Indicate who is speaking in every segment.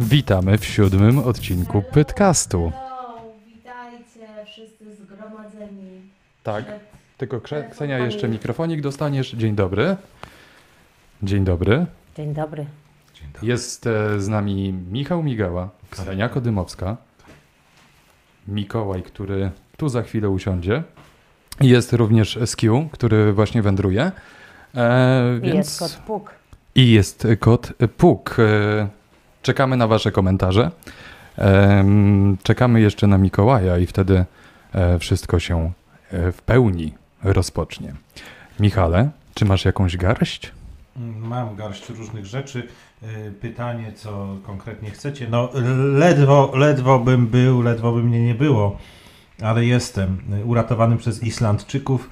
Speaker 1: Witamy w siódmym odcinku Pytcastu.
Speaker 2: Hello, No, witajcie wszyscy zgromadzeni.
Speaker 1: Tak,
Speaker 2: przed-
Speaker 1: tylko Krze- Ksenia jeszcze mikrofonik dostaniesz. Dzień dobry. Dzień dobry.
Speaker 3: Dzień dobry.
Speaker 4: Dzień dobry.
Speaker 1: Jest e, z nami Michał Migała, Ksenia Kodymowska, Mikołaj, który tu za chwilę usiądzie. Jest również Skiu, który właśnie wędruje. E,
Speaker 3: I
Speaker 1: więc...
Speaker 3: Jest kot Puk.
Speaker 1: I jest kod PUK. E, Czekamy na Wasze komentarze. Em, Czekamy jeszcze na Mikołaja i wtedy e, wszystko się e, w pełni rozpocznie. Michale, czy masz jakąś garść?
Speaker 4: Mam garść różnych rzeczy. Y, Pytanie, co konkretnie chcecie. No, ledwo, ledwo bym był, ledwo by mnie nie było, ale jestem y, uratowany przez Islandczyków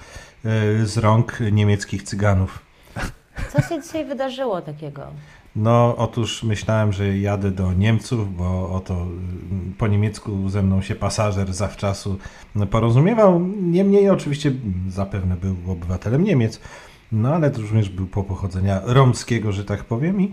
Speaker 4: y, z rąk niemieckich cyganów.
Speaker 3: Co się dzisiaj wydarzyło takiego?
Speaker 4: No, otóż myślałem, że jadę do Niemców, bo oto y, po niemiecku ze mną się pasażer zawczasu no, porozumiewał. Niemniej, oczywiście, mm, zapewne był obywatelem Niemiec, no ale to również był po pochodzenia romskiego, że tak powiem. I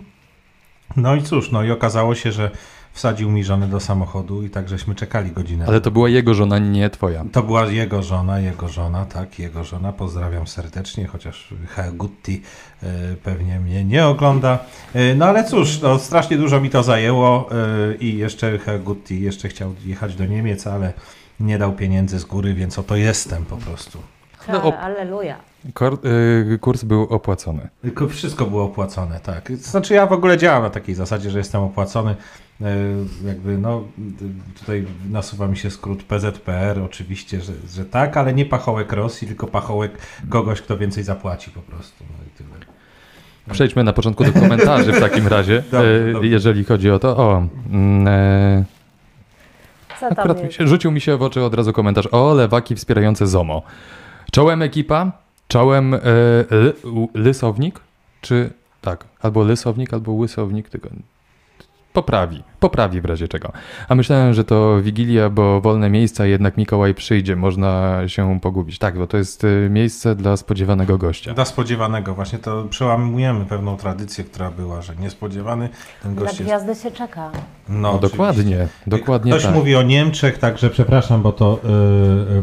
Speaker 4: no i cóż, no i okazało się, że wsadził mi żonę do samochodu i tak żeśmy czekali godzinę.
Speaker 1: Ale to była jego żona, nie twoja.
Speaker 4: To była jego żona, jego żona, tak, jego żona. Pozdrawiam serdecznie, chociaż Hagutti e, pewnie mnie nie ogląda. E, No ale cóż, no, strasznie dużo mi to zajęło e, i jeszcze Hagutti jeszcze chciał jechać do Niemiec, ale nie dał pieniędzy z góry, więc oto jestem po prostu.
Speaker 1: No, op-
Speaker 3: Ha, Aleluja.
Speaker 1: Kor- e, Kurs był opłacony.
Speaker 4: Tylko wszystko było opłacone, tak. Znaczy ja w ogóle działam na takiej zasadzie, że jestem opłacony. E, Jakby no, y, tutaj nasuwa mi się skrót PZPR, oczywiście, że, że tak, ale nie pachołek Rosji, tylko pachołek kogoś, kto więcej zapłaci po prostu. No i tyle.
Speaker 1: Przejdźmy na początku do komentarzy w takim razie,
Speaker 4: Dobrze,
Speaker 1: e,
Speaker 4: dobrze.
Speaker 1: jeżeli chodzi o to. O, mm, e,
Speaker 3: Co tam
Speaker 1: Akurat mi
Speaker 3: jest?
Speaker 1: się, rzucił mi się w oczy od razu komentarz. O, lewaki wspierające ZOMO. Czołem ekipa, czołem e, l, u- lysownik, czy tak, albo lysownik, albo łysownik, tylko poprawi, poprawi w razie czego. A myślałem, że to Wigilia, bo wolne miejsca, jednak Mikołaj przyjdzie, można się pogubić. Tak, bo to jest e, miejsce dla spodziewanego gościa.
Speaker 4: Dla spodziewanego właśnie to przełamujemy pewną tradycję, która była, że niespodziewany ten
Speaker 3: Na
Speaker 4: gość jest...
Speaker 3: gwiazdę się czeka.
Speaker 1: No,
Speaker 4: oczywiście.
Speaker 1: dokładnie, dokładnie
Speaker 4: Ktoś
Speaker 1: tak.
Speaker 4: mówi o Niemczech, także przepraszam, bo to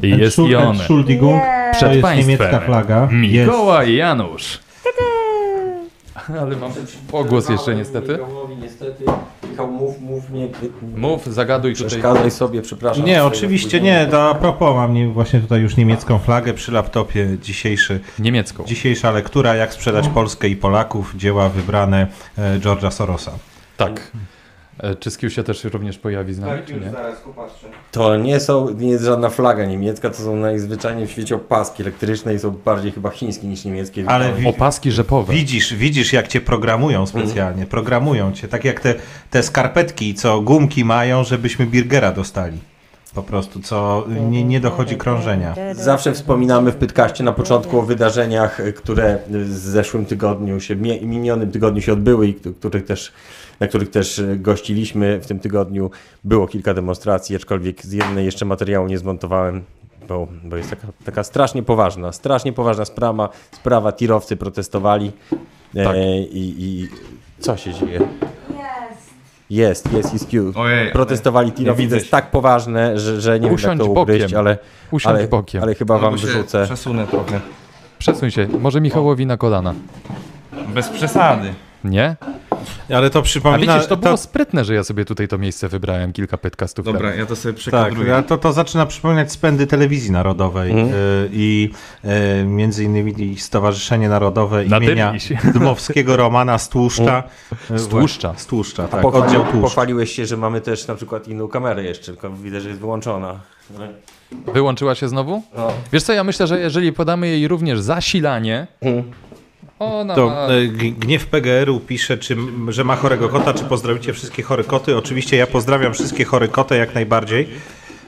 Speaker 4: yy,
Speaker 1: I jest i on.
Speaker 4: Entschuldigung,
Speaker 3: Nie.
Speaker 1: Przed
Speaker 4: to jest
Speaker 1: państwem.
Speaker 4: niemiecka flaga. Jest.
Speaker 1: Mikołaj Janusz. Ale mam pogłos jeszcze niestety.
Speaker 5: Michałowi niestety. Michał, mów, mów, nie krzyknij.
Speaker 1: Mów, zagaduj tutaj.
Speaker 5: Przeszkadzaj sobie, przepraszam.
Speaker 4: Nie,
Speaker 5: Swoje
Speaker 4: oczywiście
Speaker 5: opóźnienie.
Speaker 4: nie. To a propos, mam nie, właśnie tutaj już niemiecką flagę przy laptopie. Dzisiejszy,
Speaker 1: Niemiecką.
Speaker 4: dzisiejsza lektura, jak sprzedać Polskę i Polaków, dzieła wybrane e, George'a Sorosa.
Speaker 1: Tak. E, Czy Skiu się też również pojawi z nami,
Speaker 5: Tak,
Speaker 1: czy nie?
Speaker 6: zaraz popatrzę.
Speaker 5: To nie są, nie jest żadna flaga niemiecka, to są najzwyczajniej w świecie opaski elektryczne i są bardziej chyba chińskie niż niemieckie.
Speaker 4: Ale
Speaker 5: Widziałem.
Speaker 4: wi-
Speaker 1: Opaski rzepowe.
Speaker 4: Widzisz, widzisz, jak cię programują
Speaker 5: Mhm.
Speaker 4: specjalnie. Programują cię, tak jak te, te skarpetki, co gumki mają, żebyśmy burgera dostali. Po prostu, co nie, nie dochodzi krążenia.
Speaker 5: Zawsze wspominamy w Pytkaście na początku o wydarzeniach, y, które y, w zeszłym tygodniu się, mie- minionym tygodniu się odbyły i któ- których też, na których też y, gościliśmy w tym tygodniu. Było kilka demonstracji, aczkolwiek z jednej jeszcze materiału nie zmontowałem, bo, bo jest taka, taka strasznie poważna, strasznie poważna sprawa. Sprawa tirowcy protestowali
Speaker 1: Tak.
Speaker 5: e, i, i co się dzieje?
Speaker 2: Jest!
Speaker 5: Jest, jest, jest Q.
Speaker 1: Ojej,
Speaker 5: Protestowali tirowcy, to
Speaker 6: widzę
Speaker 5: jest
Speaker 6: się.
Speaker 5: tak poważne, że, że nie
Speaker 1: Usiądź
Speaker 5: wiem jak to ugryźć,
Speaker 1: bokiem.
Speaker 5: ale,
Speaker 1: Usiądź
Speaker 5: ale,
Speaker 1: bokiem.
Speaker 5: ale chyba wam
Speaker 6: Albo się
Speaker 5: wyrzucę.
Speaker 6: Przesunę trochę.
Speaker 1: Przesuń się. Może Michałowi na kolana.
Speaker 6: Bez przesady.
Speaker 1: Nie?
Speaker 4: Ale to
Speaker 1: A
Speaker 4: przypomina...
Speaker 1: widzisz, to było sprytne, że ja sobie tutaj to miejsce wybrałem kilka podcastów temu.
Speaker 6: Dobra, ja to sobie
Speaker 4: Tak,
Speaker 6: przekodruję.
Speaker 4: ja to, to zaczyna przypominać spędy telewizji narodowej
Speaker 5: Mhm.
Speaker 4: y, i y, między innymi Stowarzyszenie Narodowe
Speaker 1: Na
Speaker 4: imienia
Speaker 1: telewizji.
Speaker 4: Dmowskiego Romana Stłuszcza.
Speaker 5: Mhm.
Speaker 4: Y,
Speaker 1: Tłuszcza.
Speaker 4: wła- Stłuszcza, tak,
Speaker 5: Pochwali-
Speaker 4: oddział Tłuszcz.
Speaker 5: pochwaliłeś się, że mamy też na przykład inną kamerę jeszcze, tylko widzę, że jest wyłączona.
Speaker 1: Wyłączyła się znowu? Wiesz co, ja myślę, że jeżeli podamy jej również zasilanie, ona ma...
Speaker 4: To y, G- Gniew PGR-u pisze, czy, m- że ma chorego kota, czy pozdrowicie wszystkie chore koty. Oczywiście ja pozdrawiam wszystkie chore koty jak najbardziej.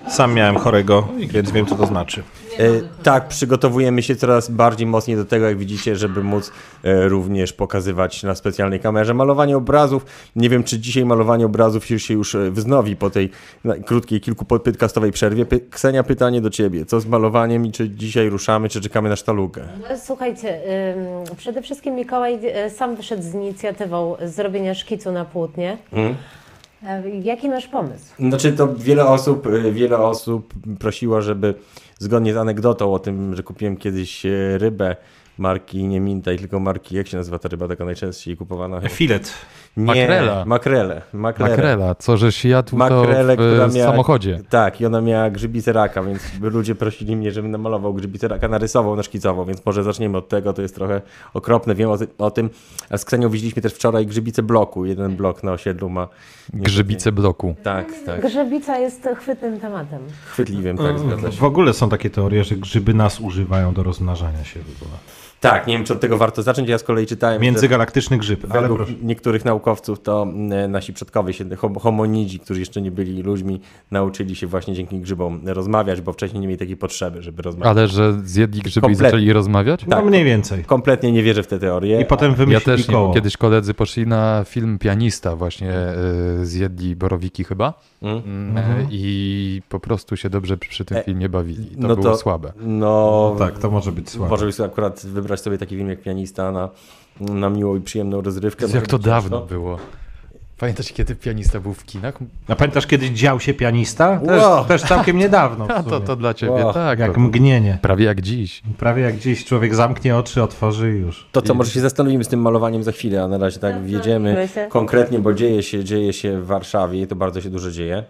Speaker 4: Sam miałem chorego, więc wiem co to znaczy.
Speaker 5: E, tak, przygotowujemy się coraz bardziej mocniej do tego, jak widzicie, żeby móc e, również pokazywać na specjalnej kamerze malowanie obrazów. Nie wiem, czy dzisiaj malowanie obrazów już się już e, wznowi po tej na, krótkiej, kilkupodcastowej przerwie. Py Ksenia, pytanie do ciebie. Co z malowaniem i czy dzisiaj ruszamy, czy czekamy na sztalugę?
Speaker 3: Słuchajcie, ym, przede
Speaker 5: Hmm?
Speaker 3: wszystkim Mikołaj y, sam wyszedł z inicjatywą zrobienia szkicu na płótnie. E, Jaki nasz pomysł?
Speaker 5: Znaczy to wiele osób, y, wiele osób prosiło, żeby zgodnie z anegdotą o tym, że kupiłem kiedyś e, rybę marki nie Mintaj, tylko marki, jak się nazywa ta ryba taka najczęściej kupowana?
Speaker 4: Filet.
Speaker 5: Nie,
Speaker 1: Makrela.
Speaker 5: Makrele. Makrele.
Speaker 1: Makrela, co żeś jadł
Speaker 5: Makrele,
Speaker 1: to w,
Speaker 5: która
Speaker 1: w
Speaker 5: miała-
Speaker 1: samochodzie.
Speaker 5: Tak, i ona miała grzybicę raka, więc ludzie prosili mnie, żebym namalował grzybicę raka, narysował, naszkicował, więc może zaczniemy od tego, to jest trochę okropne, wiem o, ty- o tym, a z Ksenią widzieliśmy też wczoraj grzybicę bloku, jeden blok na osiedlu ma.
Speaker 1: Grzybice bloku.
Speaker 5: Tak, tak,
Speaker 3: Grzebica jest chwytnym tematem.
Speaker 5: chwytliwym,
Speaker 4: Mm.
Speaker 5: tak, zgadza się.
Speaker 4: W ogóle są takie teorie, że grzyby nas używają do rozmnażania się. w ogóle.
Speaker 5: Tak, nie wiem, czy od tego warto zacząć, ja z kolei czytałem... że-
Speaker 4: Międzygalaktyczny grzyb, ale
Speaker 5: Według
Speaker 4: proszę.
Speaker 5: niektórych naukowców to mm, nasi przodkowie, się, hom- homonidzi, którzy jeszcze nie byli ludźmi, nauczyli się właśnie dzięki grzybom rozmawiać, bo wcześniej nie mieli takiej potrzeby, żeby rozmawiać.
Speaker 1: Ale że zjedli grzyby
Speaker 5: Kompletnie.
Speaker 1: i zaczęli rozmawiać?
Speaker 4: No
Speaker 5: tak.
Speaker 4: mniej więcej.
Speaker 5: Kompletnie nie wierzę w te teorie.
Speaker 4: I potem
Speaker 1: Ja
Speaker 4: wymyślili
Speaker 1: też nie.
Speaker 4: koło.
Speaker 1: bo Kiedyś koledzy poszli na film Pianista, właśnie y, zjedli borowiki chyba
Speaker 5: Mm.
Speaker 1: Mm, e, i po prostu się dobrze przy tym
Speaker 5: E,
Speaker 1: filmie bawili. To
Speaker 5: no
Speaker 1: było
Speaker 5: to-
Speaker 1: słabe.
Speaker 5: No,
Speaker 4: Tak, to może być słabe.
Speaker 5: Może byś akurat wybrać sobie taki film jak pianista na, na miłą i przyjemną rozrywkę. Może
Speaker 1: Jak to
Speaker 5: być ciężko.
Speaker 1: dawno było. Pamiętasz, kiedy Pianista był w kinach?
Speaker 4: A pamiętasz, kiedy dział się pianista? Też,
Speaker 5: Wow.
Speaker 4: też całkiem niedawno. w
Speaker 1: A to,
Speaker 4: sumie.
Speaker 1: to dla ciebie,
Speaker 5: O,
Speaker 1: tak.
Speaker 4: Jak
Speaker 1: to-
Speaker 4: mgnienie.
Speaker 1: Prawie jak dziś.
Speaker 4: Prawie jak dziś człowiek zamknie oczy, otworzy i już.
Speaker 5: To co, może się zastanowimy z tym malowaniem za chwilę, a na razie tak wiedziemy
Speaker 3: Zastanówmy się.
Speaker 5: konkretnie, bo dzieje się, dzieje się w Warszawie i to bardzo się dużo dzieje.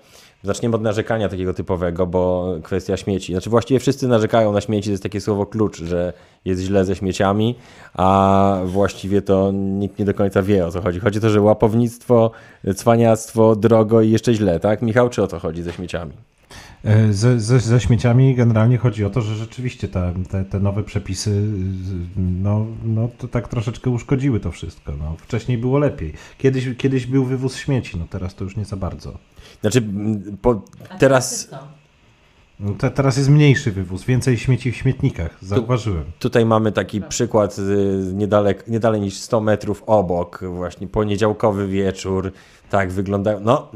Speaker 5: Zaczniemy od narzekania takiego typowego, bo kwestia śmieci. Znaczy właściwie wszyscy narzekają na śmieci, to jest takie słowo klucz, że jest źle ze śmieciami, a właściwie to nikt nie do końca wie o co chodzi. Chodzi o to, że łapownictwo, cwaniactwo, drogo i jeszcze źle, tak? Michał, czy o co chodzi ze śmieciami?
Speaker 4: E, Ze, ze, ze śmieciami generalnie chodzi o to, że rzeczywiście te, te, te nowe przepisy y, no, no, to tak troszeczkę uszkodziły to wszystko. No. Wcześniej było lepiej. Kiedyś, kiedyś był wywóz śmieci, no teraz to już nie za bardzo.
Speaker 5: Znaczy m, po, teraz...
Speaker 4: No, te, teraz jest mniejszy wywóz, więcej śmieci w śmietnikach, zauważyłem.
Speaker 5: Tutaj mamy taki przykład y, niedalek, niedalej niż 100 metrów obok, właśnie poniedziałkowy wieczór, tak wyglądają. No,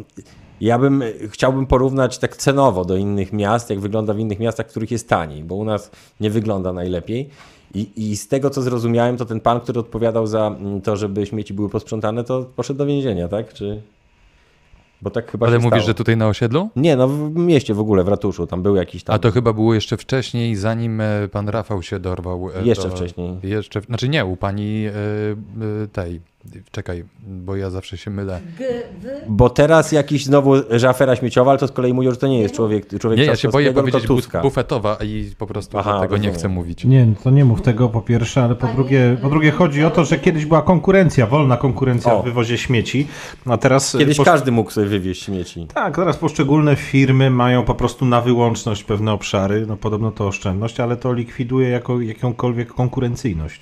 Speaker 5: ja bym y, chciałbym porównać tak cenowo do innych miast, jak wygląda w innych miastach, w których jest taniej, bo u nas nie wygląda najlepiej. I, I z tego co zrozumiałem, to ten pan, który odpowiadał za mm, to, żeby śmieci były posprzątane, to poszedł do więzienia, tak? Czy... Bo tak chyba
Speaker 1: Ale
Speaker 5: się
Speaker 1: mówisz,
Speaker 5: stało.
Speaker 1: że tutaj na osiedlu?
Speaker 5: Nie, no w mieście w ogóle, w ratuszu, tam był jakiś tam...
Speaker 1: A to chyba było jeszcze wcześniej, zanim e, pan Rafał się dorwał. e,
Speaker 5: Jeszcze
Speaker 1: do...
Speaker 5: wcześniej.
Speaker 1: Jeszcze, w- znaczy nie, u pani e, e, tej, czekaj, bo ja zawsze się mylę.
Speaker 2: G, w,
Speaker 5: Bo teraz jakiś znowu, że afera śmieciowa, ale to z kolei mówią, że to nie jest człowiek, człowiek
Speaker 1: Nie, ja się boję
Speaker 5: Trzaskowskiego,
Speaker 1: powiedzieć
Speaker 5: tylko
Speaker 1: bus,
Speaker 5: Tuska.
Speaker 1: bufetowa i po prostu
Speaker 5: Aha,
Speaker 1: tego
Speaker 5: rozumiem.
Speaker 1: nie chcę mówić.
Speaker 4: Nie, no to nie mów tego po pierwsze, ale po drugie, po drugie chodzi o to, że kiedyś była konkurencja, wolna konkurencja
Speaker 5: O.
Speaker 4: w wywozie śmieci, a teraz... e,
Speaker 5: Kiedyś
Speaker 4: posz-
Speaker 5: każdy mógł sobie wywieźć śmieci.
Speaker 4: Tak, teraz poszczególne firmy mają po prostu na wyłączność pewne obszary, no podobno to oszczędność, ale to likwiduje jako, jakąkolwiek konkurencyjność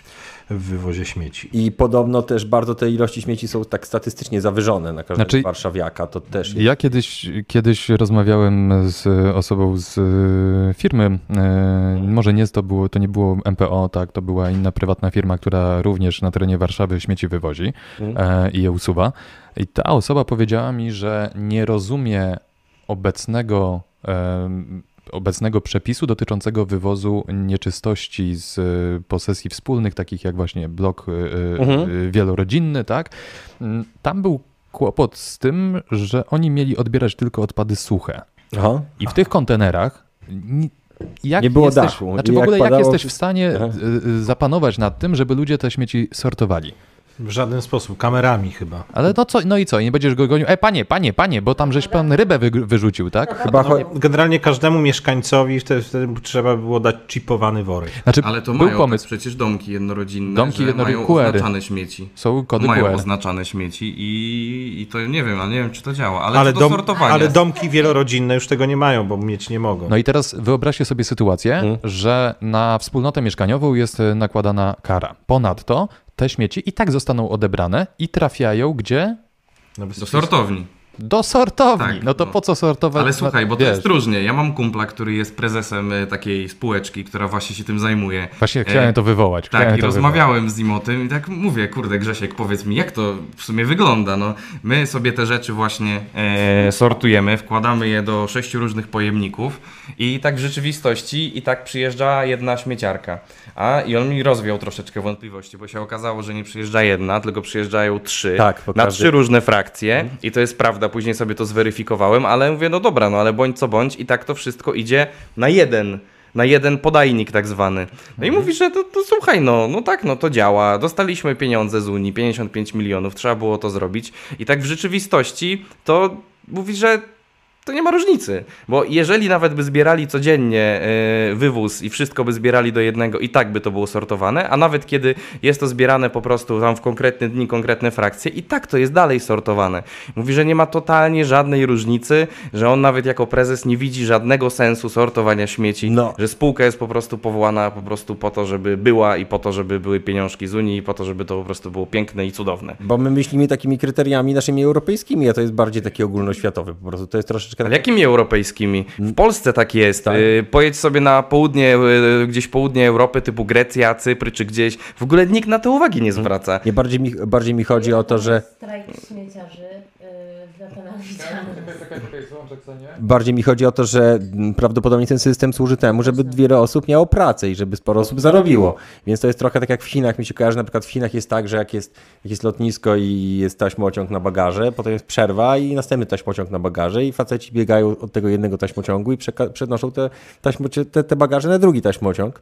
Speaker 4: w wywozie śmieci.
Speaker 5: I podobno też bardzo te ilości śmieci są tak statystycznie zawyżone na każdego
Speaker 1: Znaczy-
Speaker 5: warszawiaka, to też jest.
Speaker 1: Ja kiedyś, kiedyś rozmawiałem z osobą z e, firmy. e, Może nie to było, to nie było MPO, tak, to była inna prywatna firma, która również na terenie Warszawy śmieci wywozi
Speaker 5: Mhm.
Speaker 1: e, i je usuwa. I ta osoba powiedziała mi, że nie rozumie obecnego. em, Obecnego przepisu dotyczącego wywozu nieczystości z e, posesji wspólnych, takich jak właśnie blok e, e,
Speaker 5: Mhm.
Speaker 1: wielorodzinny, tak? Mm, Tam był kłopot z tym, że oni mieli odbierać tylko odpady suche.
Speaker 5: Aha.
Speaker 1: I w tych kontenerach ni- jak
Speaker 5: Nie było
Speaker 1: jesteś,
Speaker 5: dachu.
Speaker 1: Znaczy
Speaker 5: Jak
Speaker 1: w ogóle jak
Speaker 5: padało
Speaker 1: jesteś w
Speaker 5: wszystko-
Speaker 1: stanie
Speaker 5: Aha.
Speaker 1: y, y, zapanować nad tym, żeby ludzie te śmieci sortowali.
Speaker 4: W żaden sposób, kamerami chyba.
Speaker 1: Ale no co, no i co? I nie będziesz go gonił. E, panie, panie, panie, bo tam żeś pan rybę wy, wyrzucił, tak?
Speaker 5: Chyba cho-
Speaker 4: Generalnie każdemu mieszkańcowi wtedy, wtedy trzeba było dać chipowany worek.
Speaker 1: Znaczy
Speaker 6: Ale to
Speaker 1: był
Speaker 6: mają
Speaker 1: pomysł.
Speaker 6: Tak przecież domki jednorodzinne,
Speaker 1: Domki
Speaker 6: że
Speaker 1: jednorodzinne,
Speaker 6: mają
Speaker 1: QR-y.
Speaker 6: oznaczane śmieci.
Speaker 1: Są kody
Speaker 6: mają
Speaker 1: QR.
Speaker 6: oznaczane śmieci i, i to nie wiem, ale nie wiem czy to działa, ale,
Speaker 4: Ale,
Speaker 6: co do
Speaker 4: dom,
Speaker 6: sortowania.
Speaker 4: ale domki wielorodzinne już tego nie mają, bo mieć nie mogą.
Speaker 1: No i teraz wyobraźcie sobie sytuację,
Speaker 6: Mhm.
Speaker 1: że na wspólnotę mieszkaniową jest y, nakładana kara. Ponadto te śmieci i tak zostaną odebrane i trafiają gdzie?
Speaker 4: No bez-
Speaker 6: Do sortowni.
Speaker 1: Do sortowni.
Speaker 6: Tak,
Speaker 1: no to
Speaker 6: no.
Speaker 1: po co sortować?
Speaker 6: Ale
Speaker 1: No,
Speaker 6: słuchaj, bo to
Speaker 1: wiesz.
Speaker 6: jest różnie. Ja mam kumpla, który jest prezesem y, takiej spółeczki, która właśnie się tym zajmuje.
Speaker 1: Właśnie
Speaker 6: E,
Speaker 1: chciałem to wywołać. chciałem
Speaker 6: Tak, i
Speaker 1: to wywołać.
Speaker 6: rozmawiałem z nim o tym i tak mówię, kurde Grzesiek, powiedz mi, jak to w sumie wygląda? No, my sobie te rzeczy właśnie e, sortujemy, wkładamy je do sześciu różnych pojemników i tak w rzeczywistości i tak przyjeżdża jedna śmieciarka. A i on mi rozwiał troszeczkę wątpliwości, bo się okazało, że nie przyjeżdża jedna, tylko przyjeżdżają trzy
Speaker 5: Tak, bo
Speaker 6: na
Speaker 5: każdy-
Speaker 6: trzy różne frakcje i to jest prawda, prawda, później sobie to zweryfikowałem, ale mówię, no dobra, no ale bądź co bądź i tak to wszystko idzie na jeden, na jeden podajnik tak zwany. No i mówi, że to, to słuchaj, no, no tak, no to działa, dostaliśmy pieniądze z Unii, 55 milionów, trzeba było to zrobić i tak w rzeczywistości to mówi, że to nie ma różnicy, bo jeżeli nawet by zbierali codziennie e, wywóz i wszystko by zbierali do jednego, i tak by to było sortowane, a nawet kiedy jest to zbierane po prostu tam w konkretne dni, konkretne frakcje, i tak to jest dalej sortowane. Mówi, że nie ma totalnie żadnej różnicy, że on nawet jako prezes nie widzi żadnego sensu sortowania śmieci,
Speaker 5: No.
Speaker 6: że spółka jest po prostu powołana po prostu po to, żeby była i po to, żeby były pieniążki z Unii i po to, żeby to po prostu było piękne i cudowne.
Speaker 5: Bo my myślimy takimi kryteriami naszymi europejskimi, a to jest bardziej takie ogólnoświatowe po prostu. To jest troszeczkę
Speaker 6: Ale jakimi europejskimi? W Polsce tak jest.
Speaker 5: Tak.
Speaker 6: Y, Pojedź sobie na południe, y, gdzieś południe Europy, typu Grecja, Cypr czy gdzieś. W ogóle nikt na to uwagi nie zwraca.
Speaker 5: Nie, bardziej mi, bardziej mi chodzi o to, że
Speaker 2: Strajk śmieciarzy
Speaker 3: y,
Speaker 2: yy, dla pana widzia.
Speaker 5: bardziej mi chodzi o to, że mm, prawdopodobnie ten system służy temu, żeby wiele osób miało pracę i żeby sporo osób zarobiło. Więc to jest trochę tak jak w Chinach. Mi się kojarzy, na przykład w Chinach jest tak, że jak jest, jak jest lotnisko i jest taśmociąg na bagaże, potem jest przerwa i następny taśmociąg na bagaże i faceci biegają od tego jednego taśmociągu i przeka- przenoszą te, taśmo, czy te, te bagaże na drugi taśmociąg.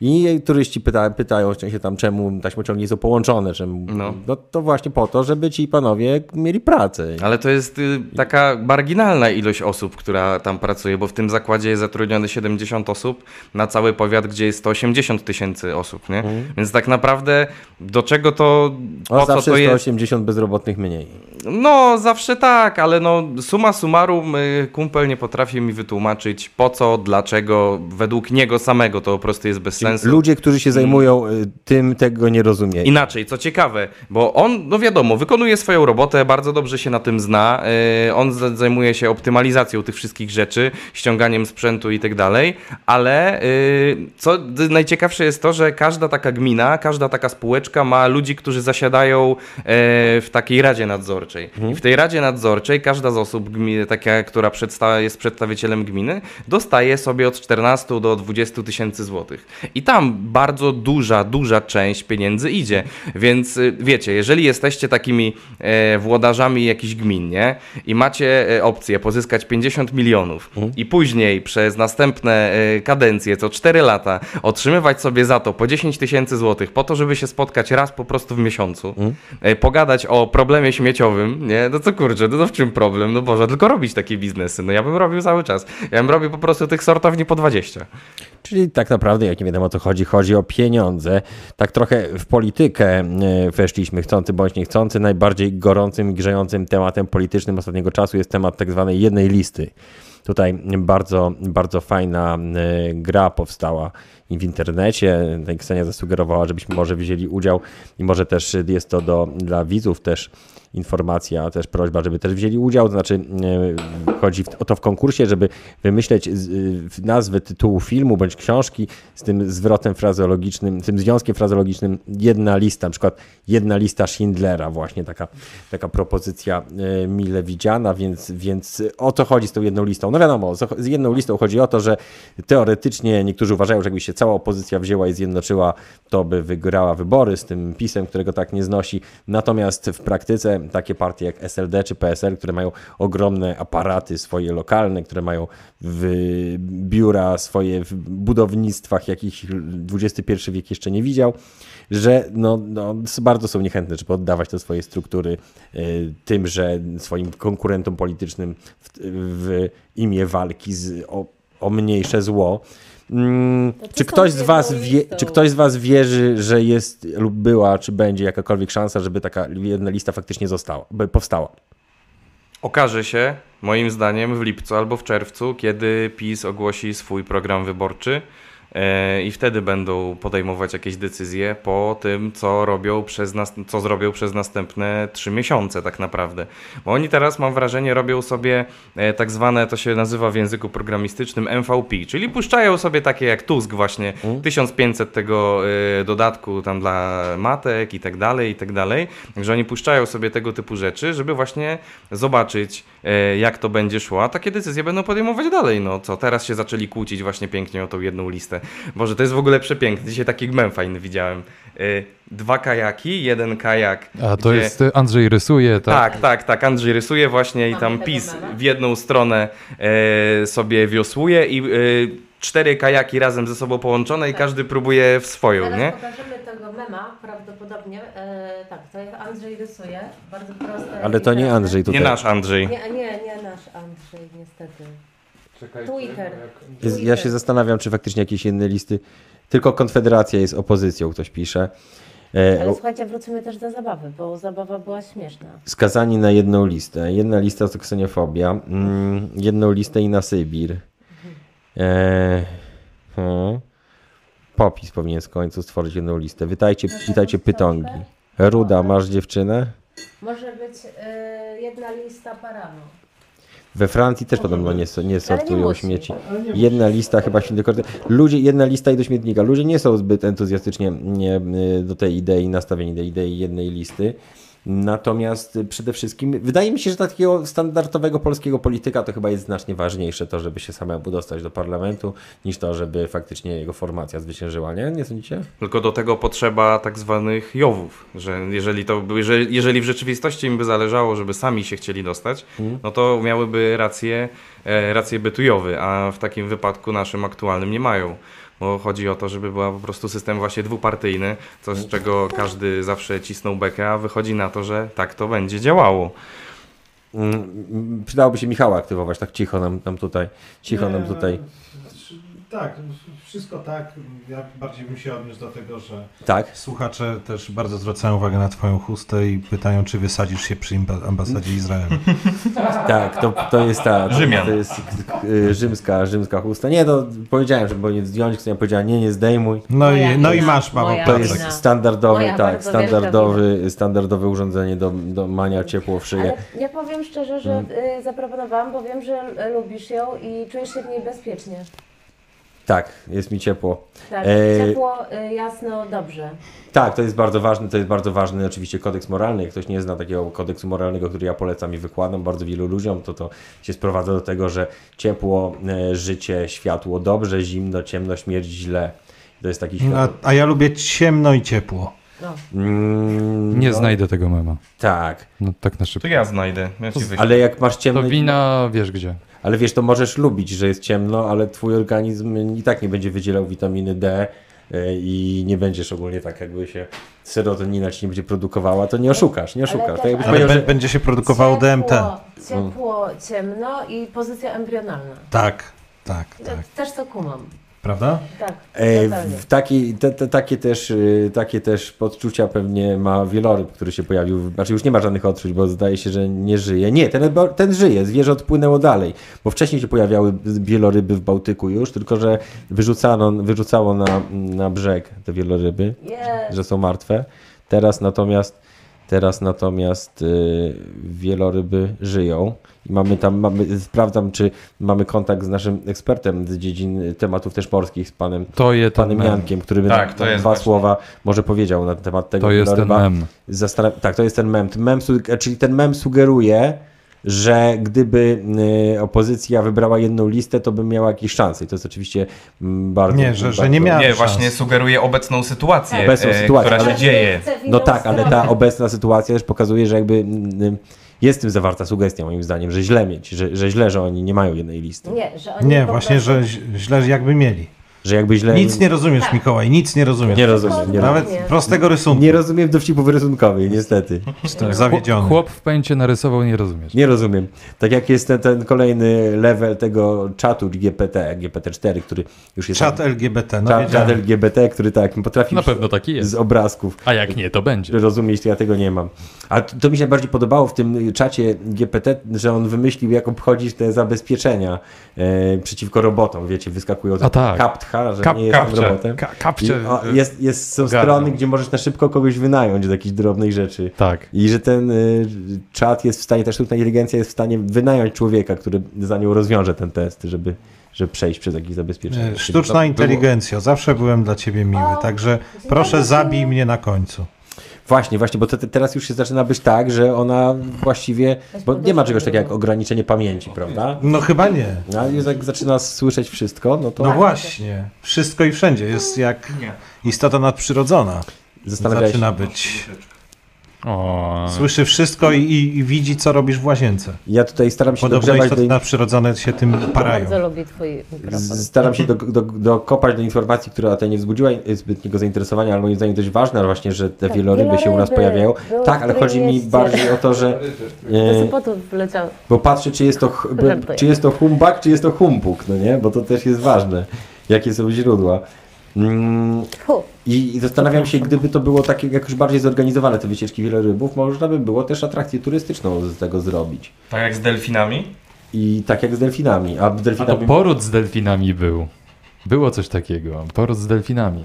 Speaker 5: I turyści pyta, pytają się tam, czemu taśmociągi są połączone, czemu...
Speaker 6: No.
Speaker 5: No. to właśnie po to, żeby ci panowie mieli pracę.
Speaker 6: Ale to jest y, taka marginalna ilość osób, która tam pracuje, bo w tym zakładzie jest zatrudnione 70 osób na cały powiat, gdzie jest 180 tysięcy osób, nie? Więc tak naprawdę do czego to,
Speaker 5: Mhm. O,
Speaker 6: po co
Speaker 5: zawsze
Speaker 6: to jest?
Speaker 5: 180 bezrobotnych mniej.
Speaker 6: No, zawsze tak, ale no, suma summarum, y, kumpel nie potrafi mi wytłumaczyć po co, dlaczego, według niego samego to po prostu jest bez sensu.
Speaker 5: Ludzie, którzy się zajmują y, tym, tego nie rozumieją.
Speaker 6: Inaczej, co ciekawe, bo on, no wiadomo, wykonuje swoją robotę, bardzo dobrze się na tym zna. yy, On za- zajmuje się optymalizacją tych wszystkich rzeczy, ściąganiem sprzętu i tak dalej, ale yy, co d- najciekawsze jest to, że każda taka gmina, każda taka spółeczka ma ludzi, którzy zasiadają yy, w takiej radzie nadzorczej. I w tej radzie nadzorczej każda z osób, gmi- taka, która przedsta- jest przedstawicielem gminy, dostaje sobie od 14 do 20 tysięcy złotych. I tam bardzo duża, duża część pieniędzy idzie. Więc y, wiecie, jeżeli jesteście takimi e, włodarzami jakichś gmin, nie? I macie e, opcję pozyskać 50 milionów i później przez następne e, kadencje, co 4 lata, otrzymywać sobie za to po 10 tysięcy złotych, po to, żeby się spotkać raz po prostu w miesiącu, e, pogadać o problemie śmieciowym, nie? No co kurczę, no to w czym problem? No Boże, tylko robić takie biznesy. No ja bym robił cały czas. Ja bym robił po prostu tych sortowni po 20.
Speaker 5: Czyli tak naprawdę, jak nie wiadomo o co chodzi, chodzi o pieniądze. Tak trochę w politykę y, weszliśmy, chcący bądź niechcący. Najbardziej gorącym i grzejącym tematem politycznym ostatniego czasu jest temat tak zwanej jednej listy. Tutaj bardzo, bardzo fajna y, gra powstała w internecie. Tutaj Ksenia zasugerowała, żebyśmy może wzięli udział i może też y, jest to do, dla widzów też informacja, też prośba, żeby też wzięli udział. To znaczy, yy, chodzi w, o to w konkursie, żeby wymyśleć z, yy, nazwę tytułu filmu bądź książki z tym zwrotem frazeologicznym, z tym związkiem frazeologicznym jedna lista, na przykład jedna lista Schindlera, właśnie taka, taka propozycja yy, mile widziana, więc, więc o co chodzi z tą jedną listą? No wiadomo, z- z jedną listą chodzi o to, że teoretycznie niektórzy uważają, że jakby się cała opozycja wzięła i zjednoczyła, to by wygrała wybory z tym pisem, którego tak nie znosi. Natomiast w praktyce takie partie jak SLD czy PSL, które mają ogromne aparaty swoje lokalne, które mają w biura swoje w budownictwach, jakich XXI wiek jeszcze nie widział, że no, no, s- bardzo są niechętne, żeby oddawać te swoje struktury y, tymże swoim konkurentom politycznym w, w imię walki z, o, o mniejsze zło. Mm,
Speaker 3: To ty
Speaker 5: czy,
Speaker 3: są
Speaker 5: ktoś z was
Speaker 3: jedną
Speaker 5: wie,
Speaker 3: listą.
Speaker 5: czy ktoś z Was wierzy, że jest lub była, czy będzie jakakolwiek szansa, żeby taka jedna lista faktycznie została, by powstała?
Speaker 6: Okaże się, moim zdaniem, w lipcu albo w czerwcu, kiedy PiS ogłosi swój program wyborczy e, i wtedy będą podejmować jakieś decyzje po tym, co, robią przez nas, co zrobią przez następne trzy miesiące tak naprawdę. Bo oni teraz, mam wrażenie, robią sobie e, tak zwane, to się nazywa w języku programistycznym MVP, czyli puszczają sobie takie jak Tusk właśnie,
Speaker 1: Mhm.
Speaker 6: 1500 tego e, dodatku tam dla matek i tak dalej, i tak dalej. Także oni puszczają sobie tego typu rzeczy, żeby właśnie zobaczyć, e, jak to będzie szło, a takie decyzje będą podejmować dalej. No co, teraz się zaczęli kłócić właśnie pięknie o tą jedną listę. Boże, to jest w ogóle przepiękne. Dzisiaj taki mem fajny widziałem. E, Dwa kajaki, jeden kajak.
Speaker 1: A to
Speaker 6: gdzie-
Speaker 1: jest y, Andrzej rysuje, tak?
Speaker 6: tak, tak, tak. Andrzej rysuje właśnie i
Speaker 2: Mamy
Speaker 6: tam
Speaker 2: tego
Speaker 6: PiS
Speaker 2: mema.
Speaker 6: w jedną stronę e, sobie wiosłuje i e, cztery kajaki razem ze sobą połączone i każdy próbuje w swoją,
Speaker 2: Tak. Zaraz
Speaker 6: nie?
Speaker 2: pokażemy tego mema prawdopodobnie. E, tak, to jest Andrzej rysuje. Bardzo proste.
Speaker 5: Ale to nie
Speaker 2: literki.
Speaker 5: Andrzej
Speaker 6: Nie
Speaker 5: tutaj.
Speaker 6: nasz Andrzej.
Speaker 2: Nie, nie, nie nasz Andrzej, niestety. Twitter.
Speaker 5: Jest, ja się zastanawiam, czy faktycznie jakieś inne listy. Tylko Konfederacja jest opozycją, ktoś pisze. E,
Speaker 3: Ale słuchajcie, wrócimy też do zabawy, bo zabawa była śmieszna.
Speaker 5: skazani na jedną listę. Jedna lista to ksenofobia, mm, jedną listę i na Sybir. E, hmm. Popis powinien w końcu stworzyć jedną listę. Witajcie, witajcie pytongi. Ruda, masz dziewczynę?
Speaker 2: Może być e, jedna lista parano.
Speaker 5: We Francji też podobno nie, so- nie sortują
Speaker 3: musi.
Speaker 5: śmieci. Jedna lista chyba się tylko... Ludzie, jedna lista i do śmietnika. Ludzie nie są zbyt entuzjastycznie nie, y, do tej idei nastawieni, do idei jednej listy. Natomiast y, przede wszystkim wydaje mi się, że dla takiego standardowego polskiego polityka to chyba jest znacznie ważniejsze to, żeby się samemu dostać do parlamentu, niż to, żeby faktycznie jego formacja zwyciężyła, nie? Nie sądzicie?
Speaker 6: Tylko do tego potrzeba tak zwanych jowów, że jeżeli, to, by- że- jeżeli w rzeczywistości im by zależało, żeby sami się chcieli dostać,
Speaker 5: Mhm.
Speaker 6: no to miałyby rację, e, rację bytu jowy, a w takim wypadku naszym aktualnym nie mają. Bo chodzi o to, żeby była po prostu system właśnie dwupartyjny, coś z czego każdy zawsze cisnął bekę, a wychodzi na to, że tak to będzie działało.
Speaker 5: Mm, mm, Przydałoby się Michała aktywować, tak cicho nam, nam tutaj, cicho nam
Speaker 4: Nie,
Speaker 5: tutaj.
Speaker 4: Tak, wszystko tak. Ja bardziej bym się odniósł do tego, że
Speaker 5: Tak?
Speaker 4: słuchacze też bardzo zwracają uwagę na twoją chustę i pytają, czy wysadzisz się przy imba- ambasadzie Izraela.
Speaker 5: Tak, to, to jest ta.
Speaker 6: Rzymian.
Speaker 5: To jest y, rzymska, rzymska chusta. Nie, to powiedziałem, że powinien zdjąć, która powiedziała, nie, nie zdejmuj.
Speaker 4: No
Speaker 3: Moja
Speaker 4: i, no i
Speaker 3: wina,
Speaker 4: masz, mamo,
Speaker 3: moja
Speaker 5: To
Speaker 3: Tak.
Speaker 5: jest
Speaker 3: Wina.
Speaker 5: standardowy,
Speaker 3: Moja
Speaker 5: tak,
Speaker 3: bardzo wielka
Speaker 5: standardowy, standardowe urządzenie do, do mania ciepło w szyję.
Speaker 3: Ale ja powiem szczerze, że
Speaker 5: Mm.
Speaker 3: y, zaproponowałam, bo wiem, że y, lubisz ją i czujesz się w niej bezpiecznie.
Speaker 5: Tak, jest mi ciepło.
Speaker 3: Tak,
Speaker 5: E,
Speaker 3: ciepło, y, jasno, dobrze.
Speaker 5: Tak, to jest bardzo ważny, to jest bardzo ważny oczywiście kodeks moralny. Jak ktoś nie zna takiego kodeksu moralnego, który ja polecam i wykładam bardzo wielu ludziom, to to się sprowadza do tego, że ciepło, e, życie, światło dobrze, zimno, ciemno, śmierć źle. To jest taki
Speaker 4: A,
Speaker 5: świat.
Speaker 4: a ja lubię ciemno i ciepło.
Speaker 5: Mm,
Speaker 1: Nie
Speaker 5: no,
Speaker 1: znajdę tego mema.
Speaker 5: Tak,
Speaker 1: No tak na
Speaker 6: To
Speaker 1: szybko.
Speaker 6: ja znajdę. Ja ci wyślę.
Speaker 5: ale jak masz ciemno...
Speaker 1: To wina, wiesz gdzie.
Speaker 5: Ale wiesz, to możesz lubić, że jest ciemno, ale twój organizm i tak nie będzie wydzielał witaminy D y, i nie będziesz ogólnie tak jakby się serotonina ci nie będzie produkowała, to nie oszukasz, nie oszukasz.
Speaker 3: też-
Speaker 5: Tak jakbyś
Speaker 4: Ale
Speaker 5: powiedział,
Speaker 4: be-
Speaker 5: że...
Speaker 4: będzie się produkowało DMT.
Speaker 3: Ciepło,
Speaker 4: Mm.
Speaker 3: ciepło, ciemno i pozycja embrionalna.
Speaker 4: Tak, tak,
Speaker 3: Ja
Speaker 4: tak.
Speaker 3: Też to kumam.
Speaker 4: Prawda?
Speaker 3: Tak,
Speaker 5: E,
Speaker 3: totalnie.
Speaker 5: w taki, te, te, takie, też, y, takie też podczucia pewnie ma wieloryb, który się pojawił. Znaczy już nie ma żadnych odczuć, bo zdaje się, że nie żyje. Nie, ten, ten żyje, zwierzę odpłynęło dalej, bo wcześniej się pojawiały wieloryby w Bałtyku już, tylko że wyrzucano, wyrzucało na, na brzeg te wieloryby.
Speaker 3: Je,
Speaker 5: że są martwe. Teraz natomiast, teraz natomiast y, wieloryby żyją i mamy tam, mamy, sprawdzam, czy mamy kontakt z naszym ekspertem z dziedzin tematów też morskich, z panem,
Speaker 1: To je ten
Speaker 5: panem
Speaker 1: mem.
Speaker 5: Jankiem, który by
Speaker 6: Tak,
Speaker 5: nam
Speaker 6: to
Speaker 5: dwa
Speaker 6: jest właśnie.
Speaker 5: słowa może powiedział na temat tego
Speaker 1: To jest ten
Speaker 5: wieloryba.
Speaker 1: mem.
Speaker 5: Zastan- tak, to jest ten mem. Ten mem su- czyli ten mem sugeruje, że gdyby y, opozycja wybrała jedną listę, to by miała jakieś szanse. I to jest oczywiście mm, bardzo...
Speaker 4: Nie, że- że
Speaker 5: bardzo-
Speaker 4: nie miała-
Speaker 6: Nie,
Speaker 4: szans.
Speaker 6: właśnie sugeruje obecną sytuację,
Speaker 5: Tak. Obecną
Speaker 6: e,
Speaker 5: sytuację,
Speaker 6: która się
Speaker 5: ale-
Speaker 6: dzieje.
Speaker 3: chcę w inną
Speaker 5: No tak, ale ta
Speaker 3: stronę.
Speaker 5: obecna sytuacja też pokazuje, że jakby mm, jest w tym zawarta sugestia moim zdaniem, że źle mieć, że, że źle, że oni nie mają jednej listy.
Speaker 3: Nie, że oni
Speaker 4: Nie,
Speaker 3: po
Speaker 4: właśnie,
Speaker 3: prostu-
Speaker 4: że ź- źle jakby mieli.
Speaker 5: Że jakby źle...
Speaker 4: Nic nie rozumiesz,
Speaker 3: Tak.
Speaker 4: Mikołaj, nic nie rozumiesz.
Speaker 5: Nie rozumiem, nie rozumiem.
Speaker 4: Nawet prostego rysunku.
Speaker 5: Nie rozumiem dowcipów rysunkowych, niestety.
Speaker 4: Zawiedziony.
Speaker 1: Chłop w pęcie narysował, nie rozumiesz.
Speaker 5: Nie rozumiem. Tak jak jest ten, ten kolejny level tego czatu GPT, GPT-4, który już jest...
Speaker 4: Czat LGBT, no
Speaker 5: czat, czat
Speaker 4: wiedziałem.
Speaker 5: LGBT, który tak, potrafi
Speaker 1: Na
Speaker 5: już
Speaker 1: pewno taki jest.
Speaker 5: z obrazków
Speaker 1: A jak nie, to będzie.
Speaker 5: rozumieć, to ja tego nie mam. A t- to mi się najbardziej podobało w tym czacie GPT, że on wymyślił, jak obchodzić te zabezpieczenia e, przeciwko robotom. Wiecie, wyskakują
Speaker 1: A tak.
Speaker 5: kaptcha, że
Speaker 1: Kap-
Speaker 5: nie jestem
Speaker 1: kapcze.
Speaker 5: robotem.
Speaker 1: Ka- e,
Speaker 5: I,
Speaker 1: kapcie.
Speaker 5: o, jest, jest, są
Speaker 1: ogarnął.
Speaker 5: strony, gdzie możesz na szybko kogoś wynająć do jakiejś drobnej rzeczy.
Speaker 1: Tak.
Speaker 5: I że ten y, czat jest w stanie, ta sztuczna inteligencja jest w stanie wynająć człowieka, który za nią rozwiąże ten test, żeby, żeby przejść przez jakieś zabezpieczenie.
Speaker 4: E, Sztuczna inteligencja, zawsze byłem dla ciebie miły, także proszę zabij mnie na końcu.
Speaker 5: Właśnie, właśnie, bo te, te, teraz już się zaczyna być tak, że ona właściwie, bo nie ma czegoś takiego jak ograniczenie pamięci, prawda?
Speaker 4: No chyba nie.
Speaker 5: No, ale już jak zaczyna słyszeć wszystko, no to
Speaker 4: No właśnie. Wszystko i wszędzie. Jest jak
Speaker 6: Nie.
Speaker 4: istota nadprzyrodzona.
Speaker 5: zastanawiałeś się,
Speaker 4: Zaczyna być.
Speaker 1: O,
Speaker 4: Słyszy wszystko i, i, i widzi, co robisz w łazience.
Speaker 5: ja tutaj staram się
Speaker 4: Podobno
Speaker 5: dogrzewać do,
Speaker 4: istoty nadprzyrodzone się tym parają.
Speaker 3: Bardzo lubię twój mikrofon.
Speaker 5: Staram się do- do- dokopać do informacji, która tutaj nie wzbudziła zbytniego zainteresowania, ale moim zdaniem dość ważna właśnie, że te
Speaker 3: Tak,
Speaker 5: wieloryby się u nas
Speaker 3: wieloryby
Speaker 5: pojawiają.
Speaker 3: były
Speaker 5: tak, ale
Speaker 3: w
Speaker 5: chodzi mi
Speaker 3: Trójmieście.
Speaker 5: bardziej o to, że
Speaker 3: Do
Speaker 5: e,
Speaker 3: Sopotu wleciał.
Speaker 5: bo patrzę, czy jest to, ch- b-
Speaker 3: Żartuję.
Speaker 5: czy jest to humbak, czy jest to humbug, no nie? Bo to też jest ważne, jakie są źródła. Mm,
Speaker 3: Hu.
Speaker 5: i i zastanawiam się, gdyby to było takie jakoś bardziej zorganizowane, te wycieczki wielorybów, można by było też atrakcję turystyczną z tego zrobić.
Speaker 6: Tak jak z delfinami?
Speaker 5: I tak jak z delfinami, a z
Speaker 1: a to
Speaker 5: delfinami...
Speaker 1: poród z delfinami był. Było coś takiego, poród z delfinami.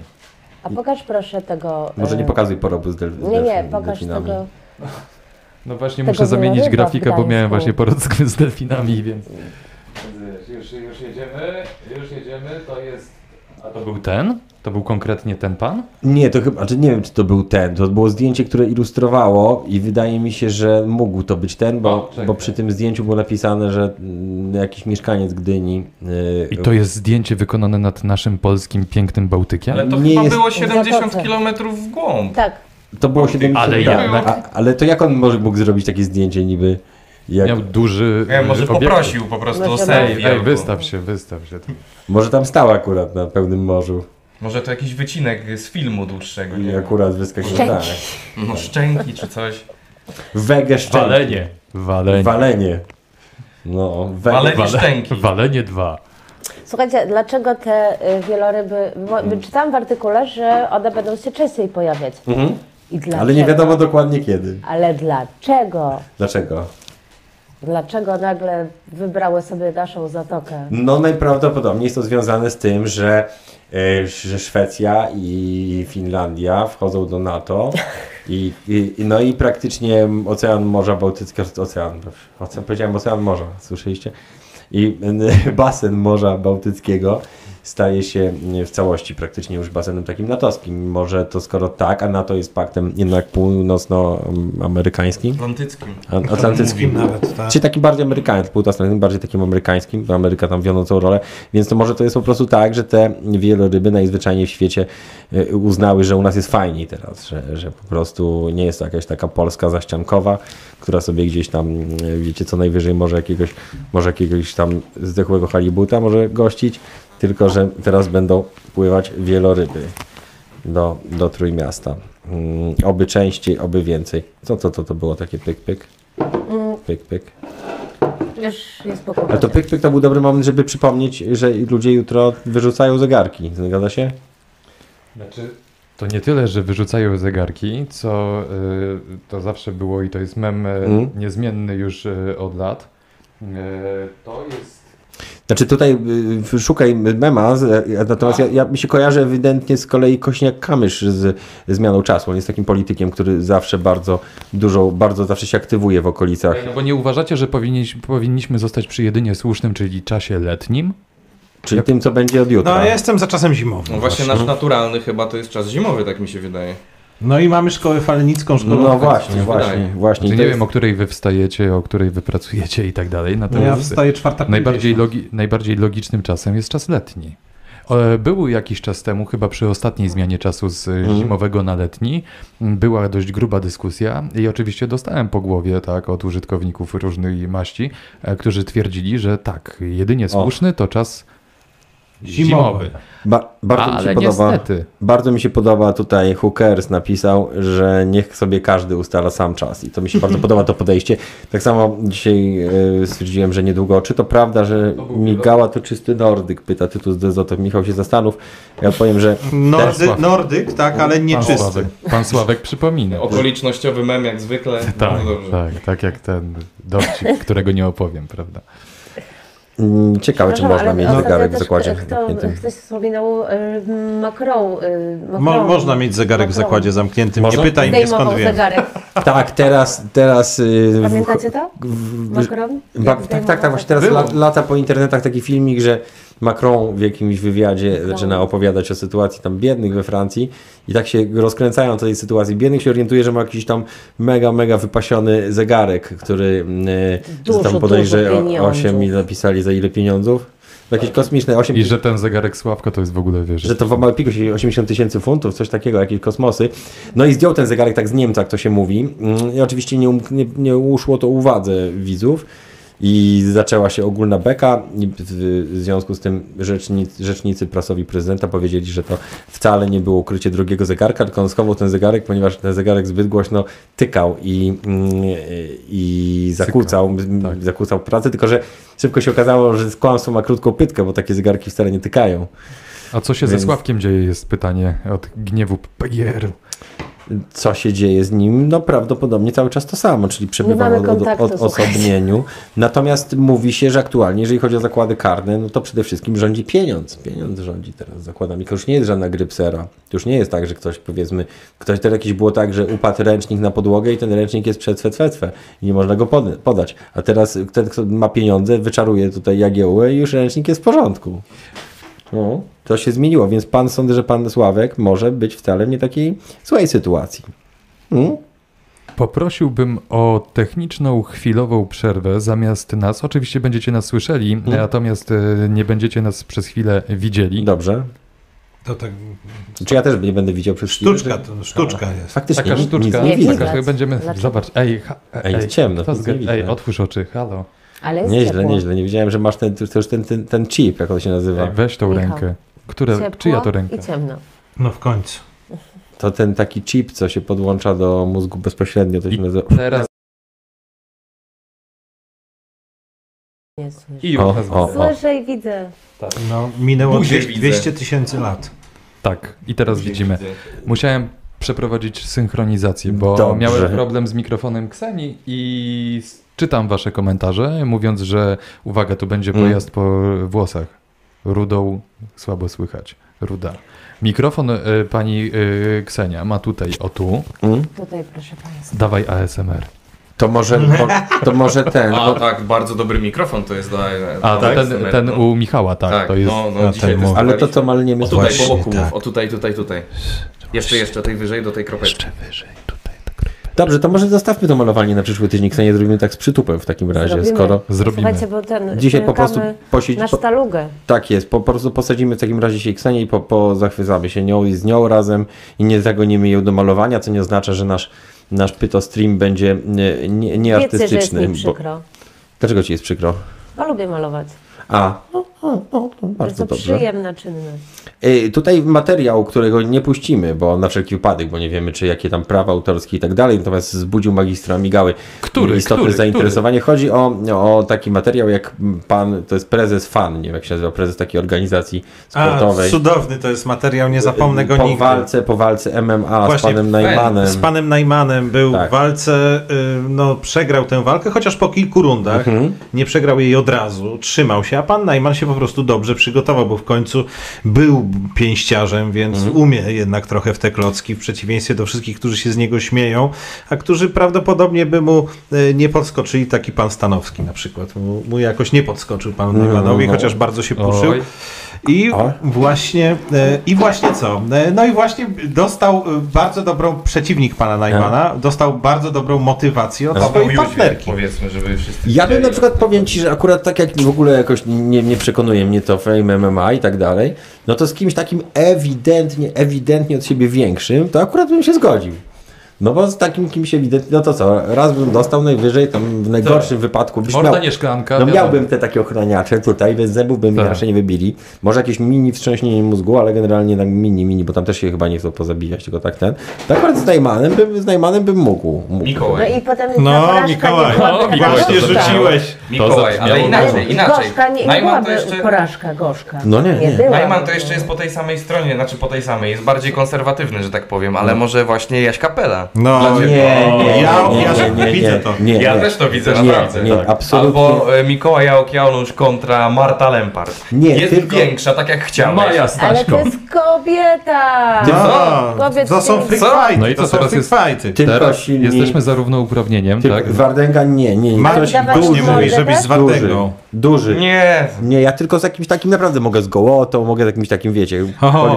Speaker 3: A pokaż proszę tego...
Speaker 5: Może nie
Speaker 3: e,
Speaker 5: pokazuj porobu z, del... z
Speaker 3: Nie, nie,
Speaker 5: delfin-
Speaker 3: pokaż
Speaker 5: delfinami.
Speaker 3: tego...
Speaker 1: No właśnie
Speaker 3: Tego
Speaker 1: muszę zamienić
Speaker 3: wieloryba w
Speaker 1: grafikę, bo miałem
Speaker 3: Gdańsku.
Speaker 1: właśnie poród z, z delfinami, więc... Już, już jedziemy, już jedziemy, to jest... A to był ten? To był konkretnie ten pan?
Speaker 5: Nie, to chyba, znaczy nie wiem, czy to był ten. To było zdjęcie, które ilustrowało i wydaje mi się, że mógł to być ten, bo,
Speaker 1: O, czekaj.
Speaker 5: bo przy tym zdjęciu było napisane, że mm, jakiś mieszkaniec Gdyni. Yy,
Speaker 1: I to jest zdjęcie wykonane nad naszym polskim pięknym Bałtykiem?
Speaker 6: Ale to
Speaker 5: Nie
Speaker 6: chyba
Speaker 5: jest-
Speaker 6: było 70
Speaker 3: Zatoce.
Speaker 6: km w głąb.
Speaker 3: Tak,
Speaker 5: to było 70
Speaker 1: Ale
Speaker 5: tak,
Speaker 1: jednak-
Speaker 5: a, ale to jak on może mógł zrobić takie zdjęcie niby? Jak,
Speaker 1: Miał duży.
Speaker 6: Ja
Speaker 1: y,
Speaker 6: może
Speaker 1: obiektyw.
Speaker 6: poprosił po prostu o
Speaker 3: Może
Speaker 1: Ej,
Speaker 6: selfie.
Speaker 1: ej,
Speaker 6: albo-
Speaker 1: wystaw się, wystaw się.
Speaker 5: Może tam stał akurat na pełnym morzu
Speaker 6: Może to jakiś wycinek z filmu dłuższego, nie?
Speaker 5: i akurat wyskoczył
Speaker 3: Szczęki.
Speaker 5: tak.
Speaker 6: No szczęki czy coś.
Speaker 5: Wege szczęki.
Speaker 1: Walenie. Walenie.
Speaker 5: Walenie. No, wege.
Speaker 6: Walenie.
Speaker 1: Wale-
Speaker 6: szczęki.
Speaker 1: Walenie 2.
Speaker 3: Słuchajcie, dlaczego te y, wieloryby. Bo, Czytałam w artykule, że one będą się częściej pojawiać.
Speaker 5: Mhm.
Speaker 3: I dlaczego?
Speaker 5: Ale nie wiadomo dokładnie kiedy.
Speaker 3: Ale dlaczego?
Speaker 5: Dlaczego?
Speaker 3: Dlaczego nagle wybrały sobie naszą zatokę?
Speaker 5: No najprawdopodobniej jest to związane z tym, że, e, że Szwecja i Finlandia wchodzą do NATO i, i, i- no i praktycznie Ocean Morza Bałtyckiego, ocean, ocean, powiedziałem Ocean Morza, słyszeliście? I e, basen Morza Bałtyckiego staje się e, w całości praktycznie już basenem takim natowskim. Może to skoro tak, a NATO jest paktem jednak północnoamerykańskim,
Speaker 6: Atlantyckim.
Speaker 5: a- atlantyckim.
Speaker 4: Mówimy nawet, tak?
Speaker 5: Czy takim bardziej amerykańskim, półtasnym, bardziej takim amerykańskim, bo Ameryka tam wiodącą rolę, więc to może to jest po prostu tak, że te wieloryby najzwyczajniej w świecie y, uznały, że u nas jest fajniej teraz, że, że po prostu nie jest to jakaś taka Polska zaściankowa, która sobie gdzieś tam, y, wiecie, co najwyżej może jakiegoś, może jakiegoś tam zdechłego halibuta może gościć, tylko że teraz będą pływać wieloryby do, do Trójmiasta. Mm, Oby częściej, oby więcej. Co to, to, to było takie pyk, pyk? Pyk, pyk.
Speaker 3: Już jest
Speaker 5: Ale
Speaker 3: pokój.
Speaker 5: No to pyk, pyk to był dobry moment, żeby przypomnieć, że ludzie jutro wyrzucają zegarki. Zgadza się?
Speaker 1: To nie tyle, że wyrzucają zegarki, co y, to zawsze było i to jest mem y,
Speaker 5: Mm.
Speaker 1: niezmienny już y, od lat. Y, to jest.
Speaker 5: Znaczy tutaj y, szukaj mema, z- y, natomiast ja, ja mi się kojarzy ewidentnie z kolei Kośniak-Kamysz z z zmianą czasu. On jest takim politykiem, który zawsze bardzo dużo, bardzo zawsze się aktywuje w okolicach.
Speaker 1: Ej, No bo nie uważacie, że powinniś, powinniśmy zostać przy jedynie słusznym, czyli czasie letnim?
Speaker 5: Czyli tym, co będzie od
Speaker 4: No
Speaker 5: jutra.
Speaker 4: ja jestem za czasem zimowym.
Speaker 6: No właśnie nasz naturalny chyba to jest czas zimowy, tak mi się wydaje.
Speaker 4: No i mamy szkołę falnicką, szkołę. wakacją.
Speaker 5: No właśnie, właśnie,
Speaker 6: wydaje.
Speaker 5: właśnie.
Speaker 1: Znaczy, nie
Speaker 5: To jest-
Speaker 1: wiem, o której wy wstajecie, o której wy pracujecie i tak dalej.
Speaker 4: No
Speaker 1: Natomiast
Speaker 4: ja wstaję czwarta
Speaker 1: Najbardziej,
Speaker 4: 50.
Speaker 1: logi- najbardziej logicznym czasem jest czas letni. E, Był jakiś czas temu, chyba przy ostatniej zmianie czasu z e,
Speaker 5: Mhm.
Speaker 1: zimowego na letni, m, była dość gruba dyskusja i oczywiście dostałem po głowie tak, od użytkowników różnej maści, e, którzy twierdzili, że tak, jedynie słuszny to czas zimowy.
Speaker 5: Ba- bardzo mi się
Speaker 1: Ale
Speaker 5: podoba.
Speaker 1: niestety.
Speaker 5: Bardzo mi się podoba tutaj Hookers napisał, że niech sobie każdy ustala sam czas i to mi się bardzo podoba to podejście. Tak samo dzisiaj e, stwierdziłem, że niedługo, czy to prawda, że migała to czysty Nordyk, pyta tytuł z Dezotem. Michał się zastanów. Ja powiem, że
Speaker 4: Nordy, Nordyk, tak, ale nie
Speaker 1: Pan
Speaker 4: czysty.
Speaker 1: Sławek, pan Sławek przypomina.
Speaker 6: Okolicznościowy mem jak zwykle.
Speaker 1: Tak,
Speaker 6: no dobrze.
Speaker 1: tak, tak jak ten dowcip, którego nie opowiem, prawda?
Speaker 5: mm, ciekawe, czy
Speaker 3: Przepraszam,
Speaker 5: można
Speaker 3: ale
Speaker 5: mieć
Speaker 3: ostatnio
Speaker 5: zegarek w
Speaker 3: też e,
Speaker 5: zakładzie.
Speaker 3: Kto,
Speaker 5: zamkniętym.
Speaker 3: ktoś wspominał y, makrą, y,
Speaker 4: Mo
Speaker 3: makrą.
Speaker 4: można mieć zegarek w
Speaker 3: makrą.
Speaker 4: zakładzie zamkniętym.
Speaker 5: Można?
Speaker 4: Nie pytaj mnie skąd
Speaker 3: Zdejmował
Speaker 4: wiem.
Speaker 3: zegarek.
Speaker 5: Tak, teraz, teraz... y, w-
Speaker 3: Pamiętacie to?
Speaker 5: w- w-
Speaker 3: Macron?
Speaker 5: tak, Ba- tak, tak, tak, właśnie teraz la, lata po internetach taki filmik, że Macron w jakimś wywiadzie zaczyna opowiadać o sytuacji tam biednych we Francji i tak się rozkręcają tej sytuacji biednych, się orientuje, że ma jakiś tam mega, mega wypasiony zegarek, który e,
Speaker 3: Dużo,
Speaker 5: tam podejrze
Speaker 3: dużo
Speaker 5: o- 8 i
Speaker 3: pieniądzów. Tak.
Speaker 5: napisali za ile pieniądzów. Jakieś kosmiczne 8
Speaker 1: I że ten zegarek Sławka to jest w ogóle, wiesz...
Speaker 5: że to w Amalpiku się 80 tysięcy funtów, coś takiego, jakieś kosmosy. No i zdjął ten zegarek tak z Niemca, jak to się mówi. Mm, I oczywiście nie, um- nie, nie uszło to uwadze widzów. I zaczęła się ogólna beka i w- w związku z tym rzecznicy, rzecznicy prasowi prezydenta powiedzieli, że to wcale nie było ukrycie drugiego zegarka, tylko on schował ten zegarek, ponieważ ten zegarek zbyt głośno tykał i, mm, i zakłócał, m- zakłócał pracę, tylko że szybko się okazało, że kłamstwo ma krótką pytkę, bo takie zegarki wcale nie tykają.
Speaker 1: A co się
Speaker 5: Więc-
Speaker 1: ze Sławkiem dzieje jest pytanie od gniewu PGR.
Speaker 5: co się dzieje z nim, no prawdopodobnie cały czas to samo, czyli przebywa
Speaker 3: mamy
Speaker 5: w
Speaker 3: kontaktu,
Speaker 5: od,
Speaker 3: słuchajcie.
Speaker 5: osobnieniu. Natomiast mówi się, że aktualnie, jeżeli chodzi o zakłady karne, no to przede wszystkim rządzi pieniądz. Pieniądz rządzi teraz zakładami. To już nie jest żadna grypsera. To już nie jest tak, że ktoś, powiedzmy, ktoś teraz jakiś było tak, że upadł ręcznik na podłogę i ten ręcznik jest przed fetwetwę i nie można go pod- podać. A teraz ten, kto ma pieniądze, wyczaruje tutaj jagiełę i już ręcznik jest w porządku. No, to się zmieniło, więc pan sądzę, że pan Sławek może być wcale w nie takiej złej sytuacji. Mm?
Speaker 1: Poprosiłbym o techniczną, chwilową przerwę zamiast nas. Oczywiście będziecie nas słyszeli,
Speaker 5: No.
Speaker 1: natomiast e, nie będziecie nas przez chwilę widzieli.
Speaker 5: Dobrze.
Speaker 4: To tak
Speaker 5: Czy ja też nie będę widział przez chwilę,
Speaker 4: sztuczka,
Speaker 5: że-
Speaker 4: to, sztuczka jest.
Speaker 5: Faktycznie,
Speaker 1: Taka
Speaker 5: nic, nic
Speaker 1: sztuczka,
Speaker 5: nie
Speaker 3: widać.
Speaker 1: taka, że
Speaker 5: widzę.
Speaker 1: będziemy...
Speaker 3: Dlaczego?
Speaker 1: Zobacz, ej, ha,
Speaker 5: Ej, jest ciemno,
Speaker 1: kto
Speaker 5: nic
Speaker 1: zga-
Speaker 5: nie widać.
Speaker 1: ej, otwórz oczy, halo.
Speaker 3: Ale jest
Speaker 5: Nieźle,
Speaker 3: ciepło.
Speaker 5: nieźle. Nie widziałem, że masz ten, to już ten, ten, ten chip, jak on się nazywa.
Speaker 1: Ej, weź tą
Speaker 3: Michał.
Speaker 1: rękę. Które,
Speaker 3: Ciepło
Speaker 1: czyja to ręka?
Speaker 3: i ciemno.
Speaker 4: No w końcu.
Speaker 5: To ten taki chip, co się podłącza do mózgu bezpośrednio, to się
Speaker 1: I-
Speaker 5: nazywa.
Speaker 1: Teraz
Speaker 3: Nie słyszę.
Speaker 1: i
Speaker 5: O,
Speaker 1: już nas
Speaker 5: o,
Speaker 1: widzę.
Speaker 3: Słyszę i widzę.
Speaker 4: No, minęło
Speaker 6: Buzię
Speaker 4: 200
Speaker 6: widzę.
Speaker 4: 200 tysięcy lat.
Speaker 1: Tak, i teraz widzimy. Musiałem przeprowadzić synchronizację, bo
Speaker 5: Dobrze.
Speaker 1: miałem problem z mikrofonem Kseni i s- czytam wasze komentarze, mówiąc, że uwaga, tu będzie
Speaker 5: Mm.
Speaker 1: pojazd po włosach. Rudą słabo słychać. Ruda. Mikrofon y, pani y, Ksenia ma tutaj, o tu.
Speaker 5: Mm?
Speaker 3: Tutaj proszę Państwa.
Speaker 1: Dawaj ASMR.
Speaker 5: To może, to może ten.
Speaker 6: A
Speaker 5: bo-
Speaker 6: tak, bardzo dobry mikrofon to jest dla...
Speaker 1: A
Speaker 6: dla
Speaker 5: tak?
Speaker 1: ten,
Speaker 6: ASMR,
Speaker 1: ten
Speaker 6: no.
Speaker 1: u Michała, tak,
Speaker 6: Tak,
Speaker 1: to jest.
Speaker 6: no,
Speaker 4: na
Speaker 6: no, dzisiaj
Speaker 4: ten
Speaker 6: to jest
Speaker 5: ale to, co malniemy
Speaker 6: O tutaj
Speaker 5: właśnie.
Speaker 6: po boku mów,
Speaker 4: tak.
Speaker 6: o tutaj, tutaj, tutaj. Jeszcze, jeszcze, tej wyżej, do tej kropeczki.
Speaker 5: Dobrze, to może zostawmy to malowanie na przyszły tydzień, nie zrobimy tak z przytupem w takim razie,
Speaker 3: Zrobimy.
Speaker 5: skoro
Speaker 1: Zrobimy.
Speaker 3: Słuchajcie, bo ten...
Speaker 5: dzisiaj po prostu
Speaker 3: zamykamy
Speaker 5: posiedź,
Speaker 3: Na
Speaker 5: po,
Speaker 3: sztalugę.
Speaker 5: Tak jest, po, po prostu posadzimy w takim razie się Ksenię i po, po zachwycamy się nią i z nią razem i nie zagonimy ją do malowania, co nie oznacza, że nasz, nasz pyto stream będzie
Speaker 3: Wiecie,
Speaker 5: nie, nie,
Speaker 3: że jest
Speaker 5: nieartystyczny.
Speaker 3: mi
Speaker 5: bo-
Speaker 3: przykro.
Speaker 5: Dlaczego ci jest przykro?
Speaker 3: Bo lubię malować.
Speaker 5: A, no, no, no, to
Speaker 3: Jest
Speaker 5: bardzo
Speaker 3: to
Speaker 5: dobrze.
Speaker 3: przyjemna czynność.
Speaker 5: Y, Tutaj materiał, którego nie puścimy, bo na wszelki wypadek, bo nie wiemy, czy jakie tam prawa autorskie i tak dalej, natomiast zbudził magistra Migały
Speaker 1: Który,
Speaker 5: istotne
Speaker 1: który,
Speaker 5: zainteresowanie. Chodzi o, o taki materiał, jak pan, to jest prezes FAN, nie wiem jak się nazywa, prezes takiej organizacji
Speaker 4: A,
Speaker 5: sportowej.
Speaker 4: cudowny to jest materiał, nie zapomnę go
Speaker 5: po
Speaker 4: nigdy.
Speaker 5: walce, po walce MMA
Speaker 4: Właśnie,
Speaker 5: z panem
Speaker 6: Fen,
Speaker 5: Najmanem.
Speaker 4: Z panem Najmanem był
Speaker 5: Tak.
Speaker 4: w walce, y, no przegrał tę walkę, chociaż po kilku rundach
Speaker 5: Mhm.
Speaker 4: nie przegrał jej od razu, trzymał się, a pan Najman się po prostu dobrze przygotował, bo w końcu był pięściarzem, więc
Speaker 5: Mhm.
Speaker 4: umie jednak trochę w te klocki, w przeciwieństwie do wszystkich, którzy się z niego śmieją, a którzy prawdopodobnie by mu y, nie podskoczyli, taki pan Stanowski na przykład, mu, mu jakoś nie podskoczył panu Najmanowi,
Speaker 5: no.
Speaker 4: chociaż bardzo się puszył.
Speaker 1: Oj.
Speaker 4: I
Speaker 5: O.
Speaker 4: właśnie, e, i właśnie co? E, No i właśnie dostał e, bardzo dobrą przeciwnik pana Najmana, dostał bardzo dobrą motywację od swojej partnerki.
Speaker 6: powiedzmy, żeby wszyscy
Speaker 5: Ja bym
Speaker 6: widzieli.
Speaker 5: na przykład powiem ci, że akurat tak jak w ogóle jakoś nie, nie przekonuje mnie to Fame MMA i tak dalej, no to z kimś takim ewidentnie, ewidentnie od siebie większym, to akurat bym się zgodził. No bo z takim kimś ewidentnie, no to co, raz bym dostał najwyżej, tam w
Speaker 4: Tak.
Speaker 5: najgorszym wypadku byś miał,
Speaker 1: Morda nie szklanka.
Speaker 5: no
Speaker 1: wiadomo.
Speaker 5: miałbym te takie ochraniacze tutaj, bez zębów by mi
Speaker 1: Tak.
Speaker 5: raczej nie wybili. Może jakieś mini wstrząśnienie mózgu, ale generalnie tak mini, mini, bo tam też się chyba nie chcą pozabijać, tylko tak ten. To akurat z Najmanem bym, z Najmanem bym mógł. mógł.
Speaker 3: No
Speaker 6: Mikołaj.
Speaker 3: i potem ta
Speaker 4: No,
Speaker 3: porażka
Speaker 4: Mikołaj,
Speaker 3: nie byłaby taka
Speaker 4: właśnie
Speaker 1: to
Speaker 3: gorzka.
Speaker 1: zadziałało.
Speaker 4: rzuciłeś.
Speaker 6: Mikołaj, ale
Speaker 1: zabrzmiało
Speaker 6: inaczej, inaczej.
Speaker 3: Gorzka nie, nie
Speaker 6: Najman to
Speaker 3: byłaby
Speaker 6: jeszcze...
Speaker 3: porażka gorzka.
Speaker 5: No nie, nie.
Speaker 3: była.
Speaker 6: Najman to jeszcze jest po tej samej stronie, znaczy po tej samej, jest bardziej konserwatywny, że tak powiem, ale może właśnie Jaś Kapela.
Speaker 4: No,
Speaker 6: Dla
Speaker 5: No. Nie,
Speaker 6: ciebie.
Speaker 5: nie,
Speaker 4: Ja-
Speaker 5: nie,
Speaker 4: ja
Speaker 5: nie, nie,
Speaker 4: widzę
Speaker 5: nie,
Speaker 4: to.
Speaker 5: Nie,
Speaker 6: Ja
Speaker 5: nie.
Speaker 6: też to widzę,
Speaker 5: nie,
Speaker 6: naprawdę. Tak.
Speaker 5: Nie, absolutnie.
Speaker 6: Albo e, Mikołaj Jaokjalusz kontra Marta Lempart.
Speaker 5: Nie,
Speaker 6: jest
Speaker 5: tylko- No,
Speaker 6: większa, tak jak chciałeś.
Speaker 1: Maja
Speaker 3: Ale
Speaker 1: Staśko.
Speaker 3: to jest kobieta!
Speaker 4: No,
Speaker 3: Kobiet
Speaker 4: to są
Speaker 3: nie-
Speaker 4: freak
Speaker 6: Co?
Speaker 4: fighty,
Speaker 1: No i
Speaker 4: to
Speaker 1: co
Speaker 4: są
Speaker 1: teraz
Speaker 4: freak
Speaker 1: jest-
Speaker 4: fighty.
Speaker 5: Tylko
Speaker 1: Teraz
Speaker 5: silni-
Speaker 1: jesteśmy zarówno uprawnieniem,
Speaker 5: Tylko
Speaker 1: tak?
Speaker 5: Wardęga nie, nie. nie.
Speaker 4: Maciej
Speaker 5: Ktoś
Speaker 3: Dawaj
Speaker 4: Dusz nie
Speaker 5: duży. tak?
Speaker 4: mówi, żebyś z no.
Speaker 5: Duży.
Speaker 4: Wardęgą.
Speaker 5: Duży.
Speaker 6: Nie!
Speaker 5: Nie, ja tylko z jakimś takim naprawdę mogę z gołotą, mogę z jakimś takim, wiecie,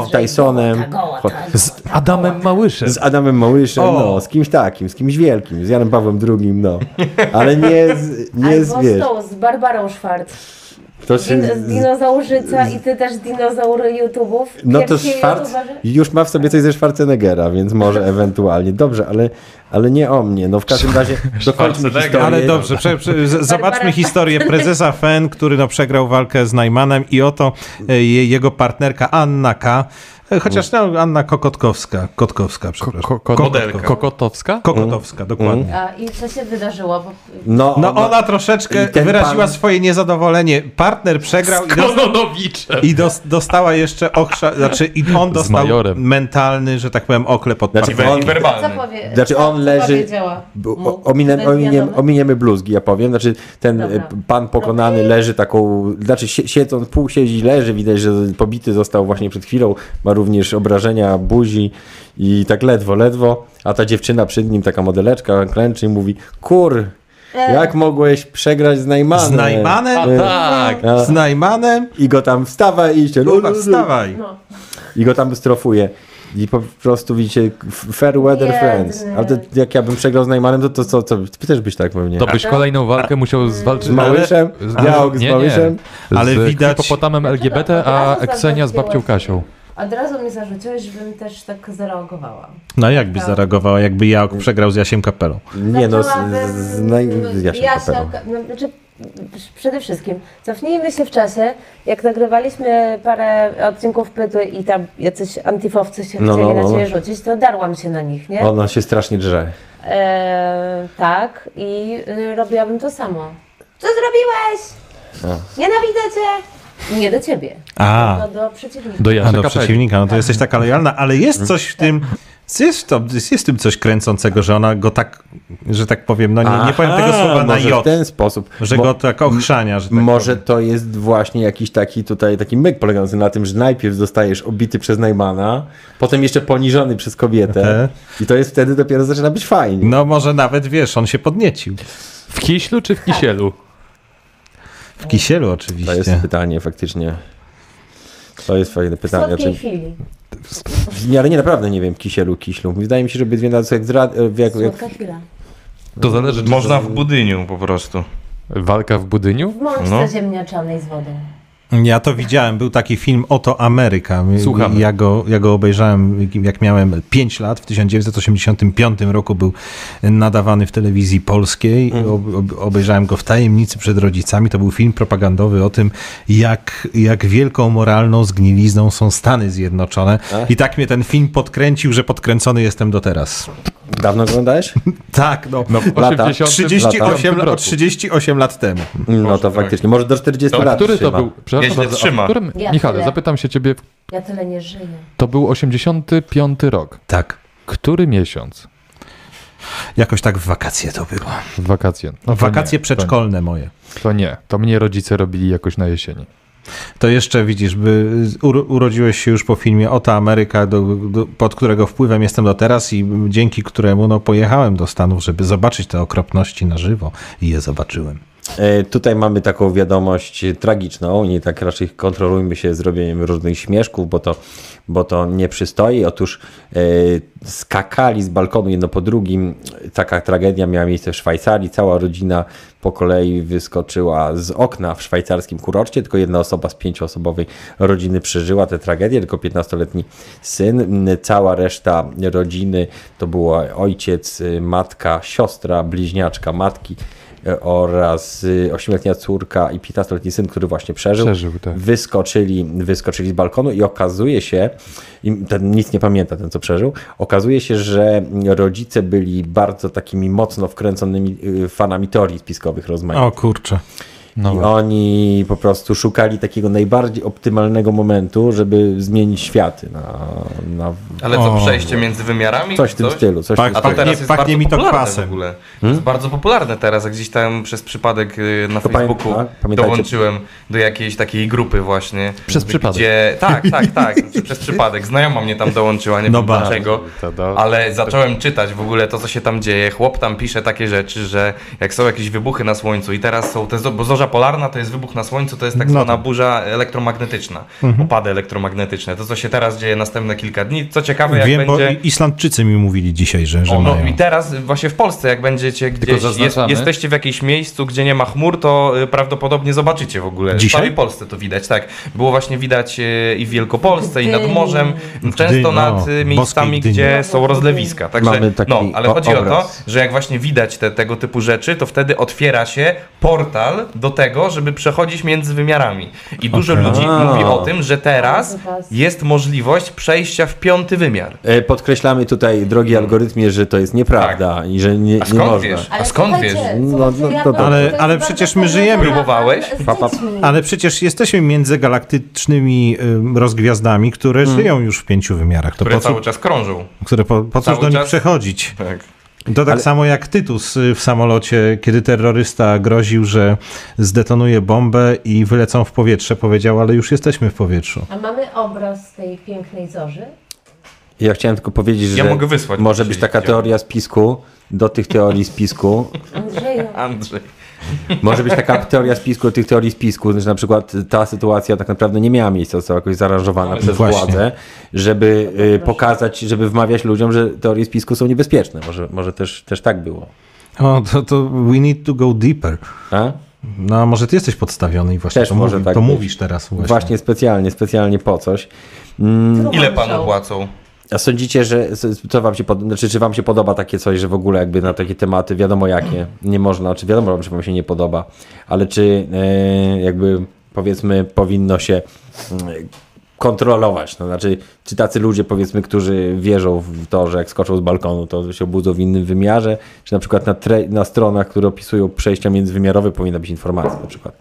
Speaker 5: z Tysonem,
Speaker 1: Z Adamem Małyszem.
Speaker 5: z Adamem Małyszem,
Speaker 6: O.
Speaker 5: no, z kimś takim, z kimś wielkim, z Janem Pawłem II, no. Ale nie z, nie Znaczy, z
Speaker 3: Albo z
Speaker 5: wiesz,
Speaker 3: tą, z Barbarą Szwarc.
Speaker 5: to
Speaker 3: Din,
Speaker 5: się,
Speaker 3: z dinozaurzyca i ty też dinozaury YouTube'ów.
Speaker 5: no to
Speaker 3: Pierwsi
Speaker 5: Szwarc
Speaker 3: YouTuberzy.
Speaker 5: już ma w sobie coś ze Schwarzeneggera, więc może ewentualnie, dobrze, ale, ale nie o mnie, no w każdym razie dokończmy
Speaker 6: Schwarzenegger.
Speaker 5: historię.
Speaker 4: Ale dobrze, prze, prze, z- zobaczmy historię prezesa Fenn, który no, przegrał walkę z Najmanem i oto e, je, jego partnerka Anna K. e, Chociaż no, Anna Kokotkowska, Kotkowska, przepraszam.
Speaker 1: Ko- ko-
Speaker 6: Modelka.
Speaker 4: Kokotkowska.
Speaker 1: Kokotowska?
Speaker 5: Mm.
Speaker 4: Kokotowska, dokładnie.
Speaker 2: A, I co się wydarzyło? Bo
Speaker 5: No,
Speaker 4: No
Speaker 5: no,
Speaker 4: ona troszeczkę
Speaker 5: I ten
Speaker 4: wyraziła
Speaker 5: pan-
Speaker 4: swoje niezadowolenie. Partner przegrał i, dos-
Speaker 1: Kononowicze.
Speaker 4: i dos- dostała jeszcze ochrza, znaczy i on dostał
Speaker 1: majorem.
Speaker 4: mentalny, że tak powiem, oklep od
Speaker 5: Znaczy,
Speaker 4: partnera.
Speaker 5: on-
Speaker 6: I werbalny.
Speaker 2: co powie?
Speaker 5: Znaczy,
Speaker 2: co,
Speaker 5: on
Speaker 2: co
Speaker 5: leży-
Speaker 2: Powiedziała?
Speaker 5: Bo-
Speaker 2: mu?
Speaker 5: o- Ominę, ominiem,
Speaker 2: Bezwiadomy?
Speaker 5: ominiemy bluzgi, ja powiem. Znaczy, ten
Speaker 2: Dobra.
Speaker 5: e, p- pan pokonany leży taką, znaczy si- siedząc, pół siedzi, leży, widać, że pobity został właśnie przed chwilą, ma również obrażenia buzi i tak ledwo, ledwo, a ta dziewczyna przed nim, taka modeleczka, klęczy i mówi, kur, jak mogłeś przegrać z Najmanem?
Speaker 4: Z Najmanem?
Speaker 1: Tak.
Speaker 5: A,
Speaker 4: Z Najmanem?
Speaker 5: I go tam wstawaj i iść,
Speaker 4: Kurwa, wstawaj.
Speaker 5: i go tam strofuje. I po prostu widzicie, f- fair weather
Speaker 2: Biedny.
Speaker 5: friends. Ale to, jak ja bym przegrał z Najmanem, to, to co, co, ty też byś tak pewnie.
Speaker 1: To byś kolejną walkę musiał zwalczyć.
Speaker 5: Z Małyszem?
Speaker 1: Ale-
Speaker 5: Dialog z
Speaker 1: nie, nie.
Speaker 5: Małyszem?
Speaker 4: Ale
Speaker 1: z
Speaker 4: widać-
Speaker 1: hipopotamem LGBT, a
Speaker 2: Dlaczego?
Speaker 1: Ksenia z babcią Kasią.
Speaker 2: Od razu mnie zarzuciłeś, żebym też tak zareagowała.
Speaker 4: No jakby zareagowała, jakby Jaok przegrał z Jasiem Kapelą.
Speaker 5: Nie no, z, z, z, naj...
Speaker 2: Zaczęłabym-
Speaker 5: z Jasią
Speaker 2: Jasia
Speaker 5: Kapelą.
Speaker 2: Ka-
Speaker 3: No, znaczy, przede wszystkim, cofnijmy się w czasie, jak nagrywaliśmy parę odcinków pytu i tam jacyś antifowcy się
Speaker 5: No,
Speaker 3: chcieli
Speaker 5: no, no.
Speaker 3: na ciebie rzucić, to darłam się na nich, nie?
Speaker 5: Ona się strasznie drze.
Speaker 3: E, tak, i y, robiłabym to samo. Co zrobiłeś? Nienawidzę cię! Nie do ciebie,
Speaker 4: A,
Speaker 3: tylko do przeciwnika.
Speaker 1: Do
Speaker 4: a
Speaker 1: Jasza
Speaker 4: do
Speaker 1: Kapeli.
Speaker 4: przeciwnika, no to jesteś taka lojalna, ale
Speaker 5: Mhm.
Speaker 4: jest coś w tym, jest, to, jest w tym coś kręcącego, że ona go tak, że tak powiem, no nie, nie powiem tego
Speaker 5: Aha,
Speaker 4: słowa na
Speaker 5: może
Speaker 4: J,
Speaker 5: w ten sposób.
Speaker 4: że
Speaker 5: Mo-
Speaker 4: go tak ochrzania, że tak
Speaker 5: Może
Speaker 4: powiem.
Speaker 5: to jest właśnie jakiś taki tutaj, taki myk polegający na tym, że najpierw zostajesz obity przez Najmana, potem jeszcze poniżony przez kobietę
Speaker 4: Okej.
Speaker 5: i to jest wtedy dopiero zaczyna być fajnie.
Speaker 4: No może nawet, wiesz, on się podniecił.
Speaker 1: W Kiślu czy w Kisielu?
Speaker 4: W kisielu
Speaker 5: To jest
Speaker 4: oczywiście.
Speaker 5: pytanie faktycznie. To jest fajne
Speaker 3: W
Speaker 5: pytanie.
Speaker 3: słodkiej
Speaker 5: Czy,
Speaker 3: chwili.
Speaker 5: nie, ale nie, naprawdę nie wiem, kisielu, kiślu. Wydaje mi się, że obydwie na jak, zra... jak, jak
Speaker 3: Słodka chwila.
Speaker 1: To zależy, czy
Speaker 6: Można w budyniu po prostu.
Speaker 1: walka w budyniu?
Speaker 3: W mączce
Speaker 6: No.
Speaker 3: ziemniaczanej z wodą.
Speaker 4: Ja to widziałem, był taki film Oto Ameryka. I-
Speaker 1: Słuchamy.
Speaker 4: Ja go, ja go obejrzałem, jak miałem 5 lat, w 1985 roku był nadawany w telewizji polskiej. Ob, ob, obejrzałem go w tajemnicy przed rodzicami. To był film propagandowy o tym, jak, jak wielką moralną zgnilizną są Stany Zjednoczone. I tak mnie ten film podkręcił, że podkręcony jestem do teraz.
Speaker 5: dawno oglądałeś?
Speaker 4: Tak, no.
Speaker 1: No, w
Speaker 5: Lata.
Speaker 1: 80
Speaker 4: 38,
Speaker 1: roku.
Speaker 4: lat- 38 lat temu.
Speaker 5: No
Speaker 6: Może
Speaker 5: to
Speaker 6: tak.
Speaker 5: faktycznie, może do 40
Speaker 1: A
Speaker 5: lat
Speaker 1: który to
Speaker 5: trzyma.
Speaker 1: był? Przepraszam
Speaker 6: Nieźle
Speaker 1: bardzo,
Speaker 6: trzyma.
Speaker 1: a w którym,
Speaker 3: Ja
Speaker 1: Michale,
Speaker 3: tyle.
Speaker 1: zapytam się ciebie,
Speaker 3: Ja tyle nie żyję.
Speaker 1: to był 85 rok.
Speaker 4: Tak.
Speaker 1: Który miesiąc
Speaker 4: Jakoś tak w wakacje to było.
Speaker 1: w wakacje? No to
Speaker 4: Wakacje
Speaker 1: nie,
Speaker 4: przedszkolne moje.
Speaker 1: To nie, to nie, to mnie rodzice robili jakoś na jesieni.
Speaker 4: To jeszcze widzisz, by uro- urodziłeś się już po filmie Ota Ameryka, do, do, pod którego wpływem jestem do teraz i dzięki któremu no, pojechałem do Stanów, żeby zobaczyć te okropności na żywo i je zobaczyłem.
Speaker 5: E, Tutaj mamy taką wiadomość tragiczną, nie tak raczej kontrolujmy się z robieniem różnych śmieszków, bo to, bo to nie przystoi. Otóż e, skakali z balkonu jedno po drugim. Taka tragedia miała miejsce w Szwajcarii. Cała rodzina po kolei wyskoczyła z okna w szwajcarskim kurorcie. Tylko jedna osoba z pięcioosobowej rodziny przeżyła tę tragedię, tylko 15-letni syn. Cała reszta rodziny to była ojciec, y, matka, siostra, bliźniaczka matki y, oraz y, 8-letnia córka i 15-letni syn, który właśnie przeżył.
Speaker 1: Przeżył, tak.
Speaker 5: Wyskoczyli, wyskoczyli z balkonu i okazuje się, i ten nic nie pamięta, ten co przeżył, okazuje się, że rodzice byli bardzo takimi mocno wkręconymi y, fanami teorii spiskowych rozmaitych.
Speaker 4: O kurczę.
Speaker 1: No
Speaker 5: I
Speaker 1: właśnie.
Speaker 5: oni po prostu szukali takiego najbardziej optymalnego momentu, żeby zmienić światy na, na
Speaker 6: Ale to
Speaker 4: O.
Speaker 6: przejście między wymiarami?
Speaker 5: coś w tym stylu. Coś w
Speaker 4: Tak,
Speaker 5: tym
Speaker 6: A to
Speaker 5: stylu.
Speaker 6: teraz
Speaker 4: Pachnie-
Speaker 6: jest
Speaker 4: pachnie
Speaker 6: bardzo
Speaker 4: mi to
Speaker 6: popularne
Speaker 4: kwasem. Hmm?
Speaker 6: W ogóle. To jest bardzo popularne teraz, jak gdzieś tam przez przypadek y, na
Speaker 5: To pamię-
Speaker 6: Facebooku
Speaker 5: tak, pamiętajcie-
Speaker 6: dołączyłem do jakiejś takiej grupy właśnie.
Speaker 1: Przez przypadek.
Speaker 6: Gdzie, tak, tak, tak. znaczy przez przypadek. Znajoma mnie tam dołączyła, nie
Speaker 4: No
Speaker 6: wiem
Speaker 4: ba.
Speaker 6: dlaczego.
Speaker 1: To do-
Speaker 6: Ale zacząłem czytać w ogóle to, co się tam dzieje. Chłop tam pisze takie rzeczy, że jak są jakieś wybuchy na słońcu i teraz są te zo- bo zorza burza polarna to jest wybuch na Słońcu, to jest tak
Speaker 4: No
Speaker 6: zwana
Speaker 4: tak. Mhm.
Speaker 6: burza elektromagnetyczna, opady elektromagnetyczne. To, co się teraz dzieje następne kilka dni. Co ciekawe, No jak
Speaker 4: Wiem, bo
Speaker 6: będzie...
Speaker 4: i- Islandczycy mi mówili dzisiaj, że, że
Speaker 6: O, no
Speaker 4: mają.
Speaker 6: i teraz właśnie w Polsce, jak będziecie gdzieś, jest,
Speaker 1: zaznaczamy-
Speaker 6: jesteście w jakimś miejscu, gdzie nie ma chmur, to y, prawdopodobnie zobaczycie w ogóle.
Speaker 4: Dzisiaj?
Speaker 6: W całej Polsce to widać, tak. Było właśnie widać y, i w Wielkopolsce, i nad
Speaker 3: Gdyni.
Speaker 6: morzem, często
Speaker 4: Gdyni, no,
Speaker 6: nad y,
Speaker 4: boskiej
Speaker 6: miejscami,
Speaker 4: Gdyni.
Speaker 6: gdzie są rozlewiska. Także,
Speaker 5: Mamy taki
Speaker 6: no, ale
Speaker 5: o-
Speaker 6: chodzi o to,
Speaker 5: obraz.
Speaker 6: że jak właśnie widać te, tego typu rzeczy, to wtedy otwiera się portal do tego, żeby przechodzić między wymiarami. I dużo
Speaker 4: Okej.
Speaker 6: ludzi
Speaker 5: A.
Speaker 6: mówi o tym, że teraz
Speaker 3: Bardzo was.
Speaker 6: jest możliwość przejścia w piąty wymiar.
Speaker 5: E, Podkreślamy tutaj, drogi algorytmie, że to jest nieprawda i że nie,
Speaker 6: Mhm. Tak. A
Speaker 5: nie
Speaker 6: skąd
Speaker 5: można.
Speaker 6: wiesz? A skąd wiesz?
Speaker 5: No, no, to
Speaker 4: Ale- ale przecież my żyjemy.
Speaker 6: Próbowałeś?
Speaker 4: Ale przecież jesteśmy międzygalaktycznymi ym, rozgwiazdami, które
Speaker 1: Mm.
Speaker 4: żyją już w pięciu wymiarach. To
Speaker 6: Które
Speaker 4: po co,
Speaker 6: cały czas krążą.
Speaker 4: które po, po cóż
Speaker 6: cały
Speaker 4: do nich
Speaker 6: czas-
Speaker 4: przechodzić?
Speaker 6: Tak.
Speaker 4: To tak
Speaker 5: Ale-
Speaker 4: samo jak Tytus y, w samolocie, kiedy terrorysta groził, że zdetonuje bombę i wylecą w powietrze, powiedział, ale już jesteśmy w powietrzu.
Speaker 2: A mamy obraz tej pięknej zorzy?
Speaker 5: Ja chciałem tylko powiedzieć, że
Speaker 6: Ja mogę wysłać,
Speaker 5: może być
Speaker 6: jeśli
Speaker 5: taka
Speaker 6: chciałem.
Speaker 5: teoria spisku, do tych teorii spisku,
Speaker 3: Andrzeju,
Speaker 6: Andrzej.
Speaker 5: Może być taka teoria spisku tych teorii spisku, że na przykład ta sytuacja tak naprawdę nie miała miejsca, została jakoś zaaranżowana przez
Speaker 4: właśnie.
Speaker 5: władzę, żeby y, pokazać, żeby wmawiać ludziom, że teorie spisku są niebezpieczne. Może, może też, też tak było.
Speaker 4: O, to, to we need to go deeper.
Speaker 5: A?
Speaker 4: No, a może ty jesteś podstawiony i właśnie
Speaker 5: Też
Speaker 4: to,
Speaker 5: może
Speaker 4: mówi,
Speaker 5: tak
Speaker 4: to
Speaker 5: być.
Speaker 4: mówisz teraz właśnie.
Speaker 5: Właśnie specjalnie, specjalnie po coś.
Speaker 6: Mm, Ile panu płacą?
Speaker 5: A sądzicie, że co wam się pod... znaczy, czy wam się podoba takie coś, że w ogóle jakby na takie tematy wiadomo jakie nie można, czy wiadomo, że wam się nie podoba, ale czy e, jakby powiedzmy powinno się e, kontrolować, no znaczy czy tacy ludzie powiedzmy, którzy wierzą w to, że jak skoczą z balkonu, to się obudzą w innym wymiarze, czy na przykład na, tre... na stronach, które opisują przejścia międzywymiarowe powinna być informacja na przykład.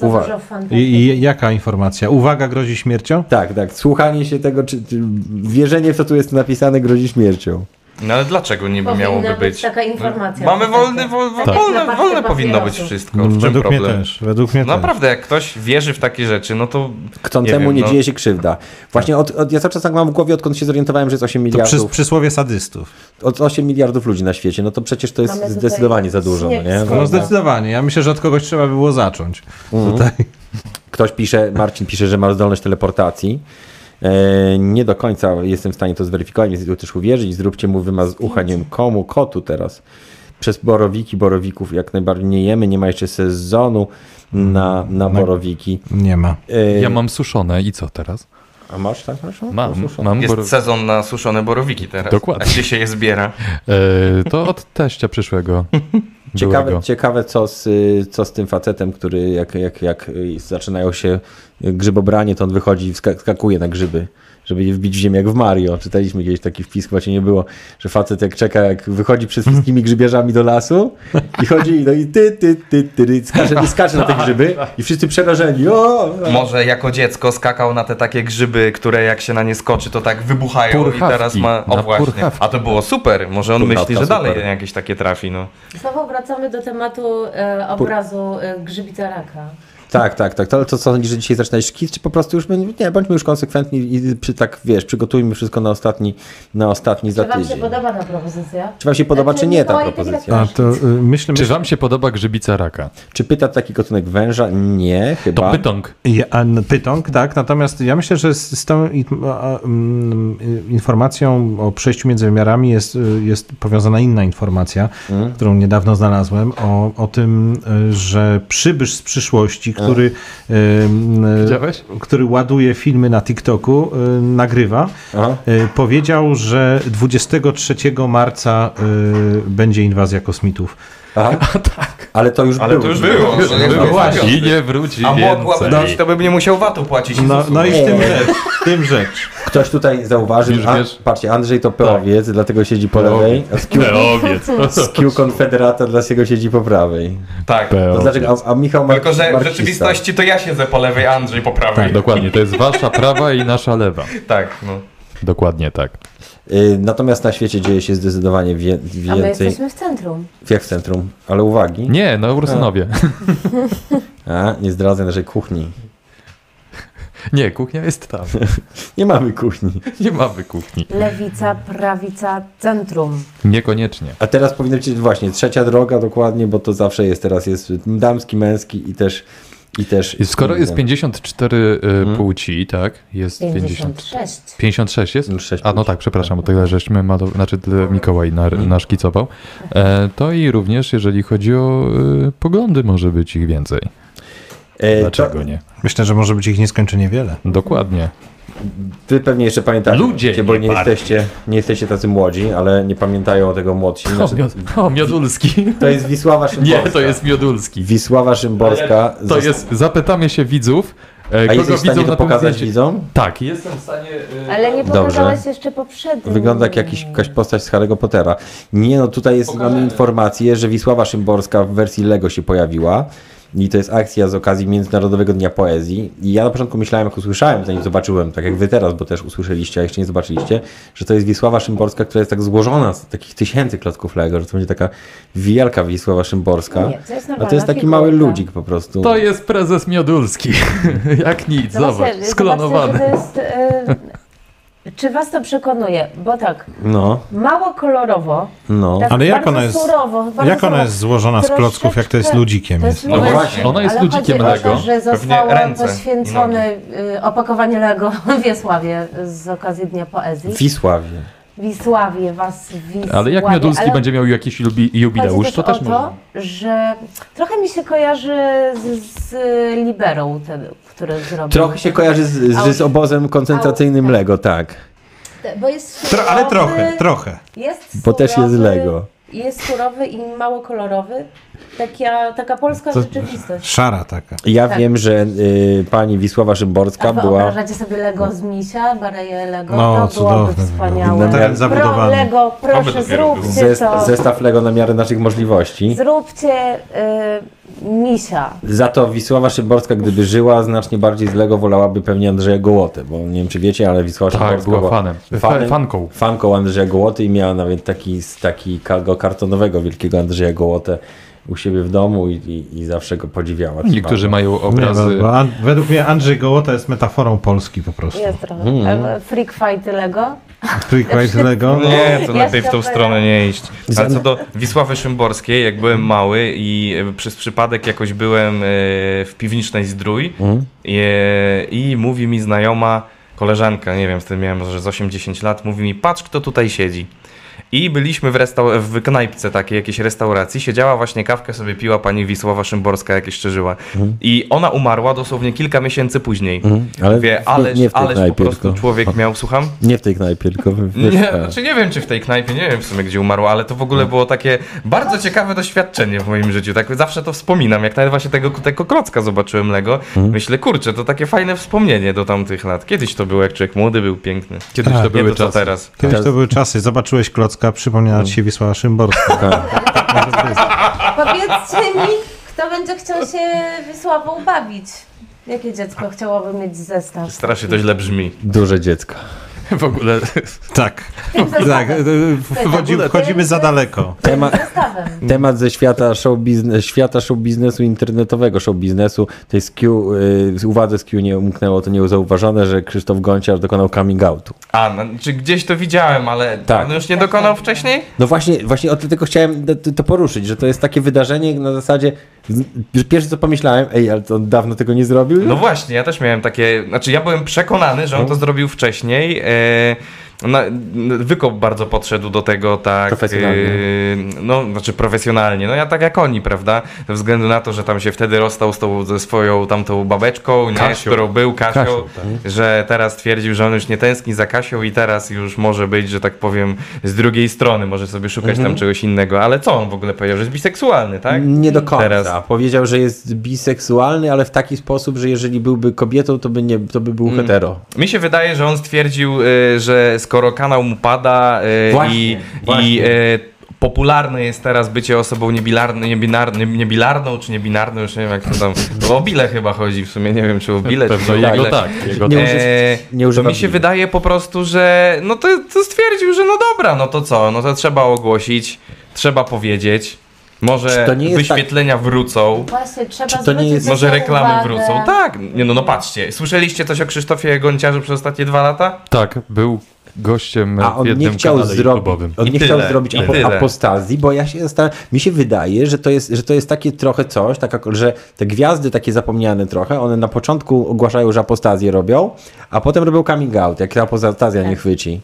Speaker 5: Uwaga.
Speaker 4: I, I jaka informacja? Uwaga, grozi śmiercią?
Speaker 5: Tak, tak. Słuchanie się tego, czy, czy wierzenie w to, co tu jest napisane, grozi śmiercią.
Speaker 6: No ale dlaczego nie
Speaker 2: Powinna
Speaker 6: miałoby
Speaker 2: być
Speaker 6: być?
Speaker 2: taka informacja.
Speaker 6: Mamy wolny, wol,
Speaker 2: Tak. Jak
Speaker 6: wolne,
Speaker 2: na
Speaker 6: wolne
Speaker 2: paczce
Speaker 6: powinno być
Speaker 2: papierosów.
Speaker 6: wszystko. No,
Speaker 4: No,
Speaker 6: W czym
Speaker 4: Według mnie
Speaker 6: problem? No
Speaker 4: też. Według mnie też.
Speaker 6: Naprawdę, jak ktoś wierzy w takie rzeczy, no to.
Speaker 5: Chcącemu nie,
Speaker 6: wiem, no.
Speaker 5: dzieje się krzywda. Właśnie od, od, ja cały czas tak mam w głowie, odkąd się zorientowałem, że jest 8
Speaker 4: To przy,
Speaker 5: miliardów,
Speaker 4: przysłowie sadystów.
Speaker 5: od 8 miliardów ludzi na świecie, no to przecież to
Speaker 3: Mamy
Speaker 5: jest
Speaker 3: tutaj
Speaker 5: zdecydowanie za dużo, no
Speaker 3: śnieg
Speaker 5: nie?
Speaker 3: z
Speaker 4: No
Speaker 3: Dobra.
Speaker 4: zdecydowanie. Ja myślę, że od kogoś trzeba by było zacząć. Tutaj.
Speaker 5: Ktoś pisze, Marcin pisze, że ma zdolność teleportacji. E, nie do końca jestem w stanie to zweryfikować, więc tu też uwierzyć. Zróbcie mu wymaz ucha, nie wiem, komu, kotu teraz. Przez borowiki, borowików jak najbardziej nie jemy, nie ma jeszcze sezonu na, na borowiki.
Speaker 4: Nie ma.
Speaker 5: E,
Speaker 1: Ja mam suszone i co teraz?
Speaker 5: A masz tak? Masz?
Speaker 1: Mam, mam.
Speaker 6: Jest
Speaker 1: bo-
Speaker 6: sezon na suszone borowiki teraz.
Speaker 1: Dokładnie.
Speaker 6: A gdzie się je zbiera?
Speaker 1: E, to od teścia przyszłego.
Speaker 5: Ciekawe,
Speaker 1: byłego.
Speaker 5: ciekawe co, z, y, co z tym facetem, który jak, jak, jak y, zaczynają się grzybobranie, to on wychodzi i wska- skakuje na grzyby, żeby je wbić w ziemię jak w Mario. Czytaliśmy kiedyś taki wpis, właśnie nie było, że facet jak czeka, jak wychodzi przez wszystkimi grzybiarzami do lasu i chodzi no i ty, ty, ty, ty, ty skacze, i skacze na te grzyby i wszyscy przerażeni. O!
Speaker 6: Może jako dziecko skakał na te takie grzyby, które jak się na nie skoczy, to tak wybuchają i
Speaker 1: Purchawki.
Speaker 6: teraz ma. O
Speaker 1: Na
Speaker 6: właśnie.
Speaker 1: purchawki.
Speaker 6: A to było super. Może on
Speaker 5: Purchawka
Speaker 6: myśli, że dalej
Speaker 5: super.
Speaker 6: jakieś takie trafi. No.
Speaker 2: Znowu wracamy do tematu e, obrazu e, grzybica raka.
Speaker 5: Tak, tak, tak. To, to co sądzisz, że dzisiaj zaczynać szkic, czy po prostu już, będziemy- nie, bądźmy już konsekwentni i przy, tak, wiesz, przygotujmy wszystko na ostatni, na ostatni za
Speaker 2: Czy Wam się
Speaker 5: tydzień.
Speaker 2: podoba ta propozycja?
Speaker 5: Czy wam się podoba,
Speaker 2: Znaczy,
Speaker 5: czy nie ta
Speaker 2: Mikołaj, tak
Speaker 5: propozycja?
Speaker 4: A to y, myślę,
Speaker 1: Czy
Speaker 4: że.
Speaker 1: wam się podoba grzybica raka?
Speaker 5: Czy pyta taki gatunek węża? Nie, chyba.
Speaker 1: To pytąg.
Speaker 4: Ja, a, n- pytąg, tak. Natomiast ja myślę, że z, z tą i- a, mm, y, informacją o przejściu między wymiarami jest, y, jest powiązana inna informacja, którą niedawno znalazłem, o, o tym, y, że przybysz z przyszłości, który, y, y,
Speaker 1: Widziałeś?
Speaker 4: który ładuje filmy na TikToku, y, nagrywa,
Speaker 5: Aha.
Speaker 4: y, powiedział, że 23 marca y, będzie inwazja kosmitów.
Speaker 5: Aha.
Speaker 1: tak.
Speaker 5: Ale to już
Speaker 6: Ale
Speaker 5: było.
Speaker 6: to już było. tak To już
Speaker 4: było.
Speaker 6: było.
Speaker 1: I nie wróci
Speaker 6: A
Speaker 1: więcej.
Speaker 6: mogłaby być, to bym nie musiał VAT-u płacić.
Speaker 4: No, no i w tym
Speaker 5: Nie.
Speaker 4: rzecz. W tym rzecz.
Speaker 5: Ktoś tutaj zauważył,
Speaker 1: Już
Speaker 5: a,
Speaker 1: wiesz. Tak.
Speaker 5: patrzcie, Andrzej to peowiec, dlatego siedzi po lewej, a
Speaker 6: No,
Speaker 5: z Q,
Speaker 1: Peowiec.
Speaker 5: z Q Konfederata dlatego siedzi po prawej.
Speaker 6: Tak.
Speaker 5: To znaczy, a, a Michał Mar-
Speaker 6: Tylko, że w
Speaker 5: marksista.
Speaker 6: rzeczywistości to ja siedzę po lewej, Andrzej po prawej.
Speaker 1: Tak, dokładnie. To jest wasza prawa i nasza lewa.
Speaker 6: Tak, no.
Speaker 1: Dokładnie tak.
Speaker 5: Y, Natomiast na świecie dzieje się zdecydowanie wie,
Speaker 3: a my
Speaker 5: więcej,
Speaker 3: jesteśmy w centrum.
Speaker 5: jak w centrum, ale uwagi,
Speaker 1: Nie, no Ursynowie.
Speaker 5: a, nie zdradzę naszej kuchni.
Speaker 1: Nie, kuchnia jest tam.
Speaker 5: Nie mamy kuchni.
Speaker 1: Nie mamy kuchni.
Speaker 3: Lewica, prawica, centrum.
Speaker 1: Niekoniecznie.
Speaker 5: A teraz powinno być właśnie trzecia droga dokładnie, bo to zawsze jest teraz jest damski, męski i też i też
Speaker 1: I Skoro jest 54 y,
Speaker 6: Mhm.
Speaker 1: płci, tak? Jest 50.
Speaker 3: 56.
Speaker 1: 56 jest?
Speaker 5: 6
Speaker 1: A no tak, przepraszam, bo tyle żeśmy, ma, znaczy
Speaker 6: Mhm.
Speaker 1: tyle Mikołaj na, naszkicował. E, to i również, jeżeli chodzi o y, poglądy, może być ich więcej.
Speaker 5: E,
Speaker 1: Dlaczego
Speaker 5: to-
Speaker 1: nie?
Speaker 4: Myślę, że może być ich nieskończenie wiele.
Speaker 1: Dokładnie.
Speaker 5: Wy pewnie jeszcze pamiętacie,
Speaker 1: Ludzie,
Speaker 5: bo
Speaker 1: nie
Speaker 5: nie
Speaker 1: parki.
Speaker 5: jesteście, nie jesteście tacy młodzi, ale nie pamiętają tego młodsi.
Speaker 1: O,
Speaker 5: Znaczy,
Speaker 1: miod, o Miodulski.
Speaker 5: to jest Wisława Szymborska.
Speaker 1: Nie, to jest Miodulski.
Speaker 5: Wisława Szymborska.
Speaker 1: To
Speaker 5: zosta-
Speaker 1: jest, zapytamy się widzów, e,
Speaker 5: A
Speaker 1: kogo
Speaker 5: jesteś w stanie
Speaker 1: widzą
Speaker 5: to
Speaker 1: na tym
Speaker 5: pokazać
Speaker 1: zdjęciu.
Speaker 5: widzom?
Speaker 1: Tak, jestem w stanie... y,
Speaker 3: Ale nie
Speaker 5: Dobrze.
Speaker 3: pokazałaś jeszcze poprzedniej.
Speaker 5: Wygląda jak jakiś, jakaś postać z Harry'ego Pottera. Nie no, tutaj jest, mamy informację, że Wisława Szymborska w wersji Lego się pojawiła. I to jest akcja z okazji Międzynarodowego Dnia Poezji. I ja na początku myślałem, jak usłyszałem, zanim zobaczyłem, tak jak wy teraz, bo też usłyszeliście, a jeszcze nie zobaczyliście, że to jest Wisława Szymborska, która jest tak złożona z takich tysięcy klocków Lego, że to będzie taka wielka Wisława Szymborska.
Speaker 3: Nie, to jest
Speaker 5: a
Speaker 3: normalna
Speaker 5: to jest taki
Speaker 3: figurka.
Speaker 5: mały ludzik po prostu.
Speaker 1: To jest prezes Miodulski. Jak nic, zobacz,
Speaker 3: Zobaczcie,
Speaker 1: sklonowany.
Speaker 3: zobaczcie, że to jest, y, czy was to przekonuje? Bo tak,
Speaker 5: No,
Speaker 3: mało kolorowo,
Speaker 5: no.
Speaker 3: tak
Speaker 4: Ale jak
Speaker 3: bardzo
Speaker 4: ona jest-
Speaker 3: surowo, bardzo
Speaker 4: Jak ona
Speaker 3: surowo.
Speaker 4: jest złożona z klocków, jak to jest
Speaker 3: Troszeczkę-
Speaker 4: ludzikiem?
Speaker 3: To jest
Speaker 6: No
Speaker 3: ludzik.
Speaker 6: właśnie.
Speaker 1: Ona jest
Speaker 3: Ale
Speaker 1: ludzikiem
Speaker 3: chodzi o to,
Speaker 1: Lego.
Speaker 3: że zostało
Speaker 6: ręce i
Speaker 3: poświęcone y, opakowanie Lego w Wiesławie z okazji Dnia Poezji.
Speaker 5: W Wisławie.
Speaker 3: Wisławie, was Wisławie.
Speaker 1: Ale jak Miodulski
Speaker 3: ale
Speaker 1: będzie miał jakiś jubi-
Speaker 3: Chodzi
Speaker 1: jubileusz,
Speaker 3: też
Speaker 1: to też
Speaker 3: o
Speaker 1: może.
Speaker 3: to, że trochę mi się kojarzy z, z y, Liberą, ten, który zrobił.
Speaker 5: Trochę się kojarzy z, z, z obozem koncentracyjnym Lego, tak.
Speaker 2: Te- Bo jest
Speaker 4: Tro, ale
Speaker 2: surowy,
Speaker 4: trochę, trochę.
Speaker 2: Jest
Speaker 5: Bo też jest
Speaker 2: surowy,
Speaker 5: Lego.
Speaker 2: Jest surowy i mało kolorowy. Taka, taka polska rzeczywistość.
Speaker 4: Szara taka.
Speaker 5: Ja wiem, że y, pani Wisława Szymborska
Speaker 3: Tak. A wy
Speaker 5: była. No.
Speaker 3: wyobrażacie sobie Lego z misia, bareję Lego,
Speaker 4: No,
Speaker 3: to byłoby
Speaker 4: cudowne.
Speaker 3: wspaniałe.
Speaker 5: Teren
Speaker 3: Pro
Speaker 4: zabudowany.
Speaker 3: Lego, proszę,
Speaker 6: dopiero było.
Speaker 3: zróbcie
Speaker 5: Zest,
Speaker 3: to.
Speaker 5: zestaw Lego na miarę naszych możliwości.
Speaker 3: Zróbcie y, misia.
Speaker 5: Za to Wisława Szymborska, gdyby żyła, znacznie bardziej z Lego wolałaby pewnie Andrzeja Gołotę, bo nie wiem czy wiecie, ale Wisława
Speaker 1: Tak,
Speaker 5: Szymborska
Speaker 1: była fanem. Fa- Fanką.
Speaker 5: fanką Andrzeja Gołoty i miała nawet taki, taki kargo kartonowego wielkiego Andrzeja Gołotę u siebie w domu i, i, i zawsze go podziwiała.
Speaker 6: No,
Speaker 1: Niektórzy mają
Speaker 4: Nie,
Speaker 1: obrazy.
Speaker 5: no,
Speaker 4: bo- bo an, według mnie Andrzej Gołota jest metaforą Polski po prostu.
Speaker 3: Jest trochę.
Speaker 5: Mhm.
Speaker 3: Mm. Freak fighty Lego.
Speaker 4: Freak Lego. No.
Speaker 6: Nie, to
Speaker 3: Ja
Speaker 6: lepiej w tą
Speaker 3: stopę-
Speaker 6: stronę nie iść. A co do Wisławy Szymborskiej, jak byłem mały i e, przez przypadek jakoś byłem e, w piwnicznej zdrój
Speaker 5: Mhm.
Speaker 6: i, e, i mówi mi znajoma koleżanka, nie wiem, wtedy miałem może z 8-10 lat, mówi mi, patrz kto tutaj siedzi. I byliśmy w, restau- w knajpce takiej jakiejś restauracji, siedziała właśnie kawkę sobie piła pani Wisława Szymborska, jakieś szczerzyła.
Speaker 5: Mhm.
Speaker 6: I ona umarła dosłownie kilka miesięcy później.
Speaker 5: ale w-
Speaker 6: Mówię,
Speaker 5: Mhm. nie-
Speaker 6: ależ,
Speaker 5: nie w tej
Speaker 6: ależ po
Speaker 5: knajpie,
Speaker 6: prostu
Speaker 5: tylko-
Speaker 6: człowiek miał, słucham?
Speaker 5: Nie w tej knajpie, tylko w, w,
Speaker 6: Nie, znaczy nie wiem, czy w tej knajpie, nie wiem w sumie, gdzie umarła, ale to w ogóle było takie bardzo ciekawe doświadczenie w moim życiu. Tak zawsze to wspominam. Jak nawet właśnie tego, tego klocka zobaczyłem Lego,
Speaker 1: Mhm.
Speaker 6: myślę, kurczę, to takie fajne wspomnienie do tamtych lat. Kiedyś to było, jak człowiek młody był piękny.
Speaker 1: Kiedyś
Speaker 4: Tak,
Speaker 1: to były
Speaker 6: nie to, co
Speaker 1: czasy.
Speaker 6: teraz.
Speaker 4: Kiedyś to były czasy. Zobaczyłeś klocka, przypomniała
Speaker 5: No.
Speaker 4: ci się Wisława Szymborska.
Speaker 5: Tak.
Speaker 2: Powiedzcie mi, kto będzie chciał się Wisławą bawić.
Speaker 3: Jakie dziecko chciałoby mieć zestaw?
Speaker 6: Strasznie to źle brzmi.
Speaker 5: duże dziecko.
Speaker 1: W ogóle
Speaker 4: Tak. tak. e, Wchodzi,
Speaker 3: Tak,
Speaker 4: wchodzimy za daleko.
Speaker 5: Temat,
Speaker 3: Zestawem.
Speaker 5: Temat ze świata show, biznes, świata show biznesu, internetowego show biznesu. To jest Q, y, z uwadze z Q nie umknęło to nieuzauważone, że Krzysztof Gonciarz dokonał coming outu.
Speaker 6: A, no, czy gdzieś to widziałem, ale
Speaker 5: Tak.
Speaker 6: on już nie dokonał wcześniej?
Speaker 5: No właśnie, właśnie o to tylko chciałem to, to poruszyć, że to jest takie wydarzenie na zasadzie, że pierwsze co pomyślałem, ej, ale to on dawno tego nie zrobił.
Speaker 6: No właśnie, ja też miałem takie. Znaczy, ja byłem przekonany, że on to
Speaker 1: No.
Speaker 6: zrobił wcześniej. E, na, n- wykop bardzo podszedł do tego tak.
Speaker 5: Profesjonalnie.
Speaker 6: e, no, znaczy profesjonalnie. No ja tak jak oni, prawda? Ze względu na to, że tam się wtedy rozstał z tą, ze swoją tamtą babeczką, nie, z
Speaker 1: Kasią.
Speaker 6: którą był Kasią,
Speaker 1: Kasią, tak.
Speaker 6: że teraz twierdził, że on już nie tęskni za Kasią i teraz już może być, że tak powiem, z drugiej strony, może sobie szukać
Speaker 1: Mhm.
Speaker 6: tam czegoś innego. Ale co on w ogóle powiedział, że jest biseksualny, tak?
Speaker 5: Nie do końca.
Speaker 6: Teraz.
Speaker 5: Powiedział, że jest biseksualny, ale w taki sposób, że jeżeli byłby kobietą, to by, nie, to by
Speaker 6: Mm.
Speaker 5: był hetero.
Speaker 6: Mi się wydaje, że on stwierdził, y, że skoro kanał mu pada y,
Speaker 5: Właśnie,
Speaker 6: i, i
Speaker 5: właśnie.
Speaker 6: y, popularne jest teraz bycie osobą niebilarny, niebinarny, niebilarną czy niebinarną, już nie wiem jak to tam, bo o bile chyba chodzi w sumie, nie wiem czy o bile czy
Speaker 1: pewno
Speaker 6: nie o
Speaker 1: jego
Speaker 6: bile.
Speaker 1: tak. Jego
Speaker 5: Nie
Speaker 1: tak.
Speaker 5: używa-
Speaker 6: E,
Speaker 5: nie
Speaker 6: to
Speaker 5: używam
Speaker 6: mi się
Speaker 5: bile.
Speaker 6: wydaje po prostu, że no to, to stwierdził, że no dobra, no to co, no to trzeba ogłosić, trzeba powiedzieć. Może
Speaker 5: Czy to nie jest tak-
Speaker 6: wyświetlenia wrócą.
Speaker 3: Właśnie, trzeba
Speaker 5: Czy to nie
Speaker 3: zwrócić
Speaker 5: jest-
Speaker 3: na
Speaker 6: Może
Speaker 3: to
Speaker 6: reklamy
Speaker 3: uwagę.
Speaker 6: wrócą. Tak, nie no, no patrzcie. Słyszeliście coś o Krzysztofie Gonciarzu przez ostatnie dwa lata?
Speaker 1: Tak, był gościem
Speaker 5: A
Speaker 1: w
Speaker 5: on nie
Speaker 1: jednym
Speaker 5: chciał
Speaker 1: kanale
Speaker 5: zrobić, No.
Speaker 1: YouTube'owym.
Speaker 5: on
Speaker 6: I
Speaker 5: nie
Speaker 6: tyle,
Speaker 5: chciał zrobić
Speaker 6: i
Speaker 5: apo-
Speaker 6: tyle.
Speaker 5: apostazji, bo ja się star- mi się wydaje, że to, jest, że to jest takie trochę coś, taka, że te gwiazdy takie zapomniane trochę, one na początku ogłaszają, że apostazję robią, a potem robią coming out, jak ta apostazja
Speaker 4: Tak.
Speaker 5: nie chwyci.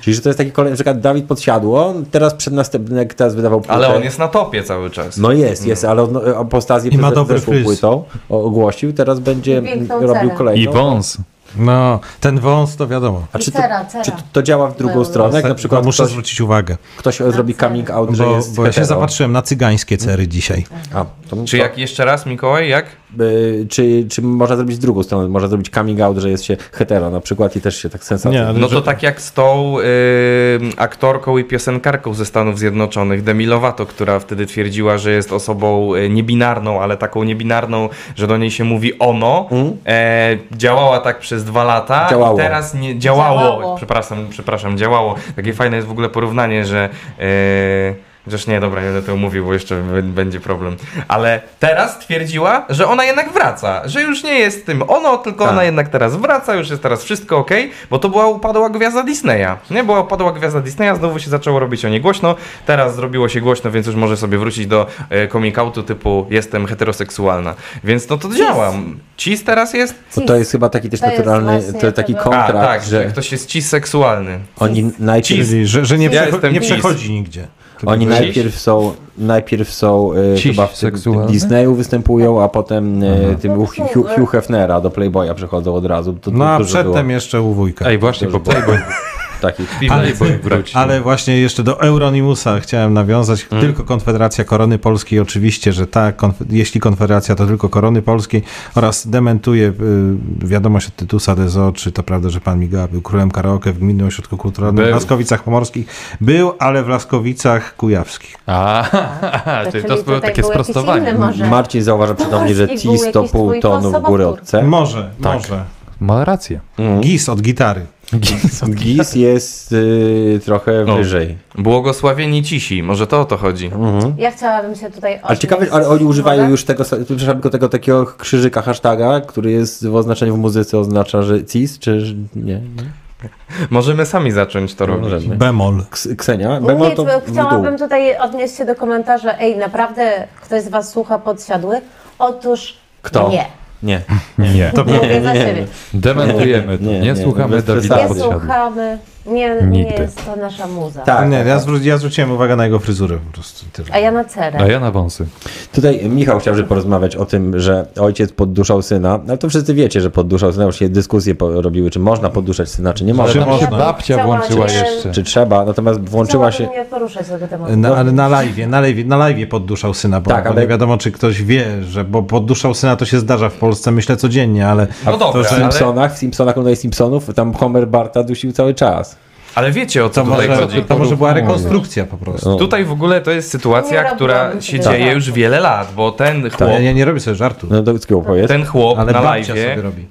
Speaker 5: Czyli, że to jest taki kolejny, na przykład Dawid Podsiadło, teraz przed następnym, jak teraz wydawał płytę.
Speaker 6: Ale on jest na topie cały czas.
Speaker 5: No jest, jest, ale on e, apostazję
Speaker 4: I ma
Speaker 5: przed
Speaker 4: dobry
Speaker 5: zeszłą
Speaker 4: fryz.
Speaker 5: płytą o- ogłosił, teraz będzie
Speaker 3: I piękną
Speaker 5: m, robił
Speaker 3: cerę.
Speaker 5: kolejną.
Speaker 1: I wąs.
Speaker 4: No, ten wąs to wiadomo.
Speaker 5: A czy to,
Speaker 3: Cera, cera.
Speaker 5: czy to- to działa w drugą
Speaker 3: No,
Speaker 5: stronę? Jak Tak, na
Speaker 4: Bo
Speaker 5: przykład
Speaker 4: muszę
Speaker 5: ktoś,
Speaker 4: zwrócić uwagę,
Speaker 5: ktoś zrobi coming out, że
Speaker 4: bo,
Speaker 5: jest
Speaker 4: bo ja się
Speaker 5: hetero?
Speaker 4: zapatrzyłem na cygańskie cery dzisiaj.
Speaker 5: A, to,
Speaker 6: Czy jak jeszcze raz, Mikołaj, jak?
Speaker 5: y, czy, czy można zrobić drugą stronę? Można zrobić coming out, że jest się hetero na przykład i też się tak sensacyjnie.
Speaker 4: Nie, ale
Speaker 6: No
Speaker 4: że-
Speaker 6: to tak jak z tą ym, aktorką i piosenkarką ze Stanów Zjednoczonych, Demi Lovato, która wtedy twierdziła, że jest osobą y, niebinarną, ale taką niebinarną, że do niej się mówi ono. E, działała tak przez dwa lata.
Speaker 5: Działało.
Speaker 6: I teraz nie działało.
Speaker 3: Działało.
Speaker 6: Przepraszam, przepraszam, działało. Takie fajne jest w ogóle porównanie, że. E, Chociaż nie, dobra, nie będę tego mówił, bo jeszcze b- będzie problem. Ale teraz twierdziła, że ona jednak wraca, że już nie jest tym ono, tylko
Speaker 5: Tak.
Speaker 6: ona jednak teraz wraca, już jest teraz wszystko ok, bo to była upadła gwiazda Disneya. Nie, była upadła gwiazda Disneya, znowu się zaczęło robić o niej głośno, teraz zrobiło się głośno, więc już może sobie wrócić do e, coming outu typu jestem heteroseksualna. Więc no to działa. Cis teraz jest?
Speaker 5: Bo to jest chyba taki też
Speaker 3: To jest
Speaker 5: naturalny,
Speaker 3: właśnie
Speaker 5: to jest taki
Speaker 3: tego-
Speaker 5: kontrakt,
Speaker 6: A, tak, że
Speaker 5: że
Speaker 6: ktoś jest cis seksualny.
Speaker 5: oni najpierw,
Speaker 4: Czyli, że, że nie,
Speaker 6: Ja
Speaker 4: przecho-
Speaker 6: jestem
Speaker 4: nie
Speaker 6: cis.
Speaker 4: przechodzi nigdzie.
Speaker 5: oni
Speaker 6: Cis?
Speaker 5: najpierw są, najpierw są y,
Speaker 1: Ciś
Speaker 5: chyba w tym- w
Speaker 1: seksualny?
Speaker 5: Disneyu występują, a potem y, tym
Speaker 3: No
Speaker 5: Hugh,
Speaker 3: to są,
Speaker 5: Hugh,
Speaker 3: e-
Speaker 5: Hugh Hefnera do Playboya przechodzą od razu. To, to,
Speaker 4: No a
Speaker 5: dużo
Speaker 4: przedtem
Speaker 5: było
Speaker 4: jeszcze u wujka.
Speaker 1: Ej, właśnie,
Speaker 5: Dobrze
Speaker 1: bo
Speaker 5: było.
Speaker 1: Playboy,
Speaker 5: takich.
Speaker 4: Ale-
Speaker 1: Playboy wrócił.
Speaker 4: Ale właśnie jeszcze do Euronimusa chciałem nawiązać.
Speaker 1: Mm.
Speaker 4: Tylko Konfederacja Korony Polskiej, oczywiście, że ta, konf- jeśli Konfederacja, to tylko Korony Polskiej oraz dementuje y, wiadomość od Tytusa Dezo, czy to prawda, że pan Migała był królem karaoke w Gminnym Ośrodku Kulturalnym w
Speaker 1: Był.
Speaker 4: Laskowicach Pomorskich. Był, ale w Laskowicach Kujawskich.
Speaker 1: A, czyli to
Speaker 3: Tak, czyli
Speaker 1: było
Speaker 3: tutaj
Speaker 1: takie
Speaker 3: było jakieś
Speaker 1: sprostowanie.
Speaker 3: inne mo- Może.
Speaker 5: Marcin zauważa przytomnie, że
Speaker 3: Tomasz, i był
Speaker 5: Tis to
Speaker 3: jakiś
Speaker 5: pół
Speaker 3: twój
Speaker 5: tonu w górę od C.
Speaker 4: Może,
Speaker 1: Tak. Mm.
Speaker 4: może.
Speaker 1: Ma rację.
Speaker 4: Gis od gitary.
Speaker 5: Gis jest y, trochę
Speaker 6: No.
Speaker 5: wyżej.
Speaker 6: Błogosławieni cisi, może to o to chodzi.
Speaker 3: Ja chciałabym się tutaj
Speaker 5: Ale
Speaker 3: odnieść.
Speaker 5: ciekawe, ale oni używają
Speaker 3: Mogę?
Speaker 5: już tego, przepraszam, tylko tego takiego krzyżyka, hashtaga, który jest w oznaczeniu w muzyce, oznacza, że cis, czy że nie?
Speaker 6: Możemy sami zacząć to robić.
Speaker 1: Tak.
Speaker 5: Możemy.
Speaker 4: Bemol.
Speaker 5: Ks- Ksenia?
Speaker 3: Nie,
Speaker 5: Bemol to w dół.
Speaker 3: chciałabym tutaj odnieść się do komentarza, ej, naprawdę ktoś z Was słucha podsiadły? Otóż
Speaker 5: Kto?
Speaker 3: nie.
Speaker 5: Nie.
Speaker 1: Nie.
Speaker 4: To było,
Speaker 3: Mówię za
Speaker 5: nie,
Speaker 3: siebie.
Speaker 1: Dementujemy to.
Speaker 5: Nie,
Speaker 1: Nie,
Speaker 5: nie,
Speaker 1: słuchamy
Speaker 5: bez
Speaker 1: Dawida
Speaker 5: przesady.
Speaker 3: Nie
Speaker 1: Podsiadły.
Speaker 3: słuchamy, nie, nie
Speaker 1: Nigdy.
Speaker 3: jest to nasza muza.
Speaker 5: Tak.
Speaker 4: nie, ja, zwró- ja zwróciłem uwagę na jego fryzurę po prostu. Tyle.
Speaker 3: A ja na cerę.
Speaker 1: A ja na wąsy.
Speaker 5: Tutaj Michał chciał, żeby porozmawiać o tym, że ojciec podduszał syna, ale to wszyscy wiecie, że podduszał syna, już się dyskusje po- robiły, czy można podduszać syna, czy nie
Speaker 1: Ale
Speaker 6: Znaczy,
Speaker 5: można,
Speaker 1: tam się
Speaker 4: można.
Speaker 1: babcia
Speaker 3: Chciała
Speaker 1: włączyła
Speaker 3: się-
Speaker 1: jeszcze.
Speaker 5: czy trzeba, natomiast włączyła się...
Speaker 3: Chciałabym nie poruszać tego tematu.
Speaker 4: Na,
Speaker 6: No,
Speaker 4: No, ale na live, na live, na live podduszał syna, bo,
Speaker 5: Tak,
Speaker 4: bo
Speaker 5: ale-
Speaker 4: nie wiadomo, czy ktoś wie, że bo podduszał syna to się zdarza w Polsce, myślę codziennie, ale
Speaker 6: No dobra,
Speaker 4: to, że
Speaker 6: ale-
Speaker 5: Simpsonach, w Simpsonach, oglądaj Simpsonów, tam Homer Barta dusił cały czas.
Speaker 6: Ale wiecie o co
Speaker 4: to,
Speaker 6: tutaj
Speaker 4: może,
Speaker 6: chodzi. No,
Speaker 4: to może była rekonstrukcja po prostu.
Speaker 6: Tutaj w ogóle to jest
Speaker 3: Nie
Speaker 6: sytuacja,
Speaker 3: robiłam
Speaker 6: która
Speaker 3: sobie
Speaker 6: się
Speaker 3: żartu.
Speaker 6: dzieje już wiele lat, bo ten chłop,
Speaker 4: Ja, ja nie robię sobie żartu.
Speaker 5: No to tylko opowiedz.
Speaker 6: ten chłop
Speaker 4: Ale
Speaker 6: na
Speaker 4: babcia
Speaker 6: live
Speaker 4: sobie robi.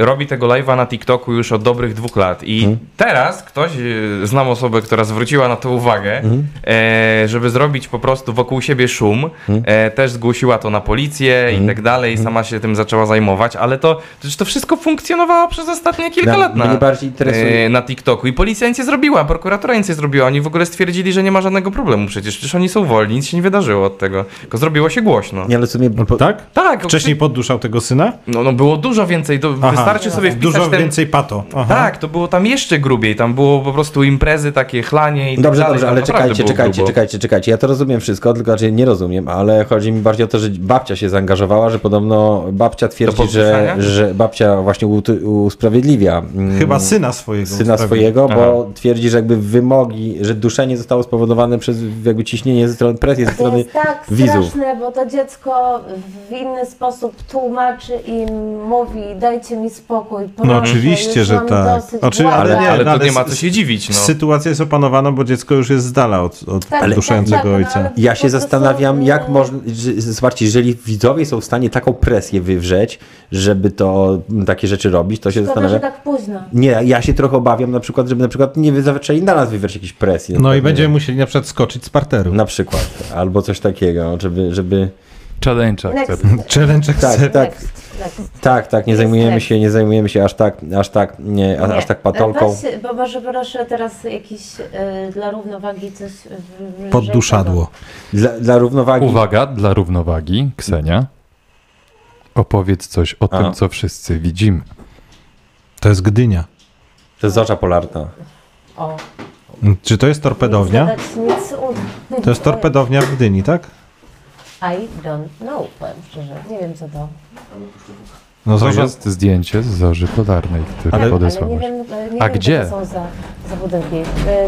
Speaker 6: robi tego live'a na TikToku już od dobrych dwóch lat. I teraz ktoś, y, znam osobę, która zwróciła na to uwagę, e, żeby zrobić po prostu wokół siebie szum. E, też zgłosiła to na policję i tak dalej, sama się tym zaczęła zajmować, ale to, przecież to wszystko funkcjonowało przez ostatnie kilka
Speaker 5: Na-
Speaker 6: lat.
Speaker 5: Mnie
Speaker 6: Na,
Speaker 5: bardziej interesuje...
Speaker 6: e, na TikToku i policja nic nie zrobiła, prokuratura nic nie zrobiła, oni w ogóle stwierdzili, że nie ma żadnego problemu przecież, przecież oni są wolni, nic się nie wydarzyło od tego, tylko zrobiło się głośno.
Speaker 5: Nie, ale w sumie... po-
Speaker 4: Tak?
Speaker 6: Tak,
Speaker 4: Wcześniej podduszał tego syna?
Speaker 6: no, no było dużo więcej, do,
Speaker 4: Aha.
Speaker 6: No, wystarczy sobie wpisać
Speaker 4: Dużo
Speaker 6: ten...
Speaker 4: więcej pato. Aha.
Speaker 6: Tak, to było tam jeszcze grubiej, tam było po prostu imprezy, takie chlanie i tak
Speaker 5: Dobrze,
Speaker 6: dalej,
Speaker 5: dobrze,
Speaker 6: tam
Speaker 5: ale
Speaker 6: naprawdę
Speaker 5: czekajcie,
Speaker 6: było
Speaker 5: czekajcie,
Speaker 6: grubo.
Speaker 5: czekajcie, czekajcie. Ja to rozumiem wszystko, tylko raczej nie rozumiem, ale chodzi mi bardziej o to, że babcia się zaangażowała, że podobno babcia twierdzi, że,
Speaker 6: podduszania?
Speaker 5: że babcia właśnie ut- usprawiedliwia mm,
Speaker 4: Chyba syna swojego.
Speaker 5: syna
Speaker 4: ustawił.
Speaker 5: swojego, bo twierdzi, że jakby wymogi, że duszenie zostało spowodowane przez jakby ciśnienie ze strony presji ze
Speaker 3: To
Speaker 5: strony
Speaker 3: jest tak
Speaker 5: widzów.
Speaker 3: straszne, bo to dziecko w inny sposób tłumaczy im, mówi dajcie mi spokój, proszę,
Speaker 4: No oczywiście,
Speaker 3: już
Speaker 4: że
Speaker 3: mam
Speaker 4: tak.
Speaker 3: dosyć,
Speaker 4: Oczy-
Speaker 3: błagam.
Speaker 6: Ale,
Speaker 4: Nie,
Speaker 6: ale
Speaker 4: no,
Speaker 6: to
Speaker 4: ale
Speaker 6: nie ma
Speaker 4: s-
Speaker 6: co się dziwić, no.
Speaker 4: Sytuacja jest opanowana, bo dziecko już jest z dala od, od
Speaker 3: Tak,
Speaker 4: podduszającego
Speaker 3: tak, tak,
Speaker 4: ojca.
Speaker 3: ale-
Speaker 5: Ja się
Speaker 3: Po prostu,
Speaker 5: zastanawiam, jak
Speaker 3: mm,
Speaker 5: można. że- Zobaczcie, jeżeli widzowie są w stanie taką presję wywrzeć, żeby to m, takie rzeczy robić, to się
Speaker 3: Szkoda, że
Speaker 5: zastanawiam.
Speaker 3: tak późno.
Speaker 5: Nie, ja się trochę obawiam na przykład, żeby na przykład przykład nie wy- zaczęli na nas wywierać jakiejś presji.
Speaker 4: No i będziemy musieli na przykład skoczyć z parteru.
Speaker 6: No.
Speaker 5: Na przykład. Albo coś takiego, żeby... żeby...
Speaker 1: Challenge
Speaker 3: Next.
Speaker 1: accept.
Speaker 4: Challenge
Speaker 5: Tak,
Speaker 4: accept.
Speaker 5: tak,
Speaker 3: Next, next.
Speaker 5: tak, tak, nie
Speaker 3: Jest
Speaker 5: zajmujemy
Speaker 3: tak.
Speaker 5: się, nie zajmujemy się aż tak, aż tak, nie, a-
Speaker 3: Nie.
Speaker 5: aż tak patolką.
Speaker 3: Weź, bo może proszę teraz jakiś y, dla równowagi coś... y, y,
Speaker 4: Podduszadło.
Speaker 5: Dla, dla równowagi.
Speaker 1: Uwaga, dla równowagi, Ksenia. Opowiedz coś o
Speaker 5: A.
Speaker 1: tym, co wszyscy widzimy.
Speaker 4: To jest Gdynia.
Speaker 5: To jest zorza polarna.
Speaker 3: lżejszego. O,
Speaker 4: Czy to jest torpedownia?
Speaker 3: Nic zadać, nic u-
Speaker 4: To jest torpedownia w Gdyni, tak?
Speaker 3: I don't know, powiem szczerze. Nie wiem co to.
Speaker 4: No
Speaker 1: To
Speaker 4: zorza,
Speaker 1: jest zdjęcie z Zorzy Polarnej, które ale,
Speaker 4: Ale-
Speaker 3: Ale nie
Speaker 1: podesłałeś.
Speaker 3: wiem, e, nie
Speaker 1: A
Speaker 3: wiem
Speaker 1: gdzie?
Speaker 3: co to są za, za budynki. Y,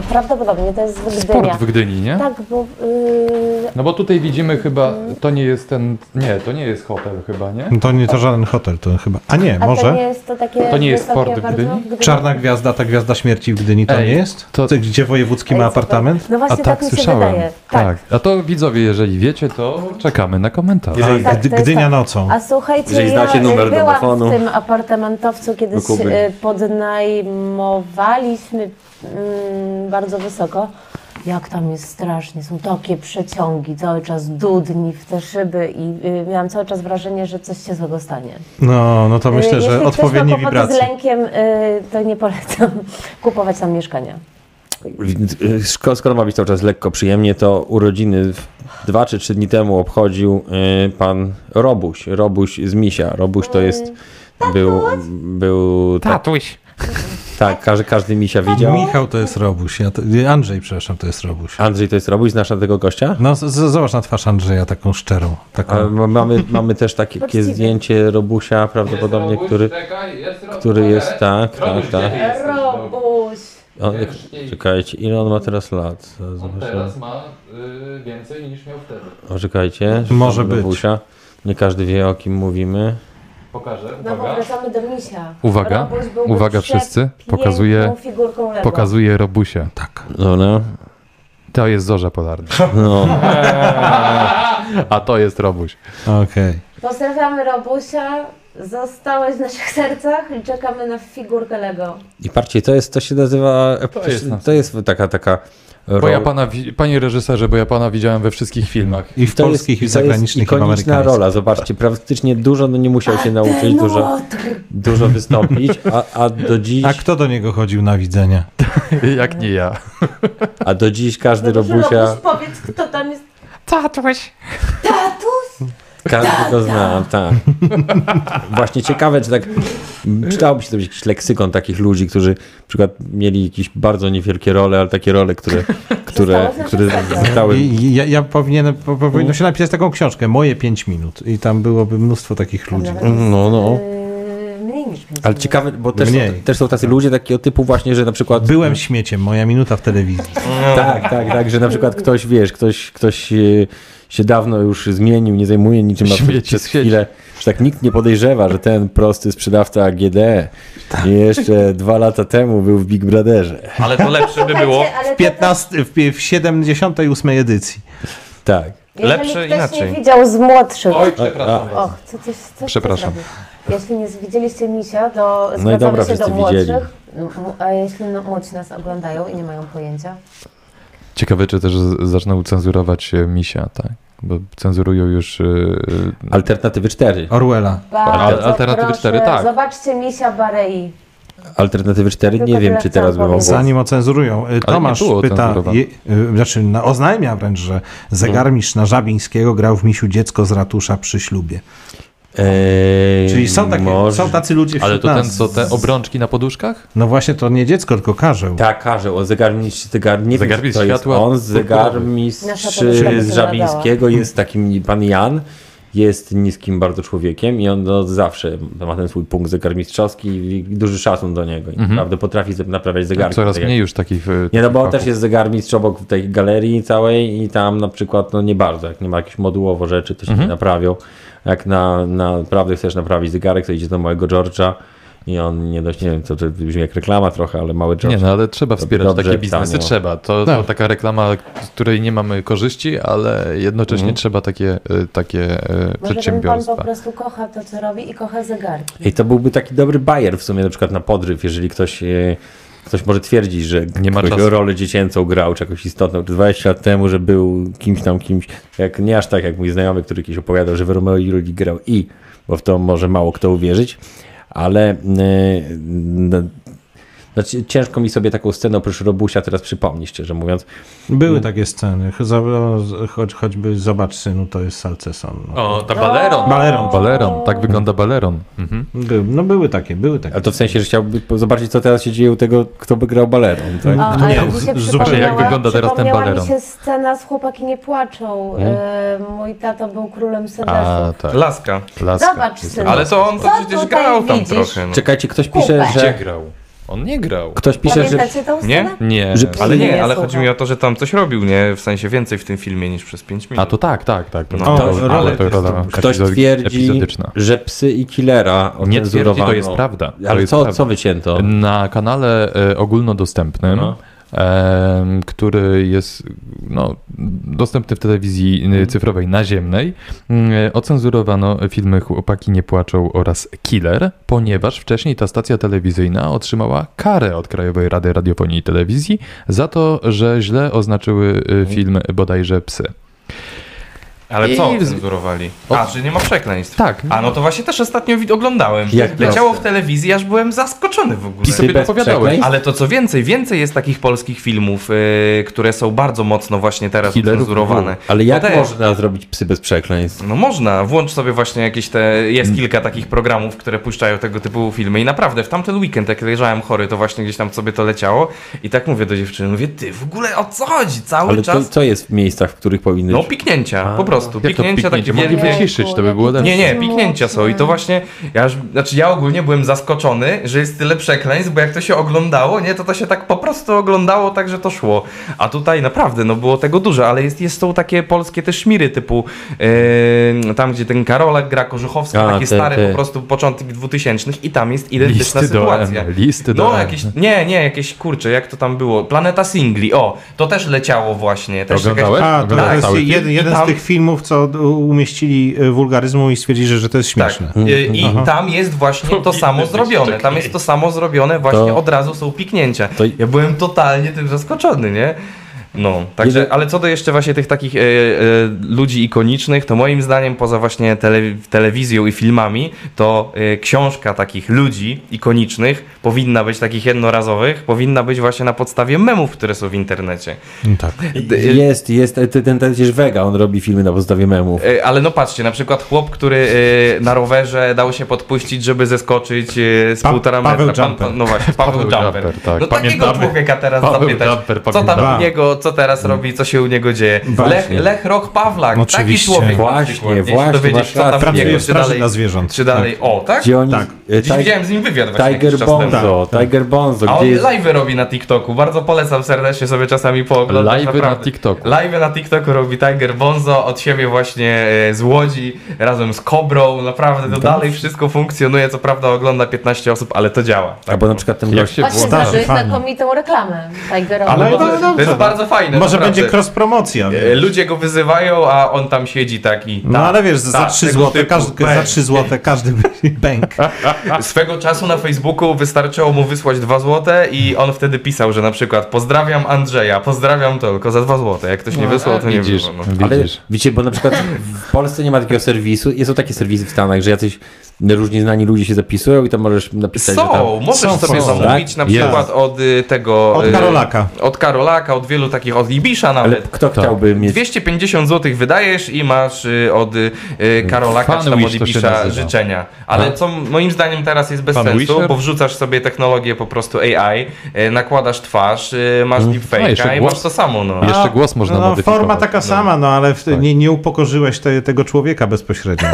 Speaker 3: Prawdopodobnie to jest Gdynia.
Speaker 1: Sport w Gdyni, nie?
Speaker 3: Tak, Mhm. bo... y,
Speaker 1: No bo tutaj widzimy chyba, to nie jest ten, nie, to nie jest hotel chyba, nie?
Speaker 4: to nie to żaden hotel, to chyba. A nie,
Speaker 3: a to nie
Speaker 4: może?
Speaker 3: jest to takie
Speaker 1: To nie jest
Speaker 3: wysokie
Speaker 1: Ford w
Speaker 3: bardzo?
Speaker 1: Gdyni?
Speaker 4: Czarna gwiazda, ta gwiazda śmierci w Gdyni to
Speaker 1: Ej,
Speaker 4: nie jest?
Speaker 1: to-
Speaker 4: Ty, Gdzie wojewódzki ma
Speaker 3: Ej, co to?
Speaker 4: apartament?
Speaker 3: No właśnie
Speaker 1: A
Speaker 3: tak,
Speaker 1: tak
Speaker 3: mi się
Speaker 1: słyszałem.
Speaker 3: wydaje.
Speaker 1: Tak. A to widzowie, jeżeli wiecie, to czekamy na komentarz.
Speaker 5: Jeżeli-
Speaker 4: A,
Speaker 3: Tak,
Speaker 4: Gdy,
Speaker 3: to jest
Speaker 4: Gdynia
Speaker 3: tak.
Speaker 4: nocą.
Speaker 3: A słuchajcie,
Speaker 5: Jeżeli znacie
Speaker 3: ja
Speaker 5: numer
Speaker 3: numer byłam
Speaker 5: domofonu.
Speaker 3: w tym apartamentowcu, kiedyś
Speaker 5: Do Kuby.
Speaker 3: y, podnajmowaliśmy mm, bardzo wysoko. Jak tam jest strasznie, są takie przeciągi, cały czas dudni w te szyby i y, miałam cały czas wrażenie, że coś się złego stanie.
Speaker 4: No, no to
Speaker 3: Y,
Speaker 4: myślę, że
Speaker 3: Jeśli ktoś
Speaker 4: odpowiednie
Speaker 3: ma kłopoty z
Speaker 4: wibracje.
Speaker 3: lękiem, y, to nie polecam kupować tam mieszkania.
Speaker 5: Szko- Skoro ma być cały czas lekko przyjemnie, to urodziny w- dwa czy trzy dni temu obchodził y, pan Robuś, Robuś z Misia. Robuś to jest, był, był tak,
Speaker 1: Tatuś.
Speaker 5: tak każdy, każdy Misia widział.
Speaker 4: Michał to jest Robuś, ja to, Andrzej, przepraszam, to jest Robuś.
Speaker 5: Andrzej to jest Robuś, znasz tego gościa?
Speaker 4: No, z, z, zobacz na twarz Andrzeja taką szczerą.
Speaker 5: A,
Speaker 4: Taką.
Speaker 5: m- mamy, mamy też takie, takie
Speaker 3: Poczciwy.
Speaker 5: zdjęcie Robusia prawdopodobnie, który, który jest, tak, tak, tak.
Speaker 3: Robuś!
Speaker 5: On, czekajcie, ile on ma teraz lat? E, Zobaczmy.
Speaker 1: ma y, więcej niż miał wtedy.
Speaker 5: O, czekajcie.
Speaker 4: Może
Speaker 5: szukam
Speaker 4: być.
Speaker 5: Robusia. Nie każdy wie, o kim mówimy.
Speaker 1: Pokażę,
Speaker 3: No bo wracamy do misia.
Speaker 1: Uwaga,
Speaker 3: Robuś byłby
Speaker 1: uwaga wszyscy. Pokazuję,
Speaker 3: przepiękną figurką Lego.
Speaker 1: pokazuję Robusie.
Speaker 4: Tak.
Speaker 5: Dobra.
Speaker 1: To jest Zorza Polarna.
Speaker 5: No.
Speaker 1: A to jest Robuś.
Speaker 4: Okej.
Speaker 3: Pozdrawiamy Robusia, zostałeś w naszych sercach i czekamy na figurkę Lego.
Speaker 5: I patrzcie, to jest, to się nazywa, to
Speaker 1: jest
Speaker 5: jest,
Speaker 1: nas-
Speaker 5: taka, taka...
Speaker 1: Bo
Speaker 5: ro-
Speaker 1: ja pana, wi- panie reżyserze, bo ja pana widziałem we wszystkich filmach.
Speaker 4: I w
Speaker 5: to
Speaker 4: polskich i w
Speaker 5: to jest
Speaker 4: zagranicznych, i w
Speaker 5: ikoniczna
Speaker 4: amerykańskich.
Speaker 5: rola, zobaczcie, praktycznie dużo no, nie musiał się nauczyć, dużo, dużo wystąpić, a, a, do dziś,
Speaker 4: A kto do niego chodził na widzenia?
Speaker 1: Jak nie ja.
Speaker 5: a do dziś każdy
Speaker 3: Robuś,
Speaker 5: Robusia,
Speaker 3: powiedz kto tam jest.
Speaker 5: każdy go zna, tak. Właśnie ciekawe, czy tak, czytałoby się to jakiś leksykon takich ludzi, którzy na przykład mieli jakieś bardzo niewielkie role, ale takie role, które, które,
Speaker 3: Zostały w
Speaker 5: które
Speaker 3: naszym sercu.
Speaker 5: zostały...
Speaker 4: I- i- Ja, ja powinienem, po, powinno się napisać taką książkę, moje 5 minut. I tam byłoby mnóstwo takich ludzi.
Speaker 5: No, no.
Speaker 3: Yy, mniej niż pięć
Speaker 5: Ale
Speaker 3: minut.
Speaker 5: ciekawe, bo też są,
Speaker 4: Mniej.
Speaker 5: też są tacy ludzie takiego typu właśnie, że na przykład...
Speaker 4: Byłem śmieciem, moja minuta w telewizji.
Speaker 5: Tak, tak, tak, że na przykład ktoś, wiesz, ktoś, ktoś e, się dawno już zmienił, nie zajmuje niczym a
Speaker 1: Śmieci
Speaker 5: przez
Speaker 1: z sieci.
Speaker 5: chwilę, że tak nikt nie podejrzewa, że ten prosty sprzedawca GD
Speaker 4: Tak.
Speaker 5: jeszcze dwa lata temu był w Big Brotherze.
Speaker 6: Ale to lepsze by było.
Speaker 3: Słuchajcie, ale
Speaker 4: W, 15, w, pi- w 78 edycji.
Speaker 5: Tak.
Speaker 3: to, jeżeli
Speaker 6: lepsze
Speaker 3: ktoś
Speaker 6: inaczej.
Speaker 3: nie widział z młodszych.
Speaker 1: Oj, przepraszam.
Speaker 3: Och, co ty, co ty
Speaker 1: Przepraszam.
Speaker 3: zrobisz? Jeśli nie widzieliście misia, to
Speaker 5: No i
Speaker 3: zwracamy
Speaker 5: dobra,
Speaker 3: się do
Speaker 5: wszyscy
Speaker 3: młodszych. M- A jeśli no, młodzi nas oglądają i nie mają pojęcia?
Speaker 1: Ciekawe, czy też z- zaczną cenzurować e, misia, tak? Bo cenzurują już. e, e,
Speaker 5: Alternatywy 4.
Speaker 4: Orwella.
Speaker 1: Al-
Speaker 3: Bardzo
Speaker 1: alternatywy
Speaker 3: proszę,
Speaker 1: cztery, tak.
Speaker 3: Zobaczcie misia Barei.
Speaker 5: Alternatywy 4 nie
Speaker 3: Tylko
Speaker 5: wiem,
Speaker 3: tyle
Speaker 5: czy teraz
Speaker 3: chciałam
Speaker 5: by mogło.
Speaker 4: Zanim ocenzurują. Y, Tomasz
Speaker 1: nie było
Speaker 4: pyta,
Speaker 1: cenzurowane.
Speaker 4: je, y, znaczy na, oznajmia wręcz, że zegarmistrz na Żabińskiego grał w misiu dziecko z ratusza przy ślubie.
Speaker 5: Eee,
Speaker 4: Czyli są, takie,
Speaker 5: może-
Speaker 4: są tacy ludzie
Speaker 1: Ale
Speaker 4: wśród
Speaker 1: to ten,
Speaker 4: nas.
Speaker 1: co te obrączki na poduszkach?
Speaker 4: No właśnie, to nie dziecko, tylko karzeł.
Speaker 5: Tak, karzeł, o zegarmistrz, zegar, nie wiem,
Speaker 1: Zegarmistrz
Speaker 5: kto jest
Speaker 1: światła
Speaker 5: on,
Speaker 1: kulturowy.
Speaker 3: Nasza
Speaker 5: zegarmistrz
Speaker 3: podróż
Speaker 5: z
Speaker 3: będzie
Speaker 5: Żabińskiego jest takim, pan Jan jest niskim bardzo człowiekiem i on no, zawsze ma ten swój punkt zegarmistrzowski i duży szacun do niego. I Naprawdę potrafi ze- naprawiać zegarki.
Speaker 1: Mhm. Coraz
Speaker 5: tak jak-
Speaker 1: mniej już takich. e,
Speaker 5: Nie, no
Speaker 1: takich
Speaker 5: bo on
Speaker 1: faków.
Speaker 5: też jest zegarmistrz obok tej galerii całej i tam na przykład, no nie bardzo, jak nie ma jakichś modułowo rzeczy, to się
Speaker 1: Mhm.
Speaker 5: nie naprawią. Jak na, na- naprawdę chcesz naprawić zegarek, to idzie do mojego George'a i on nie dość, nie wiem, co to brzmi jak reklama trochę, ale mały George
Speaker 1: Nie, no ale trzeba wspierać
Speaker 5: dobrze, No.
Speaker 1: takie biznesy,
Speaker 5: tanio.
Speaker 1: trzeba. To, to taka reklama, z której nie mamy korzyści, ale jednocześnie
Speaker 5: Mhm.
Speaker 1: trzeba takie, y, takie y,
Speaker 3: Może ten pan po
Speaker 1: przedsiębiorstwa.
Speaker 3: prostu kocha to, co robi i kocha zegarki.
Speaker 5: I to byłby taki dobry bajer w sumie na przykład na podryw, jeżeli ktoś e, Ktoś może twierdzić, że
Speaker 1: Nie ma
Speaker 5: ktoś
Speaker 1: czasu.
Speaker 5: rolę dziecięcą grał, czy jakąś istotną, czy 20 lat temu, że był kimś tam, kimś, jak nie aż tak, jak mój znajomy, który kiedyś opowiadał, że w Romeo i Julii grał i, bo w to może mało kto uwierzyć, ale yy, no, znaczy, ciężko mi sobie taką scenę oprócz Robusia teraz przypomnieć, szczerze mówiąc.
Speaker 4: Były takie sceny, Cho- za- choć, choćby Zobacz synu, to jest Salceson. No.
Speaker 1: O, ta baleron.
Speaker 4: Baleron.
Speaker 1: Baleron, tak wygląda baleron. Mhm.
Speaker 4: By, no były takie, były takie.
Speaker 5: Ale to w sensie, że chciałbym po- zobaczyć, co teraz się dzieje u tego, kto by grał balerą. Tak?
Speaker 3: A,
Speaker 4: Nie,
Speaker 3: ale mi
Speaker 4: z-
Speaker 3: się
Speaker 4: zupełnie.
Speaker 3: przypomniała-
Speaker 1: Jak wygląda teraz ten
Speaker 3: przypomniała
Speaker 1: baleron?
Speaker 3: mi się scena z Chłopaki nie płaczą. E, mój tato był królem
Speaker 1: A,
Speaker 3: Sylwestra.
Speaker 1: tak.
Speaker 6: Laska.
Speaker 1: Laska.
Speaker 3: Zobacz, synu.
Speaker 6: Ale to on to
Speaker 3: Co
Speaker 6: przecież
Speaker 3: tutaj
Speaker 6: grał tam
Speaker 3: widzisz?
Speaker 6: trochę. No.
Speaker 5: Czekajcie, ktoś pisze,
Speaker 1: Gdzie
Speaker 5: że...
Speaker 1: grał? On nie grał.
Speaker 5: Ktoś pisze, że...
Speaker 3: Pamiętacie tą
Speaker 6: Nie?
Speaker 3: scenę?
Speaker 1: Nie.
Speaker 5: Że przy-
Speaker 6: Ale
Speaker 3: Nie,
Speaker 6: nie, ale
Speaker 3: słucham.
Speaker 6: chodzi mi o to, że tam coś robił, nie? W sensie więcej w tym filmie niż przez 5 minut.
Speaker 1: A to tak, tak, tak.
Speaker 6: No,
Speaker 1: prawda,
Speaker 4: to-
Speaker 1: to-
Speaker 4: ale
Speaker 1: to- to-
Speaker 4: to-
Speaker 1: to-
Speaker 5: Ktoś
Speaker 1: epizod-
Speaker 5: twierdzi,
Speaker 1: No, epizodyczna.
Speaker 5: że psy i killera
Speaker 1: Nie twierdzi,
Speaker 5: ocenzurowano.
Speaker 1: to jest prawda. To
Speaker 5: Ale
Speaker 1: jest
Speaker 5: co,
Speaker 1: prawda.
Speaker 5: co wycięto?
Speaker 1: Na kanale e, ogólnodostępnym,
Speaker 5: No.
Speaker 1: em, który jest no, dostępny w telewizji e,
Speaker 6: Mhm.
Speaker 1: cyfrowej naziemnej, m, e, ocenzurowano filmy Chłopaki nie płaczą oraz Killer, ponieważ wcześniej ta stacja telewizyjna otrzymała karę od Krajowej Rady Radiofonii i Telewizji za to, że źle oznaczyły e,
Speaker 6: Mhm.
Speaker 1: film bodajże Psy.
Speaker 6: Ale co
Speaker 1: I-
Speaker 6: cenzurowali? A, że nie ma przekleństw.
Speaker 1: Tak.
Speaker 6: A no to właśnie też ostatnio wid- oglądałem.
Speaker 5: Jak
Speaker 6: Leciało
Speaker 5: proste.
Speaker 6: w telewizji, aż byłem zaskoczony w ogóle.
Speaker 1: I sobie
Speaker 5: Ty bez
Speaker 1: dopowiadałeś.
Speaker 5: przekleństw?
Speaker 6: Ale to co więcej, więcej jest takich polskich filmów, yy, które są bardzo mocno właśnie teraz
Speaker 1: Killerów
Speaker 6: cenzurowane.
Speaker 5: Ale jak
Speaker 6: to też.
Speaker 5: można zrobić psy bez przekleństw?
Speaker 6: No można, włącz sobie właśnie jakieś te, jest
Speaker 5: Hmm.
Speaker 6: kilka takich programów, które puszczają tego typu filmy i naprawdę w tamten weekend jak leżałem chory, to właśnie gdzieś tam sobie to leciało i tak mówię do dziewczyny, mówię ty w ogóle o co chodzi cały
Speaker 5: Ale to,
Speaker 6: czas?
Speaker 5: co jest w miejscach, w których powinny...
Speaker 6: No piknięcia, po prostu,
Speaker 1: Jak to
Speaker 6: piknięcia takie
Speaker 1: piknięcie? Mogli
Speaker 6: wielkie.
Speaker 1: wyciszyć, to by było lepsze.
Speaker 6: Nie, nie, piknięcia są i to właśnie, ja już, znaczy ja ogólnie byłem zaskoczony, że jest tyle przekleństw, bo jak to się oglądało, nie, to to się tak po prostu oglądało, tak że to szło. A tutaj naprawdę, no było tego dużo, ale jest, jest są takie polskie też szmiry typu yy, tam, gdzie ten Karolak gra Korzuchowska,
Speaker 5: A,
Speaker 6: takie
Speaker 5: te-
Speaker 6: stare
Speaker 5: te-
Speaker 6: po prostu początek 2000 i tam jest identyczna
Speaker 1: Listy do M,
Speaker 6: sytuacja.
Speaker 1: listy do
Speaker 6: No
Speaker 1: M.
Speaker 6: jakieś, nie, nie, jakieś, kurczę, jak to tam było, Planeta Singli, o, to też leciało właśnie, też jakaś-
Speaker 1: Oglądałeś?
Speaker 4: A, to,
Speaker 1: Oglądałeś
Speaker 4: jest
Speaker 1: cały film?
Speaker 4: jeden, jeden
Speaker 6: I tam-
Speaker 4: z tych filmów, co d- umieścili e, wulgaryzmu i stwierdzili, że, że to jest
Speaker 6: Tak.
Speaker 4: śmieszne.
Speaker 6: y, I tam jest właśnie to samo zrobione. Tam jest to samo zrobione, właśnie
Speaker 5: To-
Speaker 6: od razu są piknięcia.
Speaker 5: to-
Speaker 6: Ja byłem totalnie tym zaskoczony, nie? No, także,
Speaker 5: Jeden-
Speaker 6: ale co do jeszcze właśnie tych takich e, e, ludzi ikonicznych, to moim zdaniem poza właśnie tele, telewizją i filmami, to e, książka takich ludzi ikonicznych powinna być takich jednorazowych, powinna być właśnie na podstawie memów, które są w internecie.
Speaker 4: Mm, Tak.
Speaker 6: D-
Speaker 5: Jest, jest, ten, ten, ten jest Vega, on robi filmy na podstawie memów.
Speaker 6: E, Ale no patrzcie, na przykład chłop, który e, na rowerze dał się podpuścić, żeby zeskoczyć e, z
Speaker 4: Pa-
Speaker 6: półtora
Speaker 4: Paweł
Speaker 6: metra.
Speaker 4: Jumper.
Speaker 6: no właśnie, Paweł
Speaker 1: Paweł
Speaker 6: Jumper.
Speaker 1: Jumper, tak.
Speaker 6: No takiego
Speaker 1: Pamiętamy.
Speaker 6: człowieka teraz
Speaker 1: Paweł
Speaker 6: zapytać,
Speaker 1: Jumper,
Speaker 6: co tam
Speaker 1: pamiętamy.
Speaker 6: u niego, co teraz
Speaker 4: Mm.
Speaker 6: robi, co się u niego dzieje. Lech,
Speaker 5: Właśnie.
Speaker 6: Lech Roch Pawlak,
Speaker 4: Oczywiście.
Speaker 6: taki człowiek. na
Speaker 5: Właśnie,
Speaker 6: przykład, nie? Się
Speaker 5: właśnie,
Speaker 6: dowiedzieć,
Speaker 5: masz
Speaker 6: co tam
Speaker 5: rację.
Speaker 6: u niego,
Speaker 4: Pracuje w
Speaker 6: czy
Speaker 4: straży
Speaker 6: dalej,
Speaker 4: dla zwierząt.
Speaker 6: czy dalej, o, tak?
Speaker 5: Gdzie oni...
Speaker 4: Tak.
Speaker 5: e,
Speaker 6: Dziś
Speaker 5: Ti-
Speaker 6: widziałem z nim wywiad właśnie jakiś
Speaker 5: Tiger
Speaker 6: czas temu.
Speaker 5: Bonzo,
Speaker 1: Tak,
Speaker 5: Tiger Bonzo,
Speaker 6: A
Speaker 5: gdzie
Speaker 6: on
Speaker 5: jest...
Speaker 6: live robi na TikToku. Bardzo polecam serdecznie sobie czasami pooglądać.
Speaker 1: Live'y na
Speaker 6: naprawdę.
Speaker 1: TikToku.
Speaker 6: Live'y na TikToku robi Tiger Bonzo od siebie właśnie e, z Łodzi razem z Kobrą. Naprawdę to dalej wszystko funkcjonuje. Co prawda ogląda 15 osób, ale to działa. Tak.
Speaker 5: Albo na przykład ten
Speaker 1: Jak
Speaker 5: gość...
Speaker 1: się
Speaker 3: Właśnie
Speaker 1: włącza?
Speaker 4: Starzy
Speaker 3: znaczy
Speaker 4: fani.
Speaker 3: znakomitą reklamę Tigerowi.
Speaker 6: Ale
Speaker 4: Ale
Speaker 6: to,
Speaker 4: no,
Speaker 6: to jest
Speaker 4: dobrze.
Speaker 6: bardzo fajne.
Speaker 4: Może
Speaker 6: naprawdę.
Speaker 4: będzie cross-promocja.
Speaker 6: E, Ludzie go wyzywają, a on tam siedzi taki.
Speaker 4: No ale wiesz, za
Speaker 6: tak,
Speaker 4: 3
Speaker 6: tego
Speaker 4: złote
Speaker 6: typu.
Speaker 4: każdy, za
Speaker 6: Bang.
Speaker 4: 3 złote każdy bęk.
Speaker 6: Swego czasu na Facebooku wystarczyło mu wysłać 2 złote i on wtedy pisał, że na przykład pozdrawiam Andrzeja, pozdrawiam to, tylko za 2 złote. Jak ktoś nie wysłał, to nie
Speaker 1: Widzisz,
Speaker 6: było. No.
Speaker 5: Ale
Speaker 1: widzisz.
Speaker 5: wiecie, bo na przykład w Polsce nie ma takiego serwisu. Jest są takie serwisy w Stanach, że jacyś różni znani ludzie się zapisują i tam możesz napisać, że tam...
Speaker 6: Są, możesz
Speaker 4: są,
Speaker 6: sobie
Speaker 4: są,
Speaker 6: zamówić
Speaker 5: tak?
Speaker 6: na przykład od y, tego...
Speaker 4: Od
Speaker 6: y,
Speaker 4: Karolaka.
Speaker 6: Od Karolaka, od wielu takich, od Libisza
Speaker 5: Ale
Speaker 6: nawet.
Speaker 5: kto chciałby mieć...
Speaker 6: 250 zł wydajesz i masz y, od y, Karolaka czy tam
Speaker 1: Fanwish
Speaker 6: od
Speaker 1: to się
Speaker 6: Libisza
Speaker 1: nazywa. No.
Speaker 6: życzenia. Ale
Speaker 1: A?
Speaker 6: co moim zdaniem teraz jest bez
Speaker 1: Fanwisher?
Speaker 6: sensu, bo wrzucasz sobie technologię po prostu AI, y, nakładasz twarz, y, masz
Speaker 1: Mm. A, jeszcze
Speaker 6: deepfake'a i
Speaker 1: głos?
Speaker 6: masz to samo. No.
Speaker 1: Jeszcze głos można
Speaker 4: no,
Speaker 1: modyfikować.
Speaker 4: Forma taka sama, no ale w,
Speaker 6: Tak.
Speaker 4: nie, nie upokorzyłeś te, tego człowieka bezpośrednio.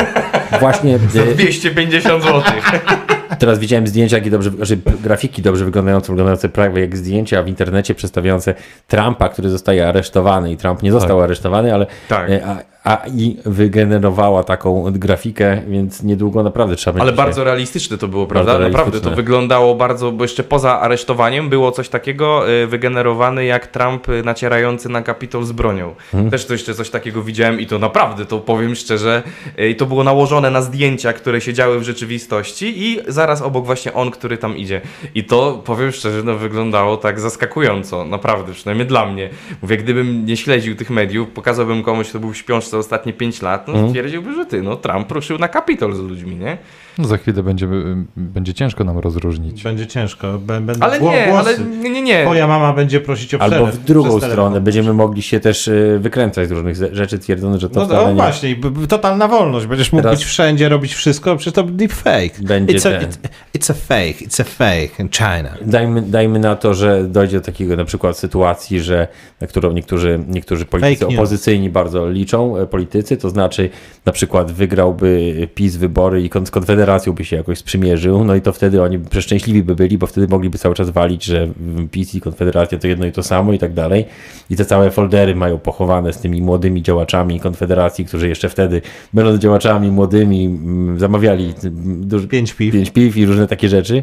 Speaker 5: Właśnie...
Speaker 6: Za
Speaker 5: e,
Speaker 6: 250 zł.
Speaker 5: Teraz widziałem zdjęcia, jakie dobrze, znaczy grafiki dobrze wyglądające, wyglądające prawie jak zdjęcia w internecie przedstawiające Trumpa, który zostaje aresztowany i Trump nie został aresztowany, ale
Speaker 6: Tak.
Speaker 5: e, a, AI wygenerowała taką grafikę, więc niedługo naprawdę trzeba będzie
Speaker 6: Ale
Speaker 5: się-
Speaker 6: bardzo realistyczne to było, prawda?
Speaker 5: Bardzo
Speaker 6: Naprawdę to
Speaker 5: realistyczne.
Speaker 6: wyglądało bardzo, bo jeszcze poza aresztowaniem było coś takiego y, wygenerowane jak Trump y, nacierający na kapitol z bronią.
Speaker 5: Mhm.
Speaker 6: Też to jeszcze coś takiego widziałem i to naprawdę, to powiem szczerze, y, i to było nałożone na zdjęcia, które się działy w rzeczywistości i zaraz obok właśnie on, który tam idzie. I to powiem szczerze, no wyglądało tak zaskakująco, naprawdę, przynajmniej dla mnie. Mówię, gdybym nie śledził tych mediów, pokazałbym komuś, kto był w śpiączce ostatnie 5 lat,
Speaker 5: Mhm.
Speaker 6: no stwierdziłby, że ty, no Trump ruszył na kapitol z ludźmi, nie?
Speaker 1: No za chwilę będzie, będzie ciężko nam rozróżnić.
Speaker 4: Będzie ciężko. Bę- Będą
Speaker 6: Ale
Speaker 4: No, gło-
Speaker 6: nie,
Speaker 4: głosy.
Speaker 6: ale nie, nie, nie.
Speaker 4: Twoja mama będzie prosić o przerwę.
Speaker 5: Albo w drugą
Speaker 4: przez telefon.
Speaker 5: stronę będziemy mogli się też y, wykręcać z różnych ze- rzeczy, twierdząc, że to
Speaker 4: No
Speaker 5: wcale
Speaker 4: to
Speaker 5: nie
Speaker 4: właśnie, i b- b- totalna wolność. Będziesz mógł
Speaker 5: Teraz-
Speaker 4: być wszędzie, robić wszystko, przecież to deepfake.
Speaker 5: Będzie
Speaker 4: it's, a,
Speaker 5: ten.
Speaker 4: it's, it's a fake, it's a fake in China.
Speaker 5: Dajmy, dajmy na to, że dojdzie do takiego na przykład sytuacji, że na którą niektórzy, niektórzy politycy
Speaker 4: Fake news.
Speaker 5: opozycyjni bardzo liczą, e, politycy, to znaczy na przykład wygrałby PiS wybory i kon- z Konfederacją by się jakoś sprzymierzył, no i to wtedy oni przeszczęśliwi by byli, bo wtedy mogliby cały czas walić, że mm, PiS i Konfederacja to jedno i to samo i tak dalej. I te całe foldery mają pochowane z tymi młodymi działaczami Konfederacji, którzy jeszcze wtedy, będąc działaczami młodymi, mm, zamawiali mm, duży,
Speaker 4: Pięć piw.
Speaker 5: pięć piw i różne takie rzeczy.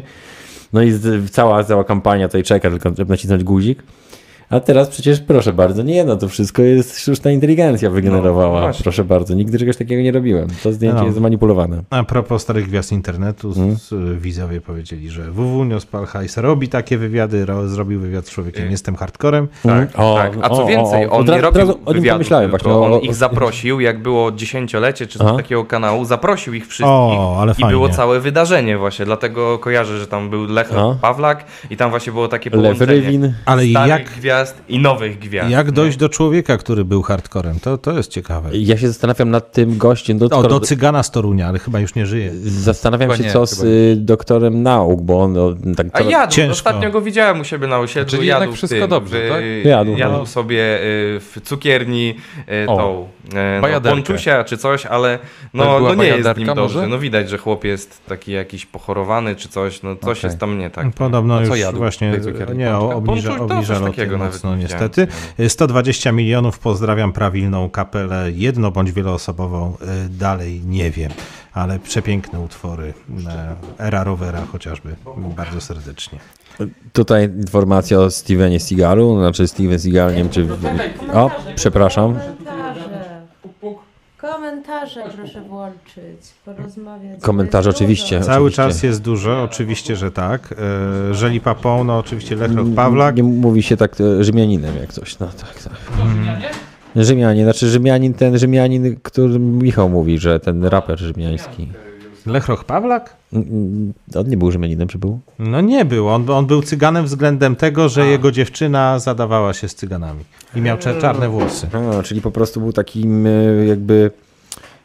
Speaker 5: No i z- cała, cała kampania tutaj czeka, tylko żeby nacisnąć guzik. A teraz przecież proszę bardzo, nie no, to wszystko jest sztuczna inteligencja
Speaker 6: No,
Speaker 5: wygenerowała.
Speaker 6: właśnie.
Speaker 5: proszę bardzo, nigdy czegoś takiego nie robiłem. To zdjęcie
Speaker 4: No.
Speaker 5: jest zmanipulowane.
Speaker 4: A propos starych gwiazd internetu,
Speaker 5: Hmm?
Speaker 4: z, widzowie powiedzieli, że WW Nios Palhajs robi takie wywiady, ro, zrobił wywiad z człowiekiem, jestem hardcorem.
Speaker 5: Tak,
Speaker 6: tak. A co więcej, on nie robił
Speaker 5: o nim
Speaker 6: wywiadów,
Speaker 5: pomyślałem
Speaker 6: tylko
Speaker 5: właśnie. o- o-
Speaker 6: on ich zaprosił, jak było dziesięciolecie czy coś
Speaker 5: Aha.
Speaker 6: takiego kanału, zaprosił ich wszystkich
Speaker 4: O, ale
Speaker 6: i było
Speaker 4: fajnie.
Speaker 6: całe wydarzenie właśnie, dlatego kojarzę, że tam był Lech
Speaker 5: Aha.
Speaker 6: Pawlak i tam właśnie było takie
Speaker 5: Lew
Speaker 6: połączenie
Speaker 5: Rywin.
Speaker 4: Ale
Speaker 6: starych
Speaker 4: jak,
Speaker 6: gwiazd i nowych gwiazd.
Speaker 4: jak dojść do człowieka, który był hardcorem? To, to jest ciekawe.
Speaker 5: Ja się zastanawiam nad tym gościem. Do,
Speaker 4: O, do cygana z Torunia, ale chyba już nie żyje.
Speaker 5: Zastanawiam
Speaker 1: Chyba
Speaker 5: się,
Speaker 1: nie,
Speaker 5: co z
Speaker 1: chyba
Speaker 5: y, doktorem nauk, bo on o, tak
Speaker 6: A
Speaker 5: coraz-
Speaker 6: jadł,
Speaker 4: Ciężko.
Speaker 6: ostatnio go widziałem u siebie na osiedlu,
Speaker 1: Czyli
Speaker 6: jadł
Speaker 1: jednak wszystko
Speaker 6: w tym,
Speaker 1: dobrze,
Speaker 6: w,
Speaker 1: tak?
Speaker 5: Jadł.
Speaker 6: Jadł, sobie y, w cukierni y,
Speaker 1: O,
Speaker 6: tą y, no,
Speaker 1: bajaderkę.
Speaker 6: ponczusia czy coś, ale
Speaker 1: To
Speaker 6: no,
Speaker 1: była
Speaker 6: no nie jest z nim
Speaker 1: bajaderka
Speaker 6: dobrze.
Speaker 1: może?
Speaker 6: No widać, że chłop jest taki jakiś pochorowany czy coś, no coś
Speaker 1: Okej.
Speaker 6: jest tam nie tak.
Speaker 4: Podobno
Speaker 1: A co
Speaker 4: już
Speaker 1: jadł?
Speaker 4: właśnie
Speaker 1: Tej cukierki?
Speaker 4: nie, o-
Speaker 6: Pączka?
Speaker 4: obniża,
Speaker 6: Pączuś? To
Speaker 4: obniża
Speaker 6: coś
Speaker 4: loty
Speaker 6: takiego nawet
Speaker 4: mocno
Speaker 6: nie
Speaker 4: niestety. 120 milionów, pozdrawiam prawilną kapelę jedno- bądź wieloosobową, y, dalej nie wiem, ale przepiękne utwory, e, Era Rowera chociażby, bardzo serdecznie.
Speaker 5: E, Tutaj informacja o Stevenie Seagalu, znaczy Steven Seagal, nie wiem czy...
Speaker 3: no,
Speaker 5: O, przepraszam.
Speaker 2: Komentarze. Komentarze proszę włączyć, porozmawiać.
Speaker 5: Komentarze
Speaker 2: Jest dużo.
Speaker 5: oczywiście.
Speaker 4: Cały czas jest dużo, oczywiście, że tak. E,Żeli Papą, no oczywiście Lech Roch Pawlak.
Speaker 5: Nie mówi się tak e, Rzymianinem jak coś. No tak, tak. Rzymianin, znaczy Rzymianin, ten Rzymianin, którym Michał mówi, że ten raper rzymiański.
Speaker 4: Lech Roch Pawlak?
Speaker 5: Mm, mm, On nie był Rzymianinem, czy był?
Speaker 4: No nie był, on, on był cyganem względem tego, że jego dziewczyna zadawała się z cyganami i miał cze- czarne włosy.
Speaker 5: A, No, czyli po prostu był takim e, jakby,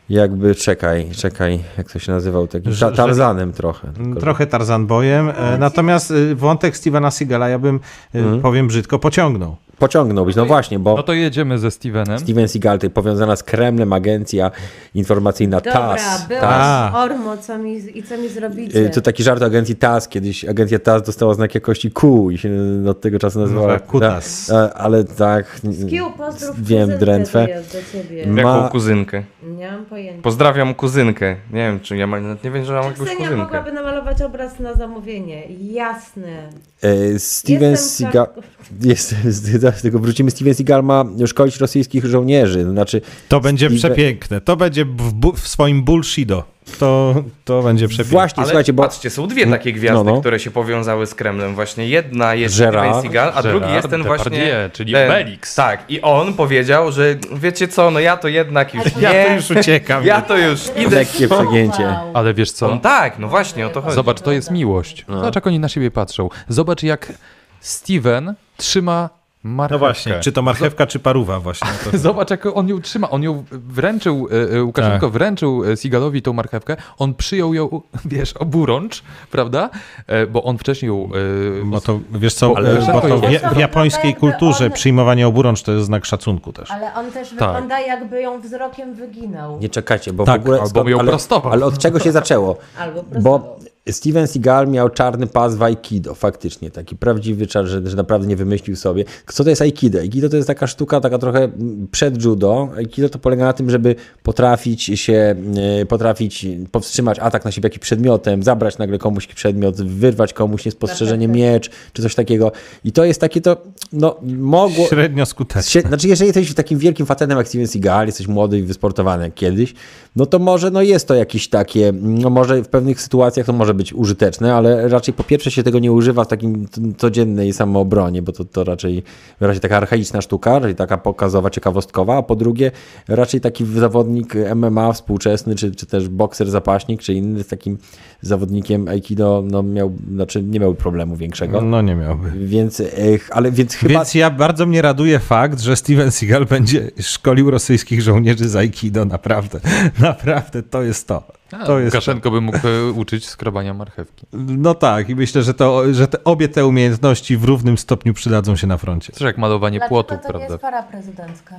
Speaker 5: jakby, czekaj, czekaj, jak to się nazywał, takim
Speaker 4: Że- Mm,
Speaker 5: ta- Tarzanem trochę. tylko-
Speaker 4: Trochę Tarzan Boyem. E, Natomiast e, wątek Stevena Seagala ja bym, e, powiem brzydko, pociągnął.
Speaker 5: Pociągnął być, no właśnie, bo
Speaker 1: No to jedziemy ze Stevenem.
Speaker 5: Steven Seagal, tutaj powiązana z Kremlem agencja informacyjna
Speaker 2: Dobra,
Speaker 5: TASS.
Speaker 2: było
Speaker 5: TASS.
Speaker 4: A.
Speaker 2: ormo, co mi, i co mi
Speaker 5: Y,
Speaker 2: zrobicie?
Speaker 5: To taki żart o agencji TAS. Kiedyś agencja TAS dostała znak jakości Q i się od tego
Speaker 6: No
Speaker 5: czasu nazywała.
Speaker 4: tak, Kutas.
Speaker 5: Ta- a- Ale tak.
Speaker 2: Kiu, pozdrów
Speaker 5: Wiem,
Speaker 2: kuzynkę
Speaker 5: drętwę.
Speaker 2: tu jest do ciebie.
Speaker 5: Mm.
Speaker 6: Jaką
Speaker 5: Ma-
Speaker 6: kuzynkę?
Speaker 2: Nie mam pojęcia.
Speaker 6: Pozdrawiam kuzynkę. Nie wiem, czy ja mam, nawet nie wiem, że mam
Speaker 2: Czy
Speaker 6: jakąś
Speaker 2: Ksenia
Speaker 6: kuzynkę.
Speaker 2: mogłaby namalować obraz na zamówienie? Jasne.
Speaker 5: E, Steven
Speaker 2: Jestem
Speaker 5: Seagal. Jest, z tego wrócimy. Steven Seagal ma szkolić rosyjskich żołnierzy. To Znaczy,
Speaker 4: To będzie
Speaker 5: Steve-
Speaker 4: przepiękne. To będzie w, bu- w swoim bullshido. To, to będzie przepiękne.
Speaker 5: właśnie,
Speaker 6: Ale
Speaker 5: słuchajcie, bo
Speaker 6: patrzcie, są dwie takie gwiazdy,
Speaker 5: no.
Speaker 6: które się powiązały z Kremlem. Właśnie jedna jest
Speaker 5: Gerard-
Speaker 6: Steven Seagal, a drugi
Speaker 1: Gerard
Speaker 6: jest ten właśnie...
Speaker 1: Depardieu, czyli
Speaker 6: ten,
Speaker 1: Obelix.
Speaker 6: Tak, i on powiedział, że wiecie co, no ja to jednak już nie...
Speaker 4: Ja to już uciekam.
Speaker 6: Ja to już idę.
Speaker 5: lekkie przegięcie.
Speaker 1: Ale wiesz co?
Speaker 6: No tak, no właśnie, o to chodzi.
Speaker 1: Zobacz, to jest miłość. Zobacz, jak oni na siebie patrzą. Zobacz, jak Steven trzyma marchewkę.
Speaker 4: No właśnie, czy to marchewka, czy paruwa właśnie. To...
Speaker 1: Zobacz, jak on ją trzyma. On ją wręczył, e, e,
Speaker 4: Tak.
Speaker 1: Łukaszenko wręczył e, Sigalowi tą marchewkę. On przyjął ją, wiesz, oburącz, prawda? E, Bo on wcześniej ją... e,
Speaker 4: Bo to, wiesz co,
Speaker 1: Ale
Speaker 4: e,
Speaker 1: wiesz,
Speaker 4: bo
Speaker 1: to
Speaker 4: to w,
Speaker 1: jest-
Speaker 4: w japońskiej kulturze przyjmowanie oburącz to jest znak szacunku też.
Speaker 2: Ale on też
Speaker 1: Tak.
Speaker 2: wygląda jakby ją wzrokiem wyginał.
Speaker 5: Nie czekacie, bo
Speaker 4: Tak,
Speaker 5: w ogóle.
Speaker 1: albo ją prostował.
Speaker 5: ale, ale od czego się zaczęło?
Speaker 2: Albo prosto.
Speaker 5: Bo Steven Seagal miał czarny pas w Aikido, faktycznie, taki prawdziwy czar, że, że naprawdę nie wymyślił sobie. Co to jest Aikido? Aikido to jest taka sztuka, taka trochę mm, przed judo. Aikido to polega na tym, żeby potrafić się, y, potrafić powstrzymać atak na siebie jakimś przedmiotem, zabrać nagle komuś przedmiot, wyrwać komuś niespostrzeżenie miecz, czy coś takiego. I to jest takie to, no mogło...
Speaker 4: Średnio skuteczne.
Speaker 5: Sie- Znaczy, jeżeli jesteś takim wielkim facetem jak Steven Seagal, jesteś młody i wysportowany jak kiedyś, no to może no jest to jakieś takie, no może w pewnych sytuacjach to może być użyteczne, ale raczej po pierwsze się tego nie używa w takim t- codziennej samoobronie, bo to, to raczej, raczej taka archaiczna sztuka, raczej taka pokazowa, ciekawostkowa, a po drugie raczej taki zawodnik MMA współczesny, czy, czy też bokser, zapaśnik, czy inny z takim zawodnikiem Aikido, no miał, znaczy nie miał problemu większego.
Speaker 4: No nie miałby.
Speaker 5: Więc, e, ch- ale więc chyba
Speaker 4: Więc ja bardzo mnie raduje fakt, że Steven Seagal będzie szkolił rosyjskich żołnierzy z Aikido, naprawdę. Naprawdę, to jest to.
Speaker 1: A,
Speaker 4: To jest
Speaker 1: Łukaszenko by mógł e, uczyć skrobania marchewki.
Speaker 4: No tak, i myślę, że, to, że te, obie te umiejętności w równym stopniu przydadzą się na froncie.
Speaker 1: Też jak malowanie
Speaker 2: Dlaczego
Speaker 1: płotów,
Speaker 2: to nie
Speaker 1: prawda?
Speaker 2: jest para prezydencka?